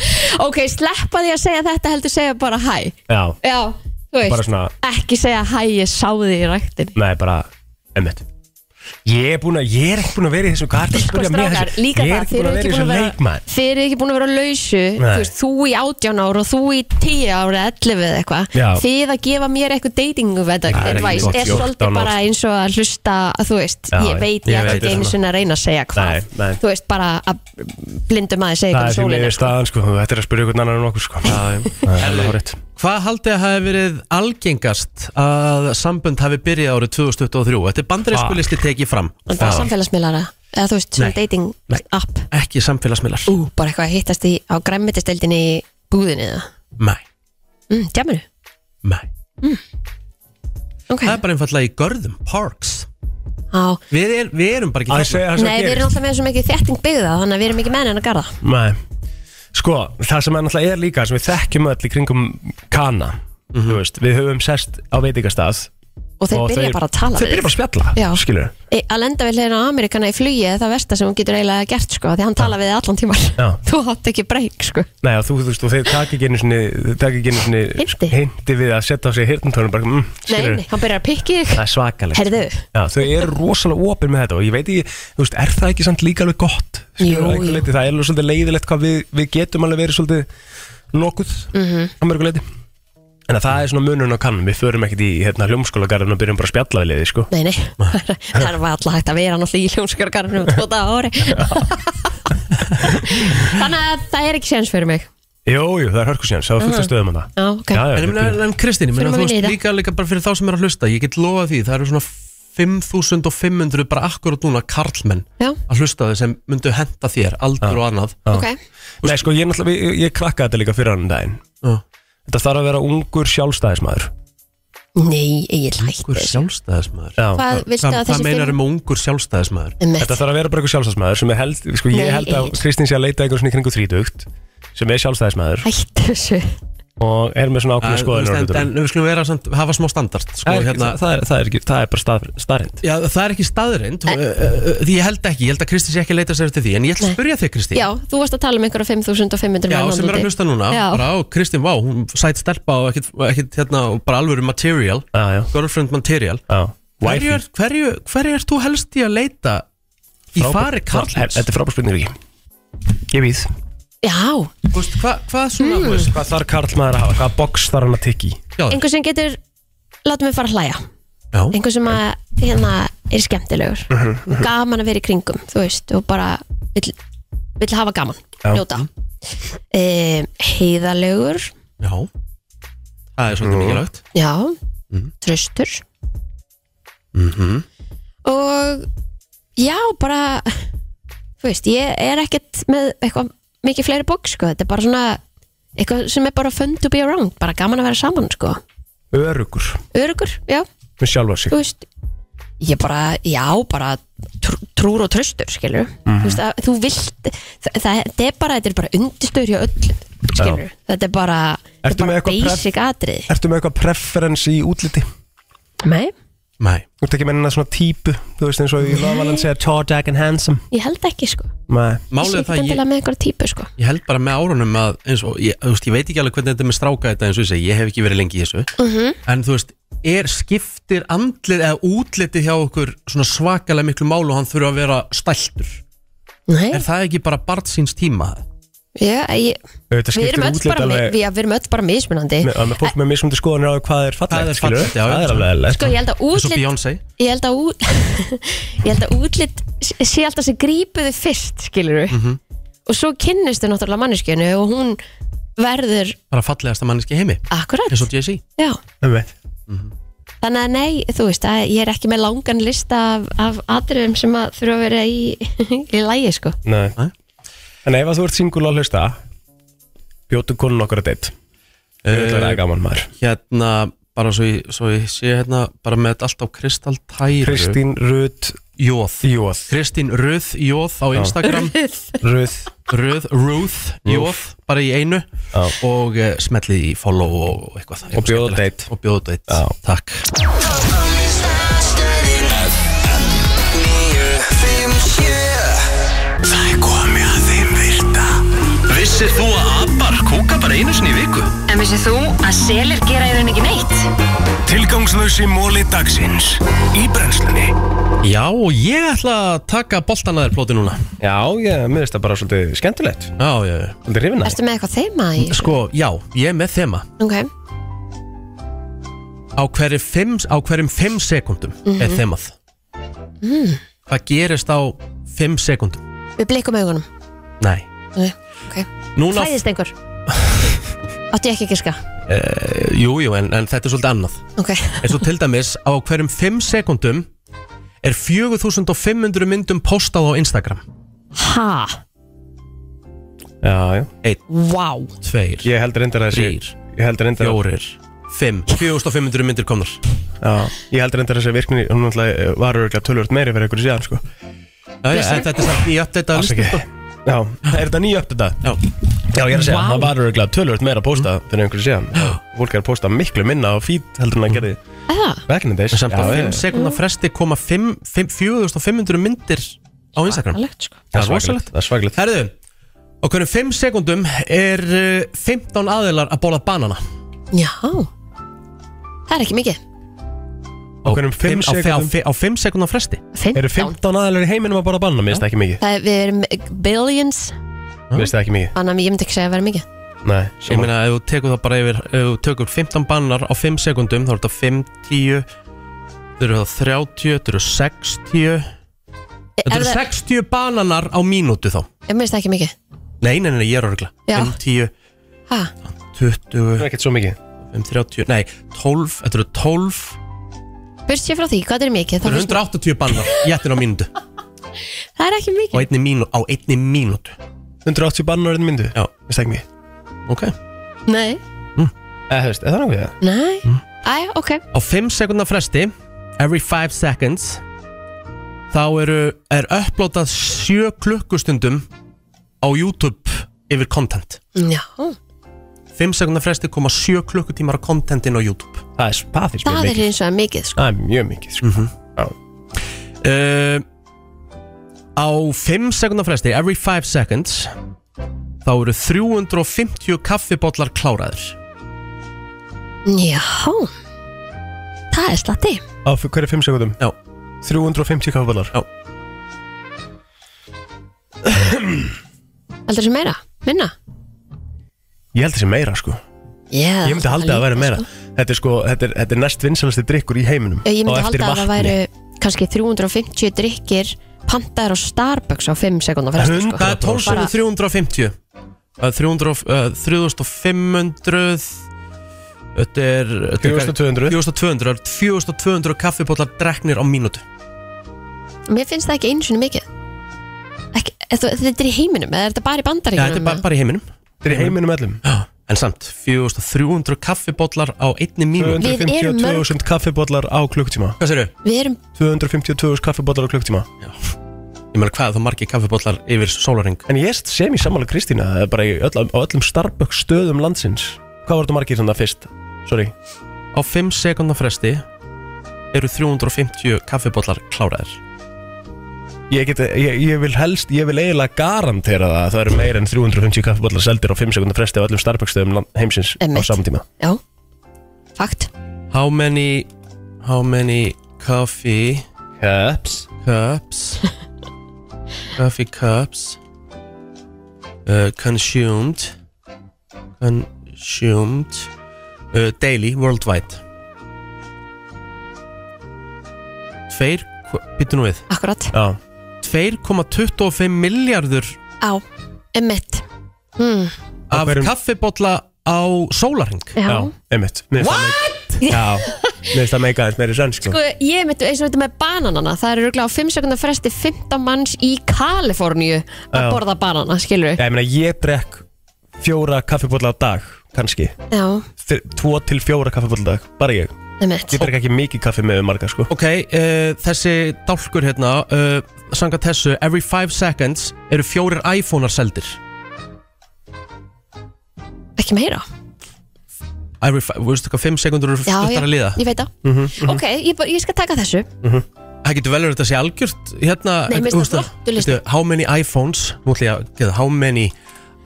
S2: ok, sleppa því að segja þetta heldur segja bara hæ
S3: já,
S2: já, þú veist,
S3: bara svona
S2: ekki segja hæ ég sá þig í ræktinni
S3: Nei, bara, emmitt Ég er búin að, ég er ekki búin að vera í þessu Hvað er að
S2: Sko
S3: spyrja mér
S2: strákar,
S3: þessu?
S2: líka
S3: Ég er
S2: það,
S3: ekki
S2: þið
S3: búin
S2: eru
S3: að
S2: ekki búin
S3: vera í þessu
S2: að vera
S3: leikmann
S2: þið eru ekki búin að vera lausu þú
S3: Nei.
S2: veist, þú í 18 ára og þú í 10 ára 11 eða eitthvað,
S3: Já.
S2: þið að gefa mér eitthvað dating
S3: Það er ekki
S2: advice
S3: gott,
S2: er
S3: 14 ára.
S2: svolítið bara eins og að hlusta að þú veist,
S3: Já,
S2: ég veit
S3: ég
S2: ég ætla
S3: veit
S2: ekki
S3: það.
S2: einu sinni að reyna að segja hvað
S3: Nei, nei.
S2: þú veist, bara að blindum aðeins segja um hvað
S3: Það er því
S2: sólinn
S3: mér
S2: er
S3: er staðan sko, þetta er að spyrja einhvern annan en okkur sko Það er alveg horrið
S1: Hvað haldið að hafi verið algengast að sambönd hafi byrjað árið 2023? Þetta er bandarísku
S3: Fuck.
S1: listi tekið fram
S2: og það er samfélagsmiðlara eða þú veist, svona
S1: Nei.
S2: dating
S1: Nei.
S2: app
S1: ekki samfélagsmiðlar
S2: Ú, bara eitthvað að hittast í, á græmmetisdeldinni í búðinni eða
S1: Nei,
S2: mm, Djaminu,
S1: nei
S2: ok
S1: Það er bara einfallega í görðum, parks
S2: á,
S1: Við, er, við erum bara
S3: Að
S1: ekki þarna.
S3: segja það sem
S2: Nei, við erum alltaf með svo mikið þétting byggða þannig að við erum ekki menn en að garða
S3: Nei, sko, það sem er náttúrulega er líka sem við þekkjum öll í kringum kana Þú veist, við höfum sest á veitingastað
S2: og þeir
S3: og
S2: byrja bara að tala
S3: Þeir byrja bara að spjalla,
S2: Já.
S3: skilur
S2: E, að lenda við hliðina á Amerikana í flugi er það versta sem hún getur eiginlega gert sko því hann tala við þig allan tímar
S3: Já.
S2: þú átt ekki breyk sko
S3: Nei, og þú, þú veist, og þeir taka ekki einu sinni, þeir taka ekki einu sinni
S2: Heimti.
S3: hindi við að setja á sig hirtumtónum bara, mm,
S2: nei,
S3: skilur
S2: nei, hann byrjar að pikki þig
S3: Það er svakalegt
S2: Herðu.
S3: Já, þau eru rosalega opin með þetta og ég veit ekki, þú veist, er það ekki samt líka alveg gott? Skilurðu,
S2: Jú,
S3: að einhverju
S2: jú.
S3: leyti, Það er alveg svolítið leiðilegt hvað við, við getum alveg verið svolítið nokkuð mm
S2: Mhm.
S3: -hmm. að mörguleiti En að það er svona munun á kannum, við förum ekkert í hérna hljómskólagarðin og byrjum bara að spjalla við liði, sko
S2: nei, nei, það er alltaf hægt að vera náttúrulega í hljómskargarnum tvo dag á ári þannig að það er ekki séns fyrir mig
S3: Jú, jú, það er hörkusjans, það er fullt að stöðum að það
S2: já, Mhm. Ah, ok,
S3: Já, já,
S1: En,
S3: við
S1: en,
S3: byrjum-
S1: en Kristín, ég meina,
S2: Þurfum að
S1: þú
S2: vinna í
S1: veist
S2: það.
S1: líka, líka bara fyrir þá sem er að hlusta Ég get lofað því, það eru svona 5500 bara akkurat núna karlmenn
S2: já,
S1: að hlusta þau sem myndu henda þér aldur og annað
S2: ok
S3: Nei, sko, ég, náttúrulega- ég, ég krakkaði þetta líka fyrir annan daginn
S1: Já.
S3: Þetta þarf að vera ungur sjálfstæðismæður
S2: nei, eigin lægt
S1: Ungur sjálfstæðismæður
S2: hvað viltu
S1: Hvað
S2: að
S1: hvað
S2: þessi
S1: meinar um ungur sjálfstæðismæður?
S3: Þetta
S2: fimm
S3: þarf að vera bara eitthvað sjálfstæðismæður sem er held, sko, ég
S2: Nei,
S3: held að
S2: Egill.
S3: Kristín sé að leita eitthvað svona í kringu þrítugt sem er sjálfstæðismæður
S2: hætt þessu
S3: og er með svona ákveðin skoðun
S1: en, en við skulum vera samt, hafa smá standart sko,
S3: það, er,
S1: hérna,
S3: það, er, það, er, ekki- það er bara stað, staðrind
S1: Já, það er ekki staðrind uh, uh, uh, Því ég held ekki, ég held að Kristi sé ekki að leita sér eftir því En ég ætla
S2: Nei.
S1: að spyrja þig Kristi
S2: já, þú varst að tala um einhverja 5500 menn
S1: Já, sem er
S2: þarna
S1: að
S2: úti.
S1: hlusta núna
S2: Já.
S1: bara, á, Kristín, vá, hún sætt stelpa og ekkit, ekkit hérna, og bara alvöru material
S3: Já, já,
S1: Girlfriend material
S3: já
S1: Hverju er, hverju, hverju er þú helst í að leita í fari Karls?
S3: Þetta er frábær spurning ekki Ég víð
S2: já,
S1: Þú veist, Hvað hvað svona,
S2: Mm.
S1: þú veist,
S3: Hvað þarf Karl maður að hafa? Hvaða box þarf hann að tikka í?
S1: já,
S2: einhver sem getur láta mig fara að hlæja
S1: Já.
S2: einhver sem að, hérna, er skemmtilegur gaman að vera í kringum þú veist, og bara vill, vill hafa gaman, njóta um, heiðalegur
S1: já Það er svolítið mikilvægt
S2: já, tröstur og já, bara þú veist, ég er ekkert með eitthvað mikið fleiri bók, sko þetta er bara svona, eitthvað sem er bara fun to be around, bara gaman að vera saman, sko
S3: Örugur
S2: örugur, já
S3: með sjálfa sig
S2: þú veist ég bara, já, bara trú, trúr og tröstur, skilur þú veist, að, þú vilt það, það, það er bara, þetta er bara undirstöður hjá öllum skilur, þetta er bara,
S3: Ertu
S2: þetta er
S3: með
S2: bara
S3: eitthvað pref-
S2: basic atriði
S3: Ertu með eitthvað preference í útliti?
S2: nei,
S1: Nei,
S3: Þú ert ekki með hennar svona típu Þú veist eins og í Lovaland segja tall, dark and handsome
S2: ég held ekki sko
S3: Nei
S1: málið er
S2: það
S1: það að
S2: ég...
S1: ég,
S2: með einhverja típu sko
S1: ég held bara með árunum að eins og, ég, þú veist, ég veit ekki alveg hvernig þetta er með stráka þetta eins og ég segi, ég hef ekki verið lengi í þessu -hmm.
S2: Mhm.
S1: en þú veist, er skiptir andlið eða útlitið hjá okkur svona svakalega miklu málu og hann þurfa að vera stæltur,
S2: nei,
S1: er það ekki bara barn síns tíma?
S2: já, ég,
S3: Auðvitað
S2: við,
S3: skiptir
S2: erum öll
S3: útlit
S2: bara,
S3: alveg-
S2: við, við erum öll bara mismunandi
S3: með, með fólk með mismundi skoðanir á því hvað er fallegt
S1: Hvað er
S3: skilurðu?
S1: fallegt, já,
S3: það
S1: já.
S3: er alveg eðlilegt.
S2: sko, ég held að
S1: eins og
S2: útlit
S1: Beyoncé
S2: ég held að, út, ég held að útlit sé alltaf sem grípuðu fyrst skilur við
S1: Mhm.
S2: og svo kynnistu náttúrulega manneskjönu og hún verður
S1: bara fallegasta manneski í heimi,
S2: akkurat
S1: eins og Jay-Z
S2: já.
S3: Einmitt.
S2: þannig að nei, þú veist að ég er ekki með langan lista af, af atriðum sem að þurfa að vera í, í lægi sko
S3: Nei.
S1: Nei.
S3: En ef að þú ert singul að hlusta Bjótu konun okkur að deitt Það
S1: Eh,
S3: er gaman maður
S1: hérna, bara svo ég, svo ég sé hérna, bara með þetta allt á kristaltæru
S3: Kristín Rut
S1: Jóð
S3: Jóð
S1: Kristín Röð Jóð á Instagram
S3: Rut
S1: Röð, Ruth Jóð, bara í einu
S3: Já.
S1: og uh, smellið í follow og eitthvað eitthvað
S3: bjóða
S1: skemmtilegt.
S3: date.
S1: og bjóða date,
S3: Já.
S1: takk
S8: Það er komið að þeim virta Vissir þú að abar kúka bara einu sinni í viku?
S9: En vissið þú að selir gera í rauninni ekki neitt?
S8: Tilgangslösi móli dagsins Í brennslunni
S1: Já, og ég ætla að taka boltan að þér plóti núna
S3: Já, ég miðist það bara svolítið skemmtilegt
S1: Já, já, já
S3: Svolítið hrifin að
S2: Ertu með eitthvað þeima í?
S1: Sko, já, ég er með þema
S2: Ok,
S1: Á, hverri fimm, á hverjum 5 sekundum er þemað Hvað gerist á 5 sekundum?
S2: við blikum augunum
S1: Nei
S2: Nei, ok.
S1: Núna,
S2: Fæðist einhver Átti ég ekki ekki ska
S1: jú, jú, en, en þetta er svolítið annað
S2: Ok,
S1: eins og til dæmis á hverjum 5 sekundum er 4500 myndum postað á Instagram
S10: Ha,
S3: Já, já
S10: vá
S1: Tveir,
S3: Ég heldur endur að
S1: þrír,
S3: þessi Ég heldur endur að
S1: fjórir, fimm 4500 myndir komnar
S3: Já, ég heldur endur að þessi virkni Hún náttúrulega eh, var örgulega tölvöld meiri fyrir einhverju síðan sko
S1: Já, já, en Þetta er samt í update að
S3: Afsakið. Já, er þetta nýja upp þetta?
S1: Já. Mm.
S3: Já, ég er að segja,
S10: Vá.
S3: það var örgulega tölvöld meira að posta fyrir einhverju síðan Fólk er að posta miklu minna á feed heldur en að gerði
S2: Eða,
S3: back in the days
S1: Mm. Samt á
S3: Já,
S1: 5
S3: já.
S1: sekundar fresti koma fimm- fimm- 4500 myndir á Instagram
S2: alveg sko
S1: Það er
S3: svakalegt,
S1: rosalegt
S3: Það er svakalegt
S1: Herðu, á hverjum 5 sekundum er uh, 15 aðilar að bóla banana
S2: Já, það er ekki mikið
S3: Á hverjum fimm
S1: Fimm- á fe- á
S3: sekúndum?
S1: fe- Á 5 sekundar fresti
S2: 15
S3: Eru 15 aðalur í heiminum að bara banna? Mér finnst það ekki mikið
S2: Það er, við erum billions
S3: Mér finnst það ekki mikið
S2: Þannig að ég myndi ekki segja að vera mikið
S3: Nei,
S1: Ég
S3: saman.
S1: meina, ef þú tekur það bara yfir Ef þú tekur 15 bannar á 5 sekundum þá er þetta 5, 10 Þau eru það 30, þau eru 60 Þetta
S2: Er
S1: eru
S2: það-
S1: 60 bananar á mínútu þá
S2: Ég myndi ekki mikið
S1: Nei, nei, nei, ég er örgla
S2: Já.
S1: 5, 10,
S2: Ha,
S1: 20,
S3: Það er ekkert svo mikið
S1: 5, 30 Nei, 12, þetta eru 12
S2: burt sér frá því, hvað er mikið?
S1: Þetta
S2: Það,
S1: eru 180 bannar í ettin á mínútu
S2: það er ekki
S1: Á
S2: mikið
S1: einni mínútu, á einni mínútu
S3: 180 bannar einn myndu
S1: Já.
S3: Mér finnst það ekki mikið
S1: Ok
S2: Nei,
S3: Eða, þú veist, er það er náttúrulega
S2: nei,
S1: Mm.
S2: æ, ok
S1: á 5 sekundar fresti every 5 seconds þá eru, er upplótað 7 klukkustundum á YouTube yfir content
S2: Já,
S1: 5 sekundar fresti koma 7 klukkutímar á contentin á YouTube
S3: Það er spaðis
S2: það er eins og að mikið sko
S3: Það er mjög mikið sko.
S1: Mhm. uh, á 5 sekundar fresti every 5 seconds þá eru 350 kaffibotlar kláraður
S2: Já, það er slatti
S3: Á f- hverju 5 sekundum?
S1: Já.
S3: 350 kaffaballar
S1: Já.
S2: Heldur þessu meira, minna
S3: Ég held þessi meira sko
S2: yeah,
S3: Ég myndi halda að það væri meira Þetta er sko, þetta er, þetta er næst vinsalasti drikkur í heiminum
S2: Ég myndi
S3: Á eftir
S2: halda að það
S3: vatni.
S2: væri kannski 350 drikkir pantaðar á Starbucks á 5 sekundar fresti sko.
S1: það er 12350 það er 300 og- eh, 3500 þetta er þetta er-
S3: 4200
S1: 4200 það eru 4200 kaffipotlar dreknir á mínútu
S2: Mér finnst það ekki einu sinni mikið ekki, eða, Þetta er í heiminum, eða er þetta bara í
S1: Já, þetta er
S2: bandaríkjum
S1: bara, bara í heiminum
S3: Þetta er í heiminum öllum
S1: En samt, 4300 kaffipotlar á einni mínútu
S2: Við erum mörg-
S3: 252.000 kaffiballar á klukktíma
S1: Hvað sérðu?
S2: Við erum
S3: 252.000 kaffiballar á klukktíma
S1: Ég meðal hvað er þá margir kaffipotlar yfir sólaring
S3: En ég erst sem í sammála Kristína Það er bara í öll, á öllum Starbucks stöðum landsins Hvað var þetta margir þannig fyrst? Sorry
S1: Á 5 sekundar fresti eru 350 kaffipotlar kláraðir
S3: Ég, get, ég, ég vil helst, ég vil eiginlega garantera það að það eru meir en 350 kaffiballar seldir á 5 sekundar fresti á öllum Starbucks stöðum land- heimsins
S2: Einmitt.
S3: á saman tíma
S2: Já, fakt
S1: How many How many coffee
S3: Cups
S1: cups Coffee cups uh, Consumed Consumed uh, Daily, worldwide Tveir Býttu nú við
S2: Akkurat,
S3: Já,
S1: 2,25 miljardur
S2: á, emmitt hmm,
S1: af
S3: hverjum-
S1: kaffibotla á sólaring
S2: já.
S3: já, einmitt Mér finnst það meik- Já, mér finnst það meika aðeins meiri sann sko
S2: Sko, ég mitt eins og þetta með bananana Það eru röglega á 5 sekundar fresti 15 manns í Kaliforníu að
S3: Já.
S2: borða banana, skilur
S3: Já, ég meina ég drekk fjóra kaffiballar á dag, kannski
S2: Já,
S3: Þe- Tvo til fjóra kaffiballar á dag, bara ég
S2: emmitt
S3: Ég drekk ekki mikið kaffi með marga sko
S1: Ok, uh, þessi dálkur hérna uh, sanga þessu Every 5 seconds eru fjórir iPhone-ar seldir
S2: Ekki meira
S1: Every 5, veistu hvað 5 sekundur eru
S2: Já, já,
S1: stuttar að liða
S2: ég veit það Ok, ég, bara- ég skal taka þessu
S1: Það getur vel verið að þetta sé algjört hérna,
S2: Nei, mér finnst það
S1: þú veist
S2: flottur listi.
S1: veistu, How many iPhones Nú ætlum ég að geða How many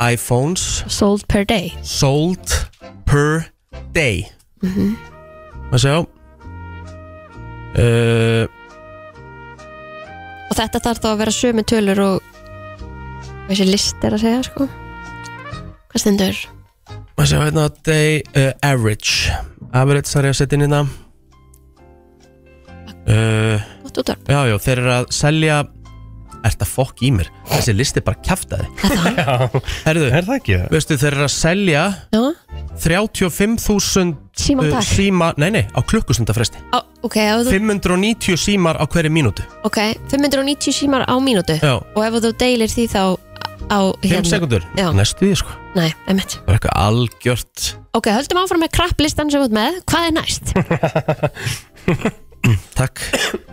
S1: iPhones
S2: Sold per day
S1: sold per day
S2: Mhm.
S1: Maður sjá uh,
S2: Og þetta þarf þá að vera sömu tölur og þessi list er að segja sko Hvað stendur?
S1: Maður sjá hérna Day uh, average Average þarf ég að setja inn hérna uh,
S2: Gott útvarp
S1: Já, já, þeir eru að selja Ert að fokk í mér Þessi listi bara kjaftaði Herðu,
S3: Er það ekki það?
S1: veistu þeir eru að selja
S2: Já,
S1: 35.000
S2: síma
S1: uh,
S2: takk
S1: síma, nei nei, á klukkustundafresti
S2: Á- Ok, ef þú,
S1: 590 símar á hverju mínútu
S2: ok, 590 símar á mínútu
S1: Já.
S2: og ef þú deilir því þá á hérna.
S1: 5
S3: Hérna.
S1: sekundur,
S2: Já.
S1: næstu því sko
S2: Nei, einmitt.
S1: Það er eitthvað algjört
S2: Ok, höldum áfram með krapplistan sem við erum með. Hvað er næst?
S1: Takk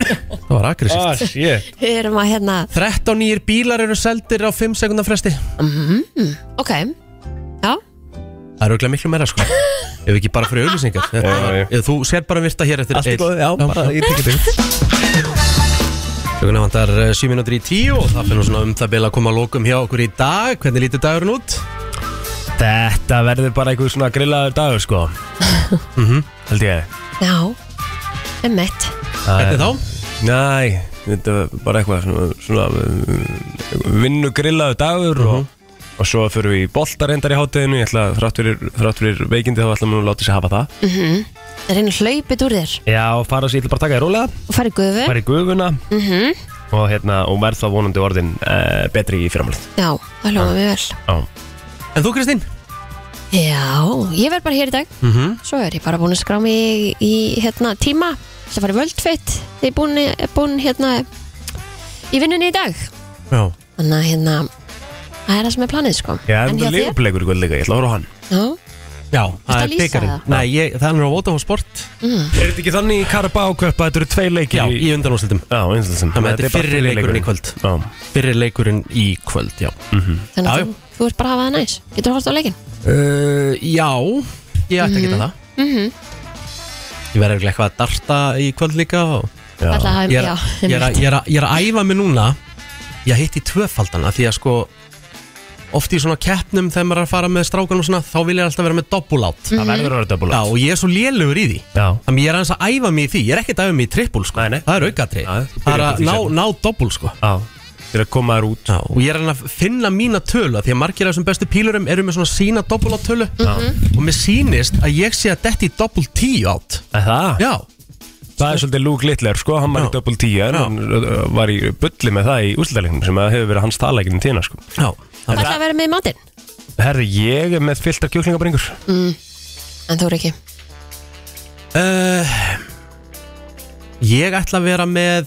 S1: Það var aggressíft
S3: Ah, shit
S2: Við erum að hérna,
S1: 13 nýjir bílar eru seldir á 5 sekundar fresti
S2: ok, já,
S1: Það eru ekki miklu meira sko Ef ekki bara fyrir auðlýsingar
S3: já.
S1: Ef Þú sér bara virta hér eftir
S3: Allt í
S1: Egill.
S3: góðu, já, bara ég tekið þig
S1: Klukkan vantar 7 minútur í 10 og það finnum svona um það bila að koma að lókum hjá okkur í dag Hvernig lítur dagurinn út?
S3: Þetta verður bara einhver svona grillaður dagur sko Mhm, Held ég
S2: já, einmitt.
S1: Hvernig þá?
S3: Næ, þetta var bara eitthvað svona, svona vinnu grillaður dagur og, og svo fyrir við í bolta reyndar í hátteginu Ég ætla að þrátt fyrir, þrátt fyrir veikindi þá ætla mér að láta sér hafa það
S2: Það er einu hlaupið úr þér
S3: Já, fara sér, ég ætla bara að taka þér rólega
S2: og farið gufu.
S3: fara í gufuna
S2: Mhm.
S3: og, hérna, og verð það vonandi orðin uh, betri í fyrramálið
S2: Já, það hljóma mjög vel.
S1: En þú Kristín?
S2: Já, ég verð bara hér í dag.
S1: Mhm.
S2: Svo er ég bara búin að skrá mig í, í hérna tíma sem farið völdfitt. Þið er búin, búin hérna í vinnunni í dag.
S1: Já
S2: Þannig að hérna, það er það sem er planið sko.
S3: Ég er
S2: En hjá
S3: með
S2: þér?
S3: leifupleikur í kvöld líka, ég ætla að horfa á hann
S2: Já,
S1: Já,
S2: að
S1: það er
S2: lýsa
S1: byggarinn
S2: það?
S1: Nei, ég, það er á Vótafón Sport
S3: Er þetta ekki þannig í Karabáköp að þetta eru tvei leikir
S1: Já, í undanúrslitum
S3: Já, eins og þessum
S1: Þannig að þetta er fyrri leikurinn í kvöld
S3: Já,
S1: Fyrri leikurinn í kvöld, já
S3: Mhm.
S2: þannig
S1: Já,
S2: að þú, þú ert bara að hafa það næs. Getur þú hort á leikin?
S1: Uh, já, ég ætti að geta það
S2: Mhm,
S1: Ég verði örugglega eitthvað að darta í kvöld líka og
S2: Alla, hafa-
S1: ég,
S3: já,
S2: já,
S1: er, ég, er, að- ég, er, að- ég er að æfa mig núna Ég hitti tvöfaldana því að sko Oft í svona keppnum þegar maður er að fara með strákan og svona Þá vil ég alltaf vera með doppulát
S3: það verður að vera
S1: Já,
S2: Mm.
S3: döbula
S1: og ég er svo lélugur í því
S3: Já,
S1: Þannig ég er aðeins að æfa mig í því Ég er ekkert að æfa mig í trippul sko
S3: Nei, nei.
S1: Það er aukatri
S3: Já, þú
S1: Það er
S3: byrjar
S1: að
S3: bara í
S1: ná,
S3: seinna.
S1: ná doppul sko
S3: já Þeir að koma þér út
S1: Já, og ég er hann að finna mína tölu af Því að margir af þessum bestu pílurum eru með svona sína doppulát tölu
S2: Mhm.
S1: Og mér sýnist að ég sé að detti doppul tíu átt
S3: Er Það,
S1: Já,
S3: það er svolítið Luke Littler, sko, hann var
S1: Já.
S3: í döbul tíu En
S1: Já.
S3: hann uh, var í bulli með það í úrslutalegnum Sem að hefur verið hans talaleginn tína, sko
S1: já
S2: Það ætla að vera með í matinn,
S3: Herði, ég er með fylltar kjúklingabringur
S2: en þú er ekki.
S1: uh, Ég ætla að vera með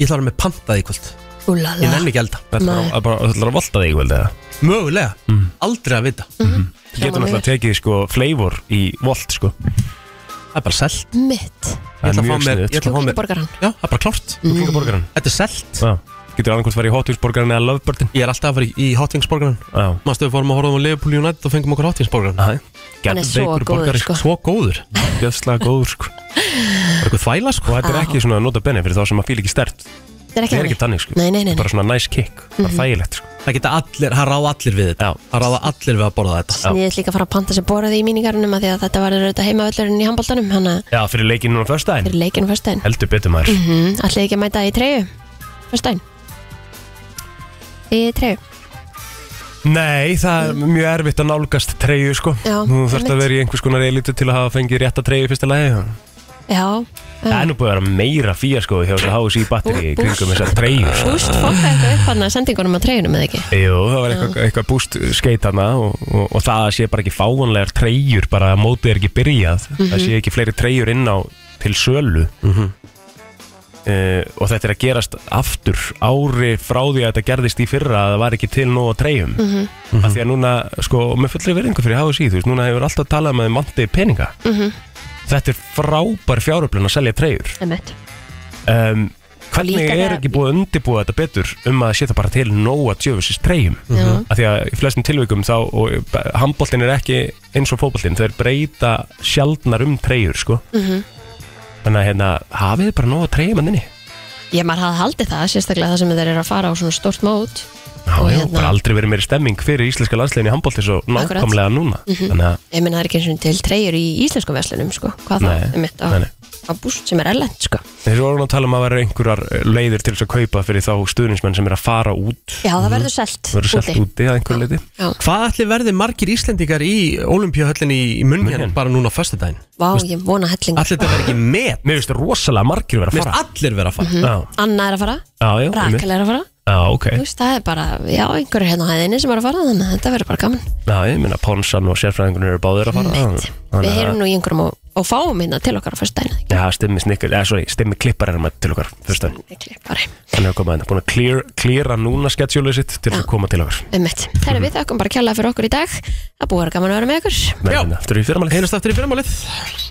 S1: Ég ætla að vera með pantað í kvöld
S2: Úlala.
S1: Ég nenni ekki elda
S3: Þetta er
S2: Nei.
S3: að- bara- Þetta er að volta þig, veldið það
S1: Mögulega,
S3: Mm.
S1: aldrei að vita
S2: Mm.
S3: Við getum
S2: Hljómar
S3: alltaf tekið sko flavor í volt sko
S1: Það er bara selt
S2: Mitt.
S1: Ég ætla að fá
S3: mjög
S1: mér
S3: sniðugt. sko.
S1: ég ætla að fá mér-
S2: Kjúklingaborgaran.
S1: Já, það er bara klárt
S2: Mm.
S3: Kjúklingaborgaran
S1: Þetta er selt
S3: Já Getur annað hvort farið í hotvísborgaran eða löfbördin
S1: Ég er alltaf að fara í, í hotvingsborgaran
S3: Já
S1: Mástu við fórum að horfa um að Liverpool United og fengum okkur hotvingsborgaran
S3: Æ
S2: Hann er svo
S3: Geðveikur
S2: góður,
S3: borgari
S2: sko.
S3: sko
S1: Svo góður
S3: Gjöðslega góður sko
S1: Það er eitthvað þvæla sko
S3: Og þetta er ekki svona nota benni fyrir þá sem að fíla ekki stert
S2: Það er ekki
S3: Það er
S2: þannig.
S3: ekki tannig sko
S2: Nei, nei, nei, Mhm. nei.
S3: Bara svona nice kick Bara þægilegt sko
S1: Það geta allir, það ráða allir við þetta
S3: Já.
S1: Það ráða allir við að borða þetta
S2: Ég ætla líka að fara að panta sem borðið í míningarunum að því að þetta var auðvitað heimavöllurinn í handbóltanum hann að
S3: Já fyrir leikin núna fyrsta en
S2: fyrir leikinu fyrstæðin
S3: Heldur betur maður
S2: mm, Ætlaði ekki að mæta í treyu fyrstæðin Í treyu
S3: Nei það er mjög erfitt að nálgast treyju sko
S2: Já,
S3: Þú þarfst að
S2: einmitt.
S3: vera í einhvers konar elitu til að hafa fengið rétta treyju í fyrsta lagi
S2: Já,
S3: Það
S2: já.
S3: er nú búið að vera meira fía sko hjá þessu HSI batteri í
S2: Bú-
S3: kringum þessar treyju sko.
S2: Búst fokka eitthvað upp hann að sendingunum á treyjunum eða ekki
S3: Jú, það var eitthvað, eitthvað búst skeit hana og, og, og það sé bara ekki fáanlegar treyjur bara að mótið er ekki byrjað það sé ekki fleiri treyjur inn á til sölu uh, og þetta er að gerast aftur ári frá því að þetta gerðist í fyrra að það var ekki til nóg á treyjum af því að núna, sko, og með fullri verðingu fyrir HSI, þú veist, núna hefur alltaf talað um með mandi peninga þetta er frábær fjáröflun að selja treyjur
S2: Emmett
S3: um, hvernig
S2: Líka
S3: er
S2: þegar-
S3: ekki búið að undirbúa þetta betur um að setja bara til nóa djöfusins treyjum
S2: Já.
S3: af því að í flestum tilvikum þá og handbóltin er ekki eins og fótbóltin þeir breyta sjaldnar um treyjur sko þannig að hérna hafið þið bara nóa treyjum að nynni
S2: Ég maður hafði haldið það, sérstaklega það sem þeir eru að fara á svona stórt mót
S3: Já,
S2: Og
S3: já,
S2: hérna-
S3: bara aldrei verið meiri stemming fyrir íslenska landslegin í handbólti svo Mhm.
S2: Akkurat.
S3: nákvæmlega núna þannig að
S2: Ég menn það er ekki eins og til treyjur í íslensku verslunum sko. Hvað það,
S3: Nei,
S2: Emmett, á,
S3: nei, nei.
S2: á búst sem er erlend sko.
S3: þeir voru að tala um að vera einhverjar eh, leiðir til þess að kaupa fyrir þá stuðnismenn sem er að fara út
S2: Já, það verður selt
S3: Mhm. verður selt
S2: úti.
S3: úti að einhverju leiti
S2: Já.
S1: Hvað ætli verði margir Íslendingar í Olympiahöllinni í Munnhjörn
S3: München.
S1: bara núna á föstudaginn?
S2: Vá, ég vona hellingur
S1: Allir þetta verði ekki með
S3: Mér finnst Mhm. rosalega margir vera að
S1: Mér finnst
S3: fara
S1: allir vera að fara
S3: Já,
S2: Anna er að fara,
S3: já, já, einmitt.
S2: Rakel er að fara
S3: Já, ok.
S2: Þú veist, það er bara, já, einhverju hérna á hæðinni sem er að fara þannig að þetta verður bara gaman
S3: Já, ég minna Ponsan og sérfræðingunir eru báðir Ah, að fara.
S2: Mitt. Við heyrum nú í einhverjum á, á og fáum hérna til okkar á fyrst dæna
S3: Já, stimmi snikkar, eða sorry, stimmi klippar er maður til okkar Fyrst hann,
S2: klippari,
S3: hann hefur komað hérna Búin að clear, cleara núna sketsjólið sitt til
S2: Já.
S3: að koma til okkar
S2: ummitt Þegar við þakkum bara kjallaði fyrir okkur í dag að búið að vera gaman að vera með okkur
S3: Nei, hérna, Þetta er í fyrramálið
S6: Einast aftur í fyrirmálið